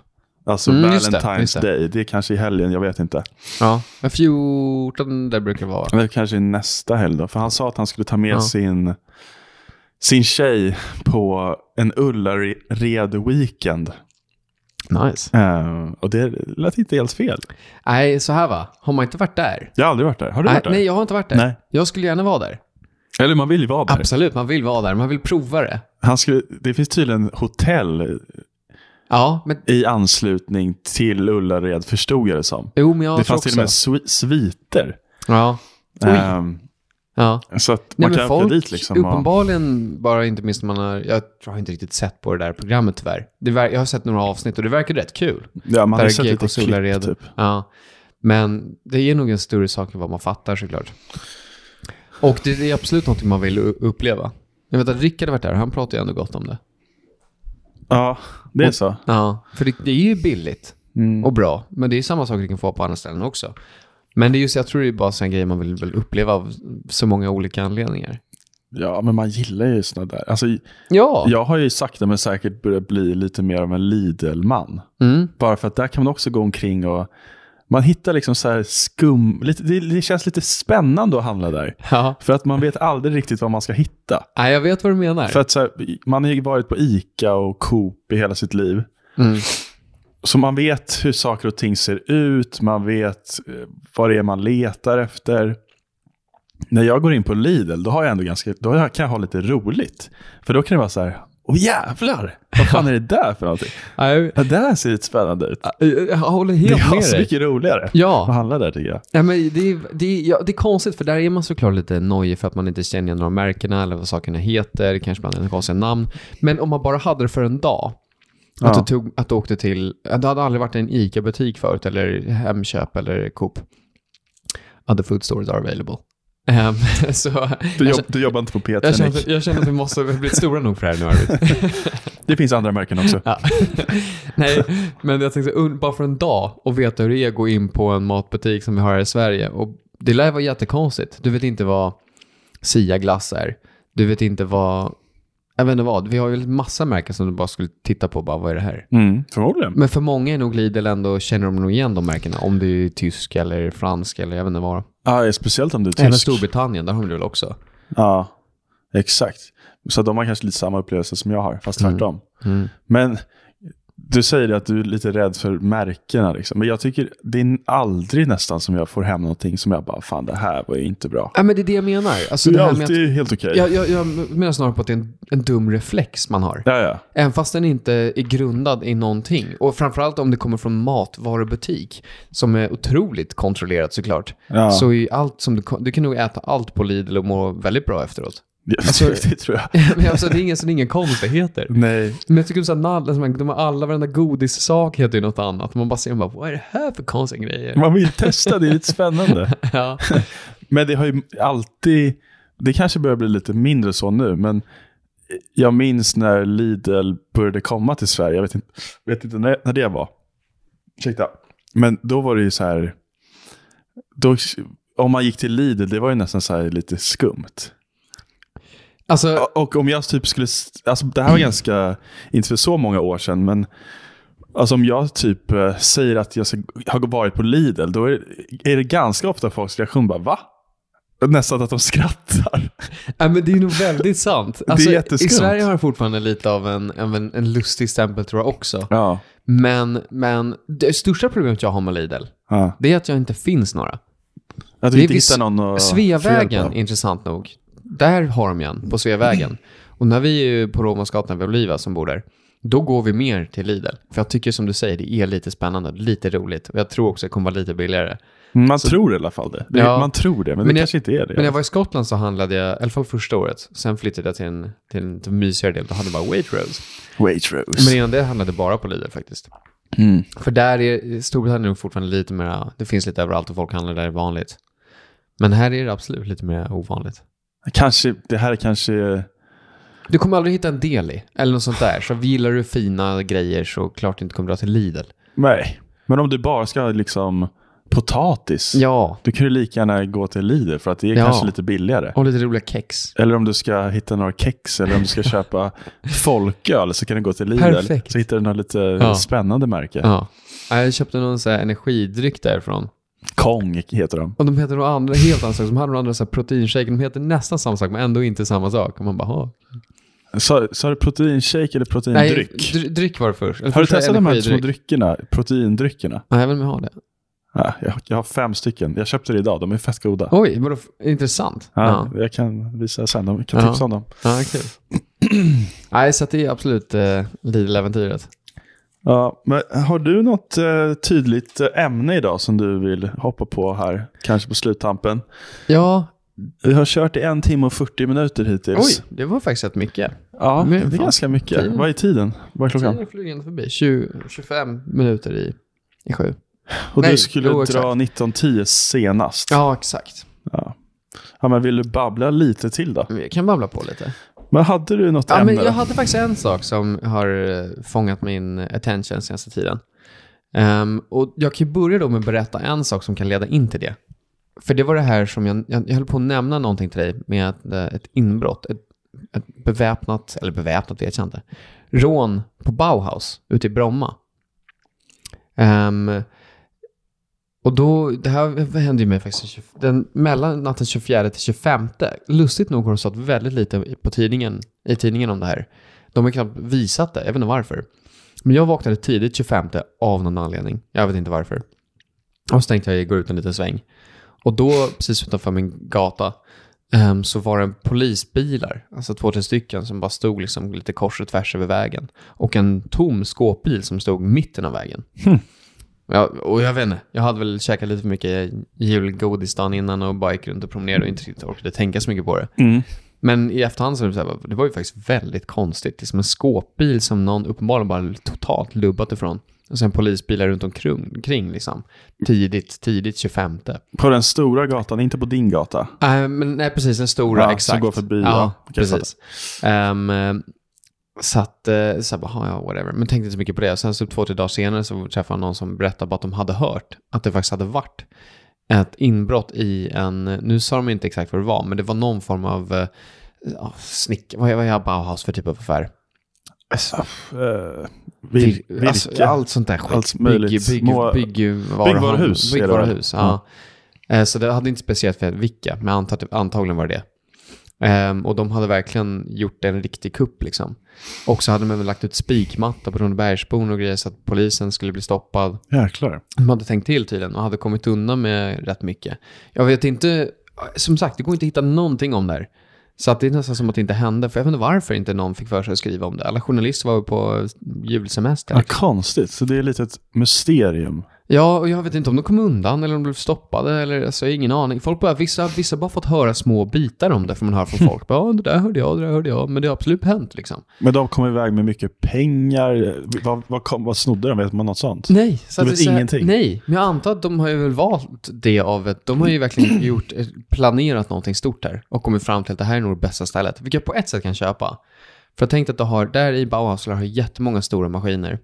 Alltså Mm, just det, Valentine's just det. Day. Det är kanske i helgen, jag vet inte. ja. Men 14 där brukar det vara. Eller kanske nästa helg då. För han sa att han skulle ta med Ja. sin, sin tjej på en Ullared-weekend. Nice. Eh, och det lät inte helt fel. Nej, så här va. Har man inte varit där? Jag har aldrig varit där. Har du Nej, varit där? nej, jag har inte varit där. Nej. Jag skulle gärna vara där. Eller man vill ju vara där. Absolut, man vill vara där. Man vill prova det. Han skulle, det finns tydligen hotell Ja, men... i anslutning till Ullared, förstod jag det som. Jo, men jag det tror fanns också... till och med svi- sviter. Ja. Ehm, Ja. så att Nej, man men kan folk, åka dit liksom. och- uppenbarligen, bara inte minst när man har, jag tror jag har inte riktigt sett på det där programmet tyvärr. Det ver- jag har sett några avsnitt och det verkar rätt kul. Ja, man har Där ju sett lite Gekos Ullared. klipp typ. Ja. Men det är nog en större sak än vad man fattar såklart. Och det, det är absolut någonting man vill u- uppleva. Jag vet att Rickard har varit där och han pratar ju ändå gott om det. Ja, det är så. Ja, för det, det är ju billigt Mm. och bra. Men det är ju samma sak du kan få på andra ställen också. Men det är just, jag tror det är bara en grej man vill, vill uppleva av så många olika anledningar. Ja, men man gillar ju såna där. Alltså, Ja. Jag har ju sakta men säkert börjat bli lite mer av en Lidl-man. Mm. Bara för att där kan man också gå omkring och man hittar liksom så här skum... Lite, det, det känns lite spännande att handla där. ja. För att man vet aldrig riktigt vad man ska hitta. Nej, jag vet vad du menar. För att så här, man har ju varit på ICA och Coop i hela sitt liv. Mm. Så man vet hur saker och ting ser ut, man vet eh, vad det är man letar efter. När jag går in på Lidl, då, har jag ändå ganska, då har jag- kan jag ha lite roligt. För då kan det vara så här, åh jävlar, vad fan är det där för någonting? Nej, Det där ser lite spännande ut. jag, jag håller Det helt är med så dig. mycket roligare att Ja, handla där tycker jag. nej, men det, är, det, är, ja, det är konstigt för där är man såklart lite nojig för att man inte känner igen några märkena eller vad sakerna heter, kanske bland annat konstiga namn. Men om man bara hade det för en dag, Ja. att, du tog, att du åkte till, att du hade aldrig varit i en ICA-butik förut eller Hemköp eller Coop. Other food stores are available. Ehm, så, Du, jag, jobb, känner- du jobbar inte på P3 Alltså, jag, Nick. känner, jag känner att vi måste, vi har blivit stora nog för det här nu Arvid. Det finns andra märken också. Ja. Nej, men jag tänkte un- bara för en dag och veta hur det är att gå in på en matbutik som vi har här i Sverige. Och det lär vara jättekonstigt. Du vet inte vad Sia glass är. Du vet inte vad... Jag vet inte vad. Vi har ju massa märken som du bara skulle titta på. Bara, vad är det här? Mm, förmodligen. Men för många är nog Lidl ändå, känner de nog igen de märkena. Om du är tysk eller fransk eller jag vet inte vad. Ja, speciellt om du är tysk. Även Storbritannien, där har de det väl också. Ja, exakt. Så de har kanske lite samma upplevelse som jag har, fast Mm. tvärtom. Men du säger att du är lite rädd för märkena. Liksom. Men jag tycker det är aldrig nästan som jag får hem någonting som jag bara, fan det här var ju inte bra. Ja, men det är det jag menar. Alltså, Du det är här med att, alltid helt okej. jag, jag, jag menar snarare på att det är en, en dum reflex man har. Ja, ja. Även fast den inte är grundad i någonting. Och framförallt om det kommer från matvarubutik, som är otroligt kontrollerat såklart. Ja. Så är ju allt som du, ko- du kan nog äta allt på Lidl och må väldigt bra efteråt. Det, det tror jag. Men alltså, det är inga, så det är inga konstigheter. Nej. Men jag tycker så här, nall- alltså, de har alla, varenda godissak heter ju något annat. Man bara ser, man bara, vad är det här för konstiga grejer? Man vill testa, det är lite spännande. Ja. Men det har ju alltid, det kanske börjar bli lite mindre så nu, men jag minns när Lidl började komma till Sverige, jag vet inte, vet inte när, när det var. Ursäkta. Men då var det ju så här, då, om man gick till Lidl, det var ju nästan så här lite skumt. Alltså, Och- Och om jag typ skulle, alltså det här var ganska, inte för så många år sedan, men alltså om jag typ eh, säger att jag ska, har varit på Lidl, då är det, är det ganska ofta folks reaktion bara va? Nästan att de skrattar. ja, men det är nog väldigt sant. Alltså, I jätteskumt. Sverige har det fortfarande lite av en, en, en lustig stämpel tror jag också. Ja. Men, men det största problemet jag har med Lidl, ja. det är att jag inte finns några. Att Det du är inte viss- hittar någon att få Sveavägen, hjälp av. intressant nog. Där har de igen, på Sveavägen. Och när vi är ju på Romansgatan vid Oliva som bor där, då går vi mer till Lidl. För jag tycker som du säger, det är lite spännande, lite roligt. Och jag tror också det kommer vara lite billigare. Mm, Man tror i alla fall det. det Ja. Man tror det, men, Men det jag- kanske inte är det. Men när jag var i Skottland så handlade jag, i alla fall första året, sen flyttade jag till en, till en, till en mysigare del, då hade jag bara Waitrose. Waitrose. Men innan det handlade jag bara på Lidl faktiskt. Mm. För där är Storbritannien nog fortfarande lite mer, det finns lite överallt och folk handlar där det är vanligt. Men här är det absolut lite mer ovanligt. Kanske, det här är kanske... Du kommer aldrig hitta en deli eller något sånt där. Så gillar du fina grejer så klart du inte kommer dra till Lidl. Nej. Men om du bara ska ha liksom potatis. Ja, Då kan du lika gärna gå till Lidl för att det är Ja. kanske lite billigare. och lite roliga kex. Eller om du ska hitta några kex eller om du ska köpa folköl så kan du gå till Lidl. Perfekt. Så hittar du något lite Ja. spännande märke. Ja. Ja, Jag köpte någon så här energidryck därifrån. Kong heter de. Och de heter nog andra, helt andra saker. De hade några andra så här proteinshake. De heter nästan samma sak men ändå inte samma sak. Och man bara, ha. Sa, sa du proteinshake eller proteindryck? dry- dryck var det först. Eller har du först var det testat de här små energidryck. dryckerna? Proteindryckerna? Nej, jag vill med ha det. Ja, jag, jag har fem stycken. Jag köpte det idag. De är fett goda. Oj, vadå? f- Intressant. Ja, Ja. Jag kan visa sen. Jag kan Ja. tipsa om dem. Ja, kul. Nej, så att det är absolut eh, Lidl-äventyret. Ja, men har du något eh, tydligt eh, ämne idag som du vill hoppa på här? Kanske på sluttampen? Ja, Vi har kört i en timme och 40 minuter hittills. oj, det var faktiskt rätt mycket. Ja, Men det är fan. ganska mycket. Tiden. Vad är tiden? Vad är klockan? Tiden flyger inte förbi. 20, 25 minuter i, i sju. Och Nej, du skulle jo, dra 19.10 senast. Ja. Ja, exakt. men vill du babbla lite till då? Jag kan babbla på lite. Men hade du något Ja, ämne? men jag då? hade faktiskt en sak som har eh, fångat min attention senaste tiden. Ehm, och jag kan ju börja då med att berätta en sak som kan leda in till det. För det var det här som jag, jag, jag höll på att nämna någonting till dig med ett, eh, ett inbrott. Ett, ett beväpnat, eller beväpnat vet jag inte, rån på Bauhaus ute i Bromma. Ehm, och då, det här hände ju mig faktiskt den 20 den, mellan natten 24 till 25. Lustigt nog har de stått väldigt lite i- på tidningen, i tidningen om det här. De har knappt visat det, jag vet inte varför. Men jag vaknade tidigt 25 av någon anledning. Jag vet inte varför. Och så tänkte jag gå ut en liten sväng. Och då, precis utanför min gata, ehm, så var det en polisbilar, alltså två, tre stycken, som bara stod liksom lite kors och tvärs över vägen. Och en tom skåpbil som stod mitten av vägen. Ja, och jag vet inte, jag hade väl käkat lite för mycket julgodis dagen innan och bara gick runt och promenerade och inte riktigt orkade tänka så mycket på det. Mm. Men i efterhand så är det så här, det var ju faktiskt väldigt konstigt. Det är som en skåpbil som någon uppenbarligen bara totalt lubbat ifrån. Och sen polisbilar runt omkring kring liksom. Tidigt, tidigt 25. På den stora gatan, inte på din gata. Nej, Eh, men nej, precis, den stora, Ja, som exakt. går förbi, ja. ja. Okej, precis. Ehm, eh, så att, eh, så här, bara, "Ha, ja, whatever. Men tänkte inte så mycket på det. Och sen så typ två, tre dagar senare så träffade jag någon som berättade bara att de hade hört att det faktiskt hade varit ett inbrott i en, nu sa de inte exakt vad det var, men det var någon form av eh, ja, snick, vad är, vad är Bauhaus för typ av affär? Alltså, eh, vil, Till- alltså, virke. allt sånt där skit. Allt möjligt. Bygg, Små- bygg, bygg, byggvaruhus är det väl? Byggvaruhus, ja. Eh, Så det hade inte speciellt för vilka, men antag- antagligen var det det. Ehm, och de hade verkligen gjort en riktig kupp liksom. Och så hade de väl lagt ut spikmatta på Rundbergsbon och grejer så att polisen skulle bli stoppad. Jäklar. De hade tänkt till tydligen och hade kommit undan med rätt mycket. Jag vet inte, som sagt, det går inte att hitta någonting om det här. Så att det är nästan som att det inte hände, för jag vet inte varför inte någon fick för sig att skriva om det. Alla journalister var ju på julsemester. Ja, konstigt. Så det är lite ett mysterium. Ja, och jag vet inte om de kom undan eller om de blev stoppade eller alltså, jag har ingen aning. Folk bara, vissa, vissa har bara fått höra små bitar om det, för man hör från folk. Bara, Ja, det där hörde jag, det där hörde jag, men det har absolut hänt liksom. Men de kom iväg med mycket pengar. Vad, vad, kom, vad snodde de? Vet man något sånt? Nej, så Du att vet det är så här- ingenting? Nej, men jag antar att de har ju väl valt det av ett, de har ju verkligen gjort, eh, planerat någonting stort här och kommit fram till att det här är nog det bästa stället, vilket jag på ett sätt kan köpa. För jag tänkte att du har, där i Bauhaus har du jättemånga stora maskiner.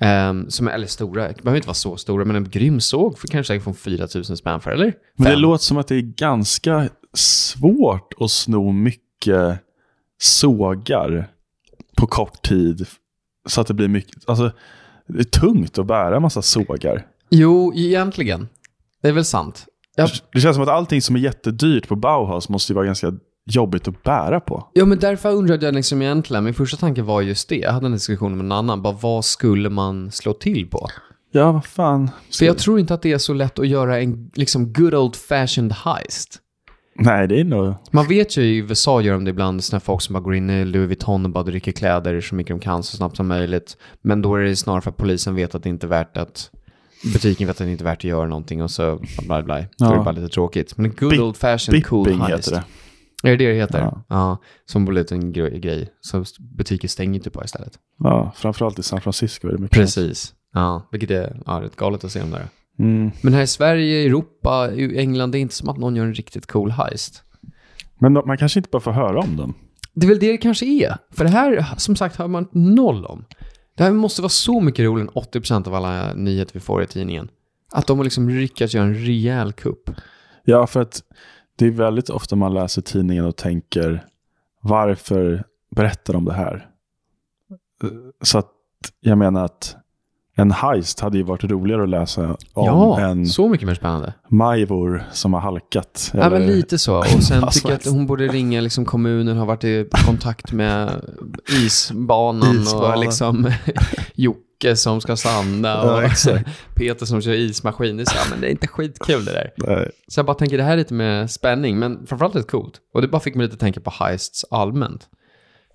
ehm, som är, eller stora, det behöver inte vara så stora, men en grym såg för kanske säkert från 4 000 spänn för, eller? Men det Fem. låter som att det är ganska svårt att sno mycket sågar på kort tid. Så att det blir mycket... Alltså, det är tungt att bära en massa sågar. Jo, e- egentligen. Det är väl sant. Ja, Det känns som att allting som är jättedyrt på Bauhaus måste ju vara ganska jobbigt att bära på. ja men därför undrade jag liksom egentligen, min första tanke var just det. Jag hade en diskussion med en annan, bara vad skulle man slå till på? Ja, vad fan. För jag tror inte att det är så lätt att göra en liksom good old fashioned heist. Nej, det är nog... Man vet ju i USA gör de det ibland, sådana folk som bara går in i Louis Vuitton och bara dricker kläder så mycket de kan så snabbt som möjligt. Men då är det snarare för att polisen vet att det inte är värt att butiken vet att det inte är värt att göra någonting och så bla bla bla. Då är Ja. det bara lite tråkigt. Men en good Bi- old fashioned cool Bipping heist. heter det. Är det det det heter? Ja. Ja. som blev en liten gre- grej. Så butiker stänger typ bara istället. Ja, framförallt i San Francisco är det mycket. Precis. Ja, vilket är ja, rätt galet att se om det där. Mm. Men här i Sverige, Europa, i England, det är inte som att någon gör en riktigt cool heist. Men man kanske inte bara får höra om den. Det är väl det det kanske är. För det här, som sagt, har man noll om. Det här måste vara så mycket roligare än 80% av alla nyheter vi får i tidningen. Att de har liksom lyckats göra en rejäl kupp. Ja, för att det är väldigt ofta man läser tidningen och tänker varför berättar de det här? Eh, Så att jag menar att en heist hade ju varit roligare att läsa om Ja, än så mycket mer spännande. majvor som har halkat. Ja, men eller- lite så. Och sen Vad som tycker jag att hon borde ringa liksom kommunen, har varit i kontakt med isbanan, Isbanan. och liksom Jocke som ska sanda och Ja, exakt. Peter som kör ismaskin. Det är så här, men det är inte skitkul det där. Nej. Så jag bara tänker det här är lite med spänning, men framförallt lite coolt. Och det bara fick mig lite att tänka på heists allmänt.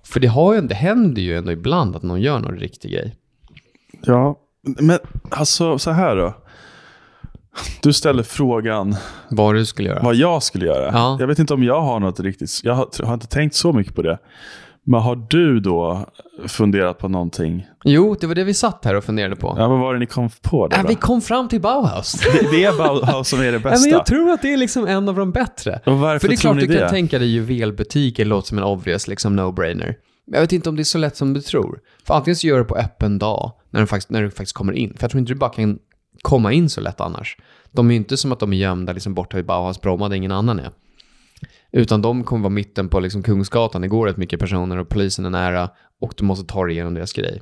För det, har ju, det händer ju ändå ibland att någon gör någon riktig grej. Ja, men alltså så här då. Du ställer frågan Vad du skulle göra. vad jag skulle göra. Ja. Jag vet inte om jag har något riktigt. Jag har, har inte tänkt så mycket på det. Men har du då funderat på någonting? Jo, det var det vi satt här och funderade på. Ja, vad var det ni kom på då? Äh, då? vi kom fram till Bauhaus. Det, det är Bauhaus som är det Nej, bästa. men jag tror att det är liksom en av de bättre. Och varför För det är tror klart ni du det? kan tänka dig juvelbutiker låter som en obvious liksom no-brainer. Men jag vet inte om det är så lätt som du tror. För antingen så gör du det på öppen dag när du faktiskt, när du faktiskt kommer in. För jag tror inte du bara kan komma in så lätt annars. De är ju inte som att de är gömda liksom borta vid Bauhaus Bromma där ingen annan är. Utan de kommer vara mitten på liksom Kungsgatan. Det går rätt mycket personer och polisen är nära och du måste ta dig igenom deras grej.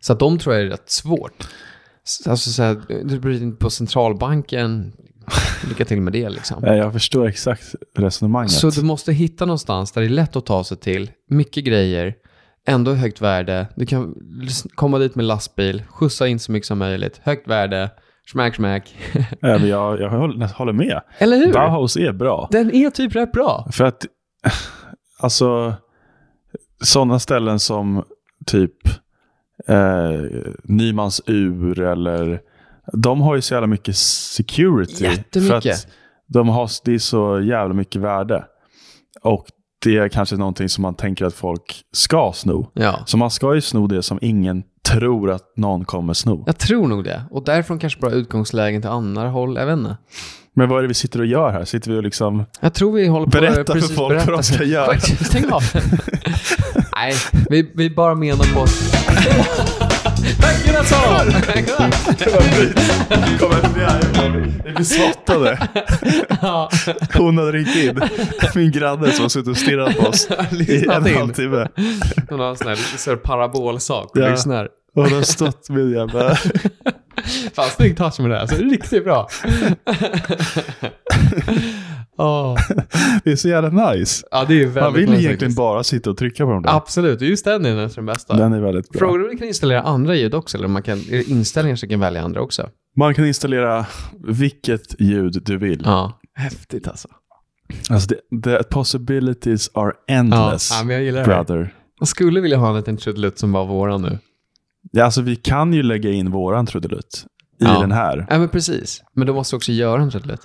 Så att de tror jag är rätt svårt. S- Alltså så här, du bryter in på centralbanken, lycka till med det liksom. Nej, jag förstår exakt resonemanget. Så du måste hitta någonstans där det är lätt att ta sig till, mycket grejer, ändå högt värde. Du kan s- komma dit med lastbil, skjutsa in så mycket som möjligt, högt värde, smack smack. Nej, men jag, jag håller, håller med. Eller hur? Bauhaus är bra. Den är typ rätt bra. För att, alltså, sådana ställen som typ eh, Nymans ur eller, de har ju så jävla mycket security. För Jättemycket. att de har, det är så jävla mycket värde. Och det är kanske någonting som man tänker att folk ska sno. Ja. Så man ska ju sno det som ingen tror att någon kommer sno. Jag tror nog det. Och därifrån kanske bara utgångslägen till andra håll, jag vet inte. Men vad är det vi sitter och gör här? Sitter vi och liksom... Jag tror vi håller på Berätta att för precis folk vad de ska göra. Faktiskt, Stäng av. Nej, vi, vi bara menar på... Böckerna sa! Det var skit. Kom efter det Vi blir slottade. ja, Hon hade ringt in. Min granne som har suttit och stirrat på oss i en lyssnat in. halvtimme. Hon har en sån här, så här parabolsak och Ja. lyssnar. Och hon har stått med en jävla... Fan, snygg touch med det här. Så riktigt bra. Åh. Det är så jävla nice. Ja, det är väldigt Man vill nice egentligen faktiskt. bara sitta och trycka på dem där. Absolut, just den är nästan den bästa. Den är väldigt bra. Frågan är om du kan installera andra ljud också, eller om man kan, är det inställningar så kan välja andra också? Man kan installera vilket ljud du vill. Ja. Häftigt alltså. Alltså, the, the possibilities are endless, Ja, men jag gillar det. brother. Jag skulle vilja ha en liten trudelutt som var våran nu. Ja, alltså, vi kan ju lägga in våran trudelutt i Ja. den här. Ja, men precis. Men då måste vi också göra en trudelutt.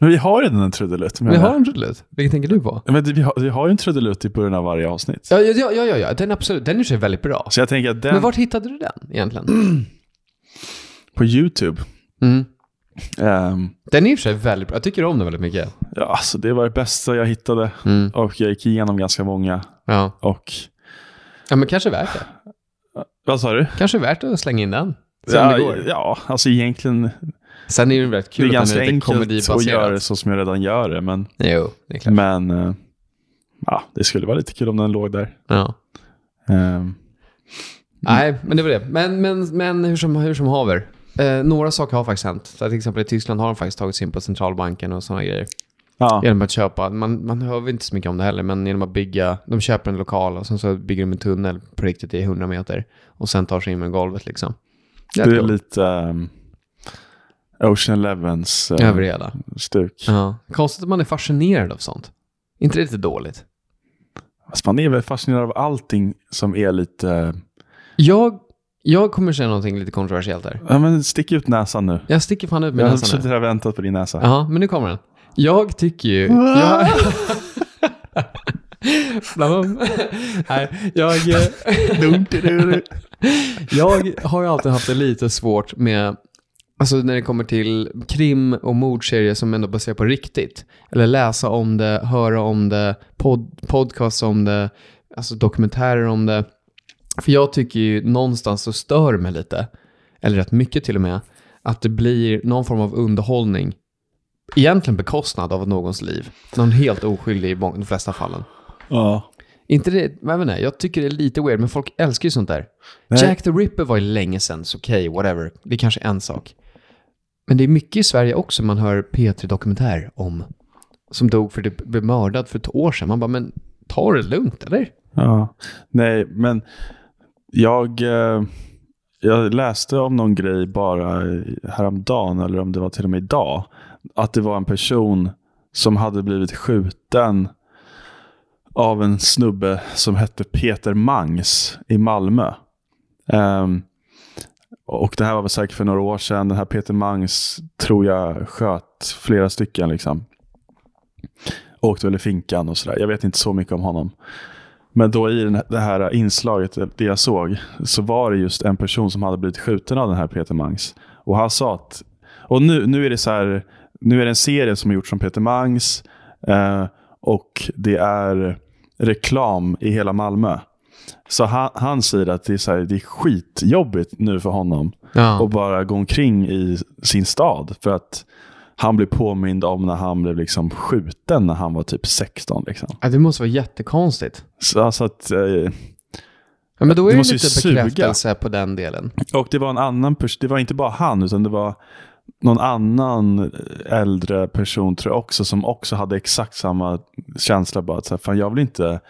Men vi har redan en trudelutt. Men Vi har en trudelutt. Vilken tänker du på? Ja, Men vi, har, vi har ju en trudelutt i början av varje avsnitt. Ja, ja, ja, ja, ja. den absolut. Den är i och för sig väldigt bra. Så jag tänker att den Men vart hittade du den egentligen? på YouTube, Mm. ehm, Den är i och för sig väldigt bra. Jag tycker om den väldigt mycket. ja, alltså det var det bästa jag hittade. Mm. Och jag gick igenom ganska många. Ja. Och, ja, men kanske värt det. vad sa du? Kanske värt att slänga in den. Sen Ja, det går. ja, alltså egentligen, Sen är det ju väldigt det är kul att ganska den är lite enkelt att göra det komedibaserad. så som jag redan gör det. Men, Jo, det är klart. men eh, ja, det skulle vara lite kul om den låg där. Ja. Ehm, Nej, men det var det. Men, men, men hur, som, hur som haver. Eh, några saker har faktiskt hänt. Så till exempel i Tyskland har de faktiskt tagits in på centralbanken och sådana grejer. ja. Genom att köpa, man, man hör väl inte så mycket om det heller, men genom att bygga, de köper en lokal och sen så bygger de en tunnel på riktigt i 100 meter och sen tar sig in med golvet liksom. Det Jävligt är coolt. lite ehm, Ocean Elevens eh, Över det hela. stuk. Ja. Konstigt att man är fascinerad av sånt. inte det lite dåligt? Alltså, man är väl fascinerad av allting som är lite... eh, Jag, jag kommer säga någonting lite kontroversiellt där. Ja, men stick ut näsan nu. Jag sticker fan ut med jag har näsan suttit nu. här och väntat på din näsa. Ja, men nu kommer den. Jag tycker ju... Jag, Bland annat- Nej, jag, jag har ju alltid haft det lite svårt med, alltså när det kommer till krim och mordserier som ändå baserar på riktigt. Eller läsa om det, höra om det, pod, podcast om det, alltså dokumentärer om det. För jag tycker ju någonstans så stör det mig lite, eller rätt mycket till och med, att det blir någon form av underhållning egentligen bekostnad av någons liv. Någon helt oskyldig i mång- de flesta fallen. Ja. Inte det, jag vet inte, jag tycker det är lite weird, men folk älskar ju sånt där. Nej. Jack the Ripper var ju länge sedan, så okej, whatever. Det är kanske en sak. Men det är mycket i Sverige också man hör P3 Dokumentär om. Som dog för att blev mördad för ett år sedan. Man bara, men ta det lugnt, eller? ja. Nej, men jag, eh, jag läste om någon grej bara häromdagen, eller om det var till och med idag, att det var en person som hade blivit skjuten av en snubbe som hette Peter Mangs i Malmö. Ehm, och det här var väl säkert för några år sedan. Den här Peter Mangs tror jag sköt flera stycken. liksom. Åkte väl i finkan och sådär. Jag vet inte så mycket om honom. Men då i den här- det här inslaget, det jag såg, så var det just en person som hade blivit skjuten av den här Peter Mangs. Och han sa att, och nu, nu är det så här, nu är det en serie som är gjort som Peter Mangs eh, och det är reklam i hela Malmö. Så han, han säger att det är, så här, det är skitjobbigt nu för honom Ja. och bara gå omkring i sin stad. För att han blev påmind om när han blev liksom skjuten när han var typ 16. Liksom. Ja, det måste vara jättekonstigt. Så, alltså att, eh, Ja, men då är Det det, måste ju lite suga. bekräftelse på den delen. och det var en annan pers- det var inte bara han, utan det var någon annan eh, äldre person tror jag också, som också hade exakt samma känsla. Bara att så här, fan, jag vill inte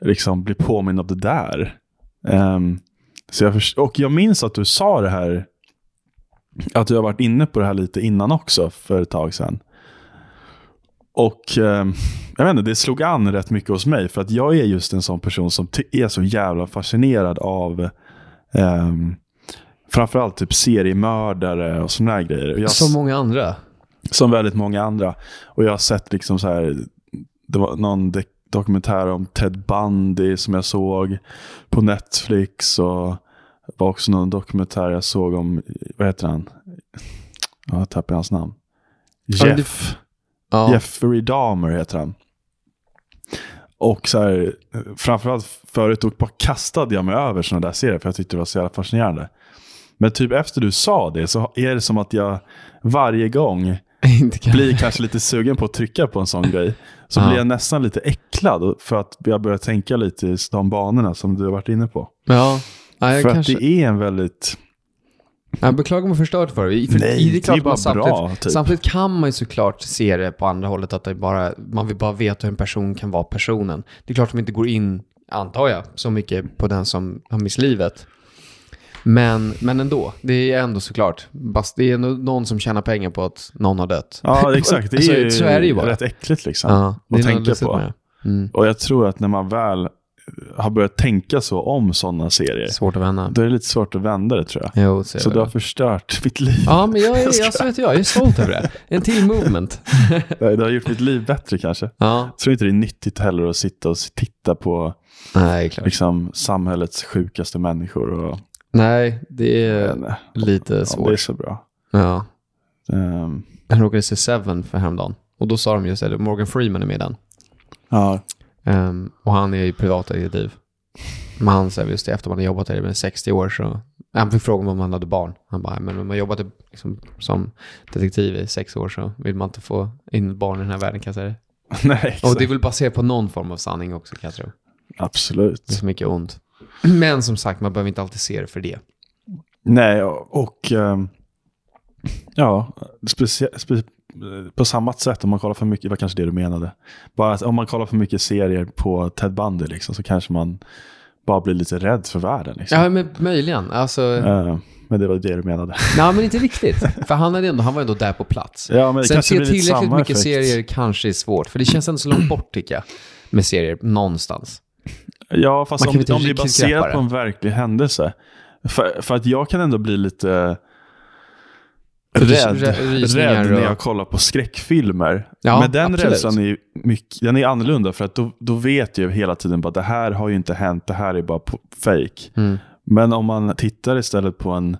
liksom bli påmind om det där. Ehm, så jag förs- och jag minns att du sa det här, att du har varit inne på det här lite innan också, för ett tag sedan. Och ehm, jag vet inte, det slog an rätt mycket hos mig, för att jag är just en sån person som ty- är så jävla fascinerad av ehm, framförallt typ seriemördare och såna här grejer. Och jag- Som många andra. som väldigt många andra. Och jag har sett liksom så här, det var någon de- dokumentär om Ted Bundy som jag såg på Netflix. Och det var också någon dokumentär jag såg om, vad heter han? Ja, Jag tappade hans namn. Ja, men det- Jeff. Ja. Jeffrey Dahmer heter han. Och så här, framförallt förut då bara kastade jag mig över sådana där serier för jag tyckte det var så jävla fascinerande. Men typ efter du sa det så är det som att jag varje gång Inte kan. blir kanske lite sugen på att trycka på en sån grej. Så Ja. blir jag nästan lite äcklad för att jag börjar tänka lite i de banorna som du har varit inne på. Ja. Ja, jag, för kanske, att det är en väldigt... jag beklagar om jag förstört för dig. För Nej, det klart är man bara samtidigt- bra. Typ. Samtidigt kan man ju såklart se det på andra hållet, att det bara, man vill bara veta hur en person kan vara personen. Det är klart att de inte går in, antar jag, så mycket på den som har mist livet. Men, men ändå, det är ändå såklart. Fast det är ändå någon som tjänar pengar på att någon har dött. Ja, exakt. Det är, Så- ju, så är det ju Alltså, bara. rätt äckligt liksom. det att är något tänka lustigt på. med det. Mm. Och jag tror att när man väl eh, har börjat tänka så om sådana serier, Svårt att vända. då är det lite svårt att vända det tror jag. Jo, så är Så det du har väl. förstört mitt liv. Ja, men jag är, Jag ska- alltså, vet jag, jag är stolt över det. En till movement. Nej, Du har gjort mitt liv bättre kanske. Ja, Jag tror inte det är nyttigt heller att sitta och titta på nej, klart. liksom, samhällets sjukaste människor. Och, Nej, det Jag är vet inte lite om det är svårt. så bra. Ja. Ehm, Jag råkade se Seven för häromdagen. Och då sa de just det, Morgan Freeman är med i den. ja, Ehm, och han är ju privatdetektiv. Men han sa just det, efter man har jobbat där i 60 år så... Han fick frågan om han hade barn. Han bara, "Nej, men om man jobbat i- liksom, som detektiv i sex år så vill man inte få in barn i den här världen kan jag säga det. nej, exakt. Och det är väl baserat på någon form av sanning också kan jag tro. Det är Absolut. så mycket ont. Men som sagt, man behöver inte alltid se det för det. Nej, och, och ehm, ja, specie- spe- på samma sätt om man kollar för mycket, det var kanske det du menade. Bara att om man kollar för mycket serier på Ted Bundy liksom, så kanske man bara blir lite rädd för världen. Liksom. Ja, men möjligen. Alltså, Ehm, men det var det du menade. nej men inte riktigt. För han, hade ändå, han var ändå där på plats. Ja, men det Sen kanske se blir lite tillräckligt samma mycket effekt. serier kanske är svårt, för det känns ändå så långt bort tycker jag. Med serier någonstans. Ja, fast Man om, kan inte om det är riktigt baserat greppa det. på en verklig händelse. För, för att jag kan ändå bli lite rädd, Rä- rysningar rädd när och- jag kollar på skräckfilmer. Ja, Men den absolut. rädslan är, ju mycket, den är annorlunda för att då, då vet jag ju hela tiden att det här har ju inte hänt, det här är bara på, fake. Mm. Men om man tittar istället på en,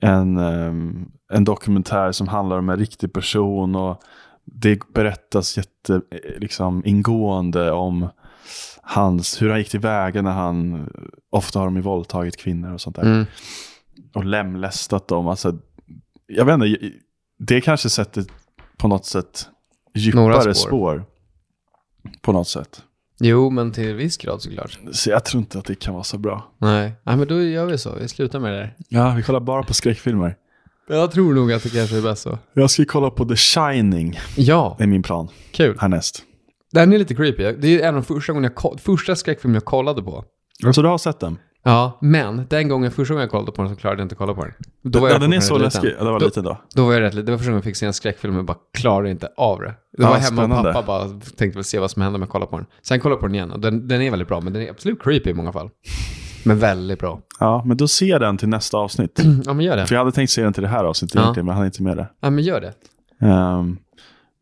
en, ehm, en dokumentär som handlar om en riktig person och det berättas jätte, eh, liksom, ingående om hans, hur han gick tillväga när han, ofta har de ju våldtagit kvinnor och sånt där, Mm. och lemlästat dem. Alltså, jag vet inte, det kanske sätter på något sätt Några djupare spår. spår. På något sätt. Jo, men till viss grad såklart. Så jag tror inte att det kan vara så bra. Nej, nej men då gör vi så. Vi slutar med det där. Ja, vi kollar bara på skräckfilmer. Jag tror nog att det kanske är bäst så. Jag ska kolla på The Shining, Ja, är min plan kul. härnäst. Den är lite creepy. Det är en av de första, gångerna jag, ko- första skräckfilmen jag kollade på. Så du har sett den? Ja, men den gången, första gången jag kollade på den så klarade jag inte att kolla på den. Då var ja, jag den är så fortfarande liten. läskig. Ja, det var Då- liten då. Då var jag rätt lite, det var första gången jag fick se en skräckfilm och bara klarade inte av det. Det Ja, var hemma spännande. och pappa bara tänkte väl se vad som hände men kolla på den. Sen kollade jag på den igen och den, den är väldigt bra men den är absolut creepy i många fall. Men väldigt bra. Ja, men då ser jag den till nästa avsnitt. Ja men gör det. Mm. För jag hade tänkt se den till det här avsnittet Ja. egentligen, men han är inte med det. Ja men gör det. Ehm,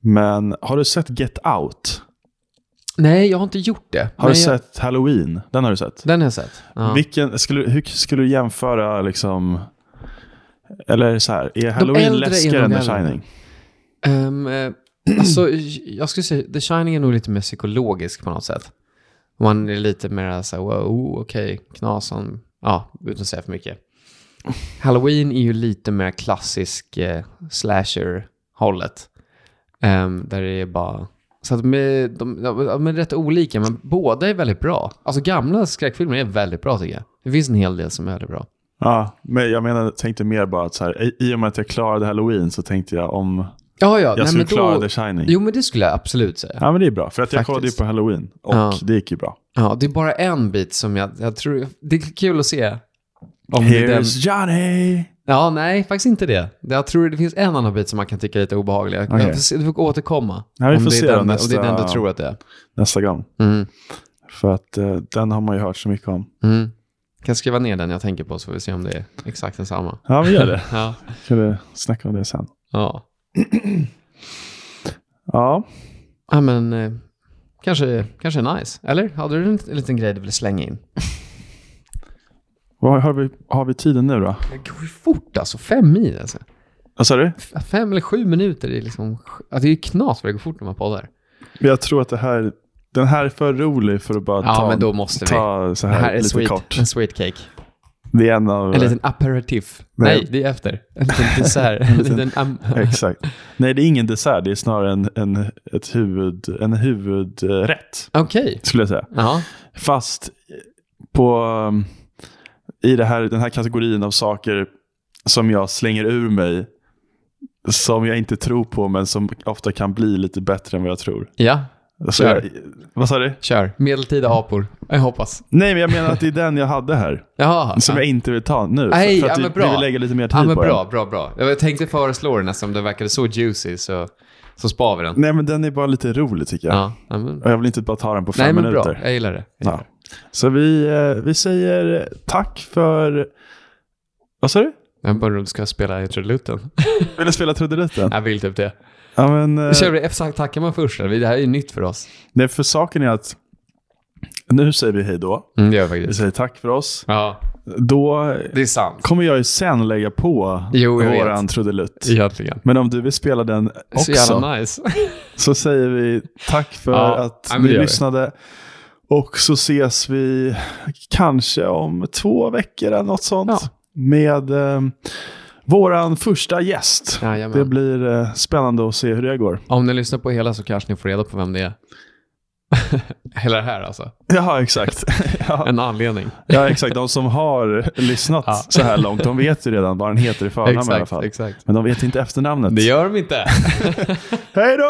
men har du sett Get Out? Nej jag har inte gjort det. Har Men du jag, sett Halloween? Den har du sett? Den har jag sett. Ja. Vilken, skulle, hur skulle du jämföra liksom... Eller så här, är äldre är Halloween nog läskigare än de The äldre. Shining? Ehm, eh, alltså jag skulle säga, The Shining är nog lite mer psykologisk på något sätt. Man är lite mer så här, wow, oh, okej, knasan. Ja, utan att säga för mycket. Halloween är ju lite mer klassisk eh, slasher-hållet. Ehm, där det är bara... Så att de, är- de, de, de är rätt olika, men båda är väldigt bra. Alltså gamla skräckfilmer är väldigt bra tycker jag. Det finns en hel del som är väldigt bra. Ja, men jag menar, tänkte mer bara att så här, i- i och med att jag klarade Halloween så tänkte jag om Ja, ja. jag skulle klara The Shining. Jo, men det skulle jag absolut säga. Ja, men det är bra. För att jag Faktiskt. kollade ju på Halloween och Ja. det gick ju bra. Ja, det är bara en bit som jag, jag tror... Det är kul att se. Om det är den, Here's Johnny! ja, nej, faktiskt inte det. Jag tror det finns en annan bit som man kan tycka är lite obehaglig. Jag- Okej. Jag får se- du får återkomma. Ja, vi om får det är se den, då om det är den du nästa- tror att det är. Nästa gång. Mm. För att eh, den har man ju hört så mycket om. Mm. Kan skriva ner den jag tänker på så får vi se om det är exakt densamma. Ja, vi gör det. Ja. Ska vi snacka om det sen. Ja, Ja, ja men eh, kanske, kanske är nice. Eller? Hade du en liten grej du ville slänga in? vad har vi, har vi tiden nu då? Det går ju fort alltså. Fem mil alltså. Vad sa du? F- Fem eller sju minuter är liksom... Ja, det är ju knas vad det går fort när man poddar. Jag tror att det här Den här är för rolig för att bara Ja, ta, men då måste vi. ta så Det här, här är lite sweet, kort. en sweet cake. Det är en av... En liten aperitif. Nej. Nej, det är efter. En liten dessert. Alltså, En liten- liten am- Exakt. Nej, det är ingen dessert. Det är snarare en, en, ett huvud, en huvudrätt, Okej. skulle jag säga. Ja. Fast på, um, i det här, den här kategorin av saker som jag slänger ur mig, som jag inte tror på, men som ofta kan bli lite bättre än vad jag tror. ja, Så Kör. jag, vad sa du? kör. Medeltida apor. Jag hoppas. Nej, men jag menar att det är den jag hade här, som Jaha. typ ja. jag inte vill ta nu. Nej, för att ja, vi, men bra. vi vill lägga lite mer tid ja, men på bra, den. bra, bra. Jag tänkte föreslå den eftersom den verkade så juicy så, så spar vi den. Nej, men den är bara lite rolig tycker jag. Ja, ja, men, Och jag vill inte bara ta den på fem nej, men minuter. bra. Jag gillar det. Ja. Så vi, eh, vi säger tack för... Vad sa du? Jag bara du ska spela introluten. Vill du spela trudelutten? Jag vill typ det. Ja, men, eh, Kör vi F tackar man först? Eller? Det här är ju nytt för oss. nej, för saken är att nu säger vi hej då. Mm, det gör Vi faktiskt. säger tack för oss. Ja, Då det är sant. kommer jag ju sen lägga på Jo, jag vet. våran trudelutt. Egentligen. Men om du vill spela den Så också jävla nice. så säger vi tack för Ja, att ja, men det ni gör vi. lyssnade. Och så ses vi kanske om två veckor eller något sånt. Ja. Med eh, våran första gäst. Jajamän. Det blir eh, spännande att se hur det går. Om ni lyssnar på hela så kanske ni får reda på vem det är. hela det här alltså. Ja, exakt. ja. En anledning. ja, exakt. De som har lyssnat Ja. så här långt, de vet ju redan vad den heter i förnamn i alla exakt, fall. exakt. Men de vet inte efternamnet. Det gör de inte. Hej då!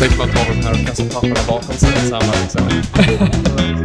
Tänk man tar de här och kastar papperna bakom sig tillsammans. Liksom.